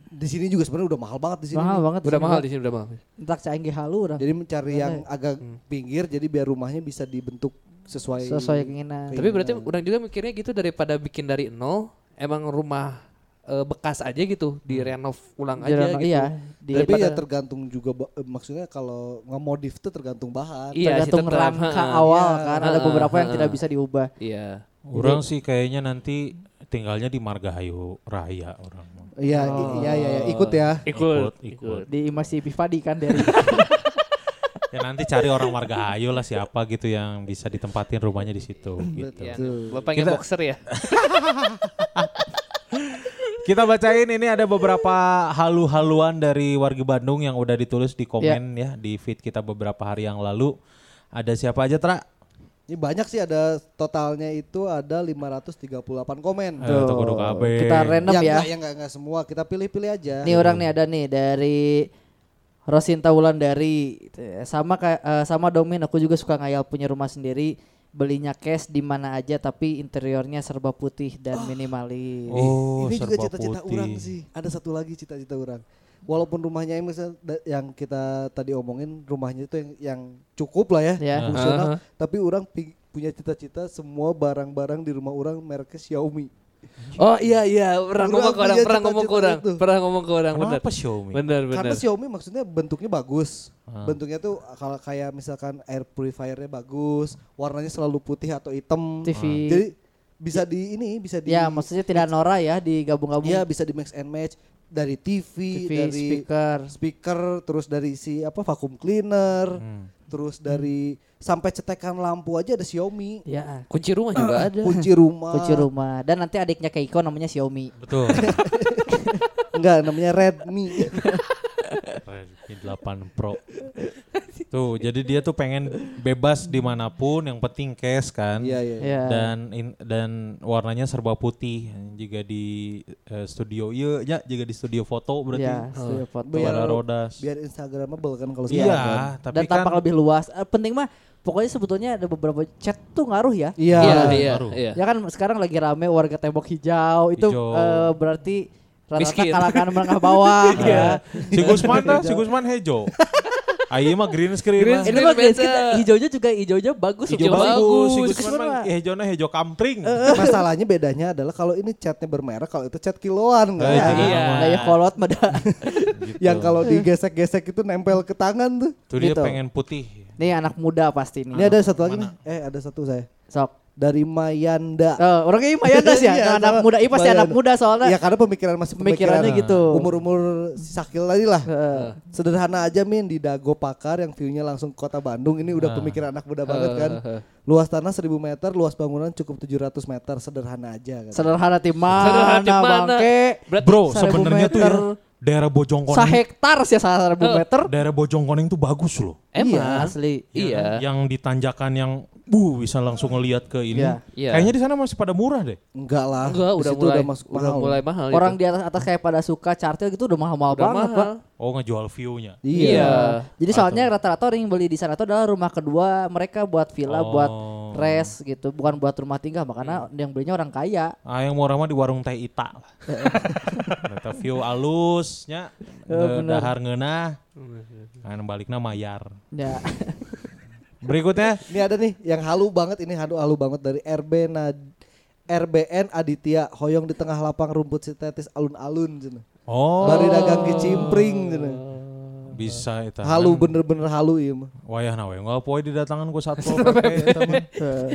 Speaker 5: Di sini juga sebenarnya udah mahal banget di sini.
Speaker 4: Mahal
Speaker 5: nih.
Speaker 4: banget.
Speaker 2: Udah mahal di sini udah mahal.
Speaker 4: Entak canggih halu urang.
Speaker 5: Jadi mencari yang agak pinggir jadi biar rumahnya bisa dibentuk sesuai
Speaker 4: Sesuai keinginan.
Speaker 5: Kayak
Speaker 2: Tapi berarti orang juga mikirnya gitu daripada bikin dari nol, emang rumah eh, bekas aja gitu, direnov ulang aja
Speaker 4: Jarang-
Speaker 2: gitu.
Speaker 4: Iya, di
Speaker 5: Tapi ya tergantung juga ba- eh, maksudnya kalau ngemodif itu tergantung bahan.
Speaker 2: Iya, sih,
Speaker 4: tergantung
Speaker 2: tetap.
Speaker 4: rangka
Speaker 2: Ha,
Speaker 4: awal
Speaker 5: Iya,
Speaker 4: kan ada
Speaker 2: Ha,
Speaker 4: beberapa yang
Speaker 2: ha.
Speaker 4: tidak bisa diubah.
Speaker 2: Iya.
Speaker 1: Orang sih kayaknya nanti tinggalnya di Margahayu Raya orang. mah.
Speaker 5: Iya, i- iya, iya, iya, ikut ya.
Speaker 1: Ikut, ikut.
Speaker 4: Di Imasi Pivadi kan dari
Speaker 5: Iya,
Speaker 1: ya nanti cari orang Margahayu lah siapa gitu yang bisa ditempatin rumahnya di situ gitu.
Speaker 2: Iya. Bapak yang
Speaker 1: Kita-
Speaker 2: boxer ya?
Speaker 1: Kita bacain ini ada beberapa halu-haluan dari warga Bandung yang udah ditulis di komen ya di feed kita beberapa hari yang lalu. Ada siapa aja Tra? Eh,
Speaker 5: Ini banyak sih ada totalnya itu ada 538 komen.
Speaker 1: Eh, Tuh Kudu KB.
Speaker 4: kita random
Speaker 5: yang
Speaker 4: ya.
Speaker 5: enggak, yang enggak, enggak semua, kita pilih-pilih aja.
Speaker 4: Nih orang nih ada nih dari Rosinta Wulandari Eh, sama kayak eh, sama Domin aku juga suka ngayal punya rumah sendiri belinya cash di mana aja tapi interiornya serba putih dan minimalis.
Speaker 1: Oh,
Speaker 5: Ini juga
Speaker 1: serba
Speaker 5: cita-cita
Speaker 1: putih.
Speaker 5: orang sih. Ada satu lagi cita-cita orang. Walaupun rumahnya yang misalnya da- yang kita tadi omongin rumahnya itu yang, yang cukup lah ya,
Speaker 4: Ya.
Speaker 5: fungsional. Tapi orang pi- punya cita-cita semua barang-barang di rumah orang mereknya Xiaomi.
Speaker 2: Oh iya iya,
Speaker 5: Orang
Speaker 2: pernah ngomong ke orang,
Speaker 5: punya
Speaker 2: pernah ngomong ke
Speaker 5: cita-cita
Speaker 2: orang,
Speaker 5: itu.
Speaker 2: pernah ngomong ke orang, bener.
Speaker 1: Kenapa Xiaomi?
Speaker 2: Bener
Speaker 5: Karena
Speaker 2: bener.
Speaker 5: Xiaomi maksudnya bentuknya bagus.
Speaker 4: Ah.
Speaker 5: Bentuknya tuh kalau kayak misalkan air purifiernya bagus, warnanya selalu putih atau hitam. Ah.
Speaker 4: TV.
Speaker 5: Jadi bisa di ini bisa di
Speaker 4: Ya maksudnya tidak Nora ya digabung-gabung
Speaker 5: Iya, bisa di mix and match dari TV,
Speaker 4: TV
Speaker 5: dari
Speaker 4: speaker.
Speaker 5: speaker, terus dari si apa vacuum cleaner,
Speaker 1: Hmm.
Speaker 5: terus dari sampai cetekan lampu aja ada Xiaomi,
Speaker 4: Ya.
Speaker 2: Kunci rumah juga ada.
Speaker 5: kunci rumah.
Speaker 4: Kunci rumah dan nanti adiknya Keiko namanya Xiaomi.
Speaker 1: Betul. Iya,
Speaker 5: Enggak, namanya Redmi.
Speaker 1: Redmi 8 Pro. Itu Tuh, jadi dia tuh pengen bebas dimanapun, yang penting cash kan.
Speaker 5: Iya iya.
Speaker 4: Iya.
Speaker 1: Dan in- dan warnanya serba putih jika di eh, studio iya ya jika di studio foto berarti
Speaker 4: Iya, studio foto.
Speaker 5: Biar-
Speaker 1: Suara rodas.
Speaker 5: Biar instagramable kan kalau
Speaker 1: Iya,
Speaker 5: sekarang kan.
Speaker 1: tapi
Speaker 4: dan
Speaker 1: kan
Speaker 4: tampak lebih luas. Eh, penting mah pokoknya sebetulnya ada beberapa chat tuh ngaruh ya.
Speaker 5: Iya.
Speaker 2: Iya, iya,
Speaker 1: baru.
Speaker 2: iya.
Speaker 4: Ya kan sekarang lagi rame warga tembok hijau itu
Speaker 1: Hijau.
Speaker 4: eh, berarti rata-rata
Speaker 2: Miskin.
Speaker 4: kalangan menengah bawah ya.
Speaker 1: Iya. si Gusman dah, si Gusman hejo. Ayo mah green screen.
Speaker 2: Green
Speaker 1: lah.
Speaker 2: screen.
Speaker 4: Ini mah
Speaker 2: better.
Speaker 4: kita hijaunya juga hijaunya bagus
Speaker 1: Hijau
Speaker 4: loh.
Speaker 1: bagus, si
Speaker 4: Bagus.
Speaker 1: Gusman mah hejona hejo kampring.
Speaker 5: Masalahnya bedanya adalah kalau ini catnya bermerek, kalau itu cat kiloan kan.
Speaker 1: Eh, jadi
Speaker 2: Iya.
Speaker 1: aman.
Speaker 4: Kayak kolot mah dah.
Speaker 1: Gitu.
Speaker 5: Yang kalau digesek-gesek itu nempel ke tangan tuh.
Speaker 1: tuh dia
Speaker 4: gitu.
Speaker 1: pengen putih.
Speaker 4: Nih anak muda pasti nih.
Speaker 5: Ini ada satu lagi nih. Eh ada satu saya.
Speaker 4: Sok.
Speaker 5: Dari Mayanda.
Speaker 4: Eh, orangnya ini Mayandas ya.
Speaker 5: Iya,
Speaker 4: Nah, anak
Speaker 5: sama
Speaker 4: muda, iya pasti
Speaker 5: Mayanda.
Speaker 4: anak muda soalnya.
Speaker 5: Ya karena pemikiran masih pemikiran
Speaker 4: Pemikirannya gitu.
Speaker 5: Umur-umur si sakil tadi lah.
Speaker 4: Heeh.
Speaker 5: Sederhana aja Min di Dago Pakar yang view-nya langsung ke kota Bandung. Ini udah pemikiran anak muda banget kan. Luas tanah 1000 meter, luas bangunan cukup 700 meter. Sederhana aja kan.
Speaker 4: Sederhana di mana?
Speaker 2: Sederhana di mana?
Speaker 4: bangke?
Speaker 2: Berarti
Speaker 1: Bro,
Speaker 4: Seribu
Speaker 1: sebenarnya tuh ya
Speaker 4: meter.
Speaker 1: daerah Bojongkoneng.
Speaker 4: Sahektar sih salah seribu
Speaker 2: Eh.
Speaker 4: meter.
Speaker 1: Daerah Bojongkoneng tuh bagus loh.
Speaker 2: emang
Speaker 4: Asli.
Speaker 1: Ya kan?
Speaker 2: Iya.
Speaker 1: Yang ditanjakan yang bu bisa langsung ngelihat ke ini.
Speaker 4: Iya.
Speaker 2: Iya.
Speaker 1: Kayaknya di sana masih pada murah deh.
Speaker 5: Enggak lah.
Speaker 2: Enggak,
Speaker 5: Di
Speaker 2: udah
Speaker 5: situ
Speaker 2: mulai
Speaker 5: udah masuk
Speaker 2: udah
Speaker 5: mahal.
Speaker 2: mulai mahal.
Speaker 4: Orang
Speaker 2: itu.
Speaker 4: di atas atas kayak pada suka cartil gitu udah mahal-mahal
Speaker 2: udah
Speaker 4: banget,
Speaker 2: mahal.
Speaker 4: Pak.
Speaker 1: Oh ngejual view-nya.
Speaker 5: Iya.
Speaker 4: Jadi soalnya rata-rata orang yang beli di sana itu adalah rumah kedua mereka buat villa,
Speaker 1: Oh.
Speaker 4: buat res gitu, bukan buat rumah tinggal. Makanya
Speaker 2: Iya.
Speaker 4: yang belinya orang kaya.
Speaker 1: Ah yang murah mah di warung teh Ita lah. Eta view alusnya,
Speaker 4: Oh,
Speaker 1: eh,
Speaker 4: bener.
Speaker 1: dahar ngeunah. Kan baliknya mayar.
Speaker 4: Ya.
Speaker 1: Berikutnya
Speaker 5: Ini ada nih yang halu banget ini halu halu banget dari RB Nad RBN Aditya Hoyong di tengah lapang rumput sintetis alun-alun cenah.
Speaker 1: oh
Speaker 5: Bari dagang kicimpring cenah.
Speaker 1: bisa itu.
Speaker 5: Halu bener-bener halu ieu mah.
Speaker 1: Wayah na we nggak poe didatangan ku satpol pp eta mah.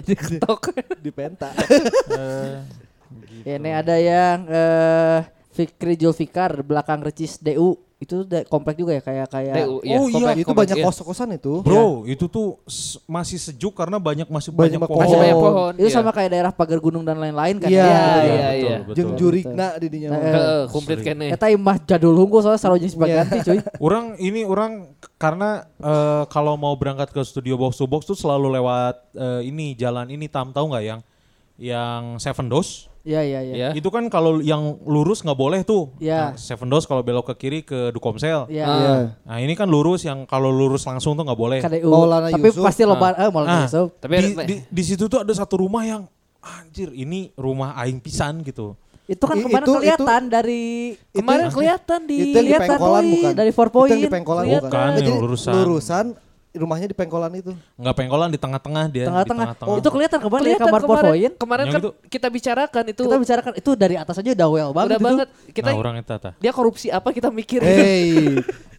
Speaker 2: TikTok.
Speaker 5: di penta.
Speaker 2: Gitu.
Speaker 4: Ini ada yang eh Fikri Julfikar belakang Recis DU itu da- komplek juga ya kayak kayak
Speaker 2: TU, iya.
Speaker 1: Oh, iya,
Speaker 2: Komplek,
Speaker 5: itu
Speaker 2: komplek,
Speaker 5: banyak
Speaker 2: iya.
Speaker 5: kos-kosan itu.
Speaker 1: Bro, itu tuh s- masih sejuk karena banyak masih banyak,
Speaker 5: Banyak
Speaker 1: pohon.
Speaker 2: Masih banyak pohon.
Speaker 4: itu
Speaker 2: iya.
Speaker 4: sama kayak daerah pagar gunung dan lain-lain kan.
Speaker 5: Iya,
Speaker 4: ya.
Speaker 2: iya,
Speaker 1: betul,
Speaker 2: iya.
Speaker 1: betul.
Speaker 5: Jeung jurigna di dinya. Iya. mah.
Speaker 2: Heeh, komplit kene.
Speaker 4: Eta imah jadul hungkul soalnya selalu
Speaker 2: Iya.
Speaker 4: jenis ganti cuy.
Speaker 1: Orang ini orang k- karena eh, kalau mau berangkat ke studio box to box tuh selalu lewat eh, ini jalan ini tam tahu nggak yang yang Seven Doors
Speaker 4: Iya iya iya.
Speaker 2: Iya.
Speaker 1: itu kan kalau yang lurus nggak boleh tuh Nah,
Speaker 4: Iya.
Speaker 1: Seven Doors kalau belok ke kiri ke Dukomsel
Speaker 4: Iya.
Speaker 2: Ah.
Speaker 5: Iya.
Speaker 1: nah ini kan lurus yang kalau lurus langsung tuh nggak boleh
Speaker 4: KDU.
Speaker 5: Maulana
Speaker 4: Tapi
Speaker 5: Yusuf.
Speaker 4: pasti loba eh
Speaker 1: Ah.
Speaker 4: Maulana Yusuf.
Speaker 2: Tapi
Speaker 1: di, di, di situ tuh ada satu rumah yang anjir ini rumah aing pisan gitu
Speaker 4: Itu kan
Speaker 5: I-
Speaker 4: kemarin
Speaker 5: itu-
Speaker 4: kelihatan dari kemarin kelihatan di
Speaker 5: Itu yang Kan di
Speaker 4: kelihatan
Speaker 5: pengkolan
Speaker 4: doi,
Speaker 5: bukan?
Speaker 4: dari 4
Speaker 5: Itu
Speaker 4: point.
Speaker 5: yang iya, di pengkolan
Speaker 4: kelihatan.
Speaker 1: Bukan, yang
Speaker 5: Jadi
Speaker 1: lurusan.
Speaker 5: Lurusan rumahnya di pengkolan itu.
Speaker 1: nggak pengkolan di tengah-tengah dia di
Speaker 4: Tengah-tengah. Oh, itu kelihatan kemarin dari
Speaker 2: Kelihatan
Speaker 4: kamar 4
Speaker 2: kemarin,
Speaker 4: point.
Speaker 2: kemarin
Speaker 1: Yang
Speaker 2: kan
Speaker 1: itu.
Speaker 2: kita bicarakan itu.
Speaker 4: Kita bicarakan itu dari atas aja udah well banget.
Speaker 2: udah
Speaker 4: itu.
Speaker 2: banget. Kita
Speaker 1: nah orang itu tah.
Speaker 2: dia korupsi apa
Speaker 5: Eh.
Speaker 2: kita gitu. mikirin.
Speaker 5: Hei,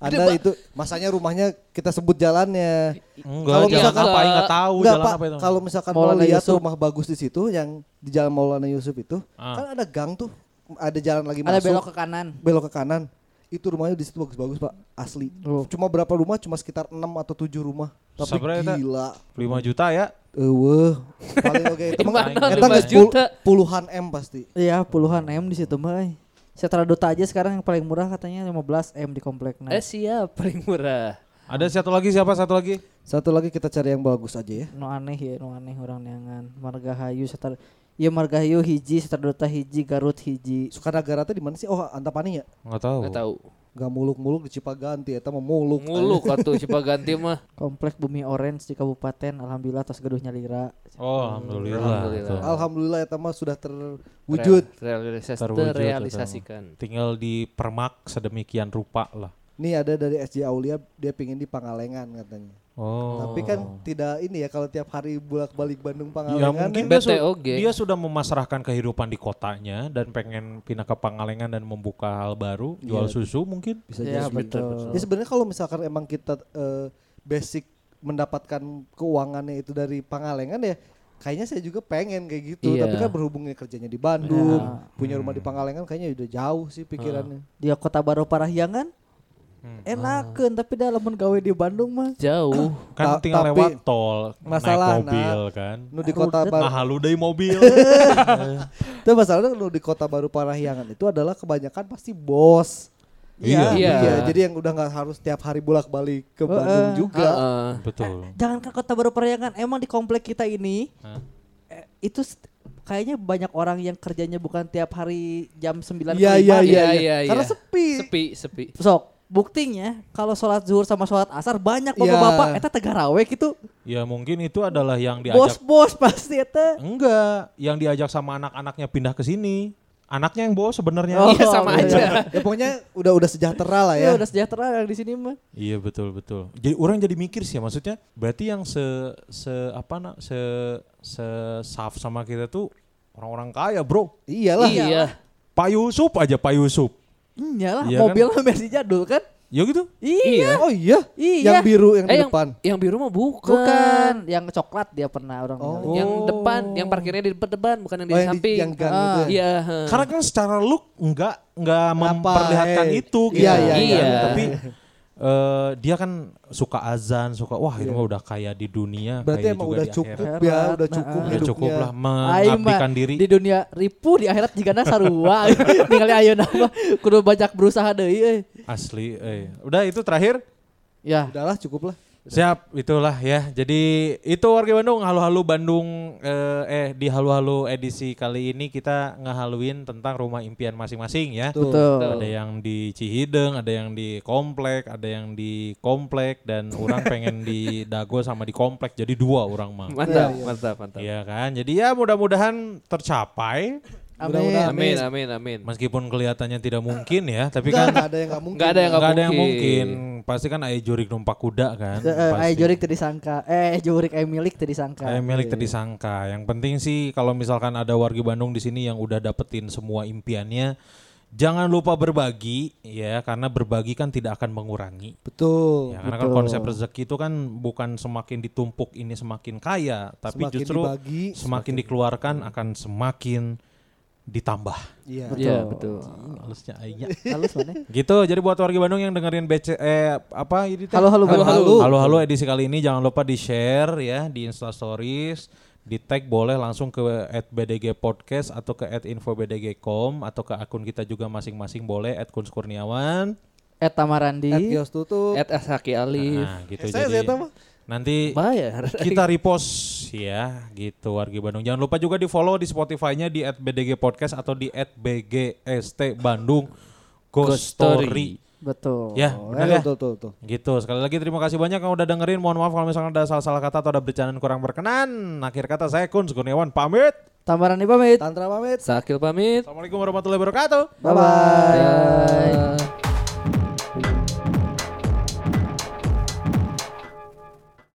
Speaker 5: Anda itu masanya rumahnya kita sebut jalannya.
Speaker 1: enggak
Speaker 5: Kalau
Speaker 1: jalan
Speaker 5: misalkan-
Speaker 1: apa aing nggak tahu
Speaker 5: Enggak
Speaker 1: jalan
Speaker 5: Pak,
Speaker 1: apa itu
Speaker 5: kalau misalkan mau
Speaker 4: Maulana
Speaker 5: lihat
Speaker 4: Yusuf.
Speaker 5: rumah bagus di situ yang di Jalan Maulana Yusuf itu,
Speaker 1: Ah.
Speaker 5: kan ada gang tuh, ada jalan lagi
Speaker 4: Ada
Speaker 5: masuk,
Speaker 4: belok ke kanan.
Speaker 5: belok ke kanan. Itu rumahnya di situ bagus-bagus, Pak, asli.
Speaker 4: Oh.
Speaker 5: Cuma berapa rumah? Cuma sekitar 6 atau 7 rumah. Tapi
Speaker 1: Sabar ya, Ta.
Speaker 5: gila.
Speaker 1: 5 juta ya
Speaker 5: Eueuh. Paling oke itu mah
Speaker 2: Gimana
Speaker 5: eta
Speaker 2: 5
Speaker 5: geus pul-
Speaker 2: juta?
Speaker 5: puluhan M pasti.
Speaker 4: Iya, puluhan M di situ mah. eh. Setra Duta aja sekarang yang paling murah katanya 15 M di komplek. Nah.
Speaker 2: Eh siap paling murah.
Speaker 1: ada satu lagi siapa satu lagi
Speaker 5: Satu lagi kita cari yang bagus aja ya.
Speaker 4: nu aneh ya nu aneh orang neangan margahayu setar ya margahayu hiji setar duta hiji garut hiji
Speaker 5: Sukanagara teh di mana sih? Oh, Antapani ya.
Speaker 1: nggak tahu
Speaker 2: Nggak tahu.
Speaker 5: Gak muluk-muluk di Cipaganti eta mah muluk.
Speaker 2: Muluk atau coba ganti mah.
Speaker 4: komplek bumi orange di kabupaten alhamdulillah tos geduh nyalira
Speaker 1: oh alhamdulillah,
Speaker 2: Alhamdulillah.
Speaker 1: Tuh.
Speaker 5: Alhamdulillah eta mah sudah terwujud.
Speaker 2: Real- realisas-
Speaker 1: Terwujud,
Speaker 2: terrealisasikan.
Speaker 1: tinggal di permak sedemikian rupa lah
Speaker 5: Nih ada dari SJ Aulia dia pingin di Pangalengan katanya.
Speaker 1: oh
Speaker 5: Tapi kan tidak ini ya kalau tiap hari bolak-balik Bandung
Speaker 1: ya
Speaker 5: Pangalengan.
Speaker 1: mungkin
Speaker 5: ya.
Speaker 1: dia, su-
Speaker 2: BTOG.
Speaker 1: dia sudah memasrahkan kehidupan di kotanya dan pengen pindah ke Pangalengan dan membuka hal baru jual susu mungkin
Speaker 5: Iya. bisa
Speaker 4: ya
Speaker 5: jadi.
Speaker 4: betul
Speaker 5: Ya sebenarnya kalau misalkan emang kita eh, basic mendapatkan keuangannya itu dari Pangalengan ya kayaknya saya juga pengen kayak gitu.
Speaker 2: Iya.
Speaker 5: Tapi kan berhubungnya kerjanya di Bandung,
Speaker 4: Ya.
Speaker 5: punya rumah di Pangalengan kayaknya udah jauh sih pikirannya.
Speaker 4: dia kota baru parahyangan
Speaker 1: Hmm.
Speaker 4: enakeun tapi dah lamun gawe di Bandung mah
Speaker 2: Jauh.
Speaker 1: kan
Speaker 5: Ta-
Speaker 1: tinggal
Speaker 5: tapi
Speaker 1: lewat tol
Speaker 5: masalah,
Speaker 1: naik mobil kan
Speaker 5: Nu di kota baru
Speaker 1: mahal udah mobil
Speaker 5: Tapi masalahnya kalau di kota baru Parahyangan itu adalah kebanyakan pasti bos. Iya,
Speaker 2: Iya.
Speaker 5: Jadi yang udah nggak harus tiap hari bolak-balik ke Bandung juga.
Speaker 2: Heeh.
Speaker 1: Betul.
Speaker 4: Jangan kan kota baru Periangan, emang di komplek kita ini
Speaker 1: Hah?
Speaker 4: eh, itu st- kayaknya banyak orang yang kerjanya bukan tiap hari jam 9
Speaker 5: Iya, iya,
Speaker 4: ke lima.
Speaker 5: iya,
Speaker 2: Iya,
Speaker 5: iya.
Speaker 2: iya,
Speaker 5: Karena
Speaker 2: iya.
Speaker 5: sepi.
Speaker 2: Sepi, sepi.
Speaker 4: Sok, buktinya kalau sholat zuhur sama sholat asar banyak
Speaker 5: Iya.
Speaker 4: bapak-bapak eta tegarawek itu
Speaker 1: Ya mungkin itu adalah yang diajak
Speaker 4: bos-bos pasti eta.
Speaker 1: enggak, yang diajak sama anak-anaknya pindah ke sini. Anaknya yang bawa sebenarnya.
Speaker 4: Oh.
Speaker 2: Iya sama
Speaker 4: bener.
Speaker 2: aja.
Speaker 5: ya pokoknya udah udah sejahtera lah ya.
Speaker 4: Ya udah sejahtera yang di sini mah.
Speaker 1: Iya betul betul. Jadi orang jadi mikir sih ya, maksudnya berarti yang se se apa na, se se saf sama kita tuh orang-orang kaya, Bro.
Speaker 5: Iyalah.
Speaker 2: Iya.
Speaker 1: Pak Yusuf aja Pak Yusuf.
Speaker 4: Iyalah,
Speaker 1: Iya kan?
Speaker 4: mobil mah masih jadul kan?
Speaker 1: Ya gitu.
Speaker 2: Iya.
Speaker 5: Oh iya. Yang
Speaker 4: Iya.
Speaker 5: biru yang
Speaker 2: Eh
Speaker 5: di
Speaker 2: yang,
Speaker 5: depan.
Speaker 2: yang biru mah bukan.
Speaker 4: Bukan, yang coklat dia pernah orang
Speaker 5: Oh.
Speaker 4: bilang.
Speaker 2: Yang depan, yang parkirnya di depan, bukan yang di
Speaker 5: Oh, yang di-
Speaker 2: samping.
Speaker 5: yang gang
Speaker 4: Ah,
Speaker 5: itu ya.
Speaker 2: Iya. heeh.
Speaker 1: Karena kan secara look enggak enggak memperlihatkan
Speaker 5: eh.
Speaker 1: itu gitu.
Speaker 5: Iya,
Speaker 2: iya,
Speaker 1: kan.
Speaker 2: iya.
Speaker 1: Tapi eh, dia kan suka azan, suka wah ini mah udah kaya di dunia,
Speaker 5: Iya. Berarti
Speaker 1: kaya
Speaker 5: emang
Speaker 1: Nah, juga
Speaker 5: udah
Speaker 1: di
Speaker 5: cukup
Speaker 1: akhirat.
Speaker 5: ya,
Speaker 4: Akhirat,
Speaker 5: udah cukup ya.
Speaker 4: nah,
Speaker 1: Udah
Speaker 5: hidupnya.
Speaker 1: cukup lah
Speaker 4: Aing mah
Speaker 1: mengabdikan diri.
Speaker 4: di dunia ripu di akhirat jika sarua ningali ayeuna mah kudu banyak berusaha deui euy.
Speaker 1: Asli, eh. Udah itu terakhir.
Speaker 4: Ya.
Speaker 5: Udahlah cukup lah.
Speaker 1: Siap, itulah ya. Jadi itu warga Bandung, halu-halu Bandung eh, eh di halu-halu edisi kali ini kita ngehaluin tentang rumah impian masing-masing ya.
Speaker 5: Tuh.
Speaker 4: Betul.
Speaker 1: Ada yang di Cihideng, ada yang di komplek, ada yang di komplek dan orang pengen di Dago sama di komplek. Jadi dua orang mah.
Speaker 2: Mantap, mantap, mantap.
Speaker 1: Iya kan? Jadi ya mudah-mudahan tercapai
Speaker 5: Mudah-mudahan.
Speaker 4: Amin.
Speaker 2: Amin, amin, amin.
Speaker 1: meskipun kelihatannya tidak mungkin ya, tapi
Speaker 5: Enggak
Speaker 1: kan
Speaker 5: ada yang nggak mungkin.
Speaker 2: Enggak ada yang
Speaker 1: nggak
Speaker 2: enggak
Speaker 1: ada yang mungkin. Pasti kan Ayo Jurik numpak kuda kan.
Speaker 4: Eh,
Speaker 1: Pasti.
Speaker 4: Ayo Jorik tadi sangka. Eh, Jorik eh milik tadi sangka.
Speaker 1: Kayak milik tadi sangka. Yang penting sih kalau misalkan ada warga Bandung di sini yang udah dapetin semua impiannya, jangan lupa berbagi ya karena berbagi kan tidak akan mengurangi. Ya,
Speaker 5: Betul.
Speaker 1: karena kan konsep rezeki itu kan bukan semakin ditumpuk ini semakin kaya, tapi
Speaker 5: Semakin
Speaker 1: justru
Speaker 5: dibagi,
Speaker 1: semakin, dikeluarkan akan semakin ditambah. kan?
Speaker 5: Iya.
Speaker 2: Iya, betul.
Speaker 5: Oh.
Speaker 1: Halusnya aingnya.
Speaker 4: Halus eh. mana?
Speaker 1: gitu. Jadi buat warga Bandung yang dengerin BC eh apa ini teh?
Speaker 4: Halo halo Bang.
Speaker 5: Halo-halo.
Speaker 1: Halo-halo edisi kali ini jangan lupa di share ya di Insta Stories, di tag boleh langsung ke @bdg podcast atau ke @infobdg.com atau ke akun kita juga masing-masing boleh @kunskurniawan.
Speaker 4: Eh Tamarandi.
Speaker 5: At kios tutup.
Speaker 2: At Asaki Ali.
Speaker 1: Nah, gitu
Speaker 5: Saya
Speaker 1: jadi.
Speaker 5: saya tahu.
Speaker 1: Nanti
Speaker 2: Bayar.
Speaker 1: kita repost ya gitu warga Bandung. Jangan lupa juga di follow di Spotify-nya di @bdg podcast atau di @bgst Bandung Ghost
Speaker 2: Ghost Story.
Speaker 1: Story.
Speaker 4: Betul.
Speaker 1: Ya, benar ya.
Speaker 5: Tuh, tuh, tuh.
Speaker 1: Gitu. Sekali lagi terima kasih banyak yang udah dengerin. Mohon maaf kalau misalnya ada salah-salah kata atau ada bercandaan kurang berkenan. Akhir kata saya Kun Kurniawan pamit.
Speaker 4: Tamarandi pamit.
Speaker 5: Tantra pamit.
Speaker 2: Sakil pamit.
Speaker 1: Assalamualaikum warahmatullahi wabarakatuh.
Speaker 4: Bye bye.
Speaker 2: Bye.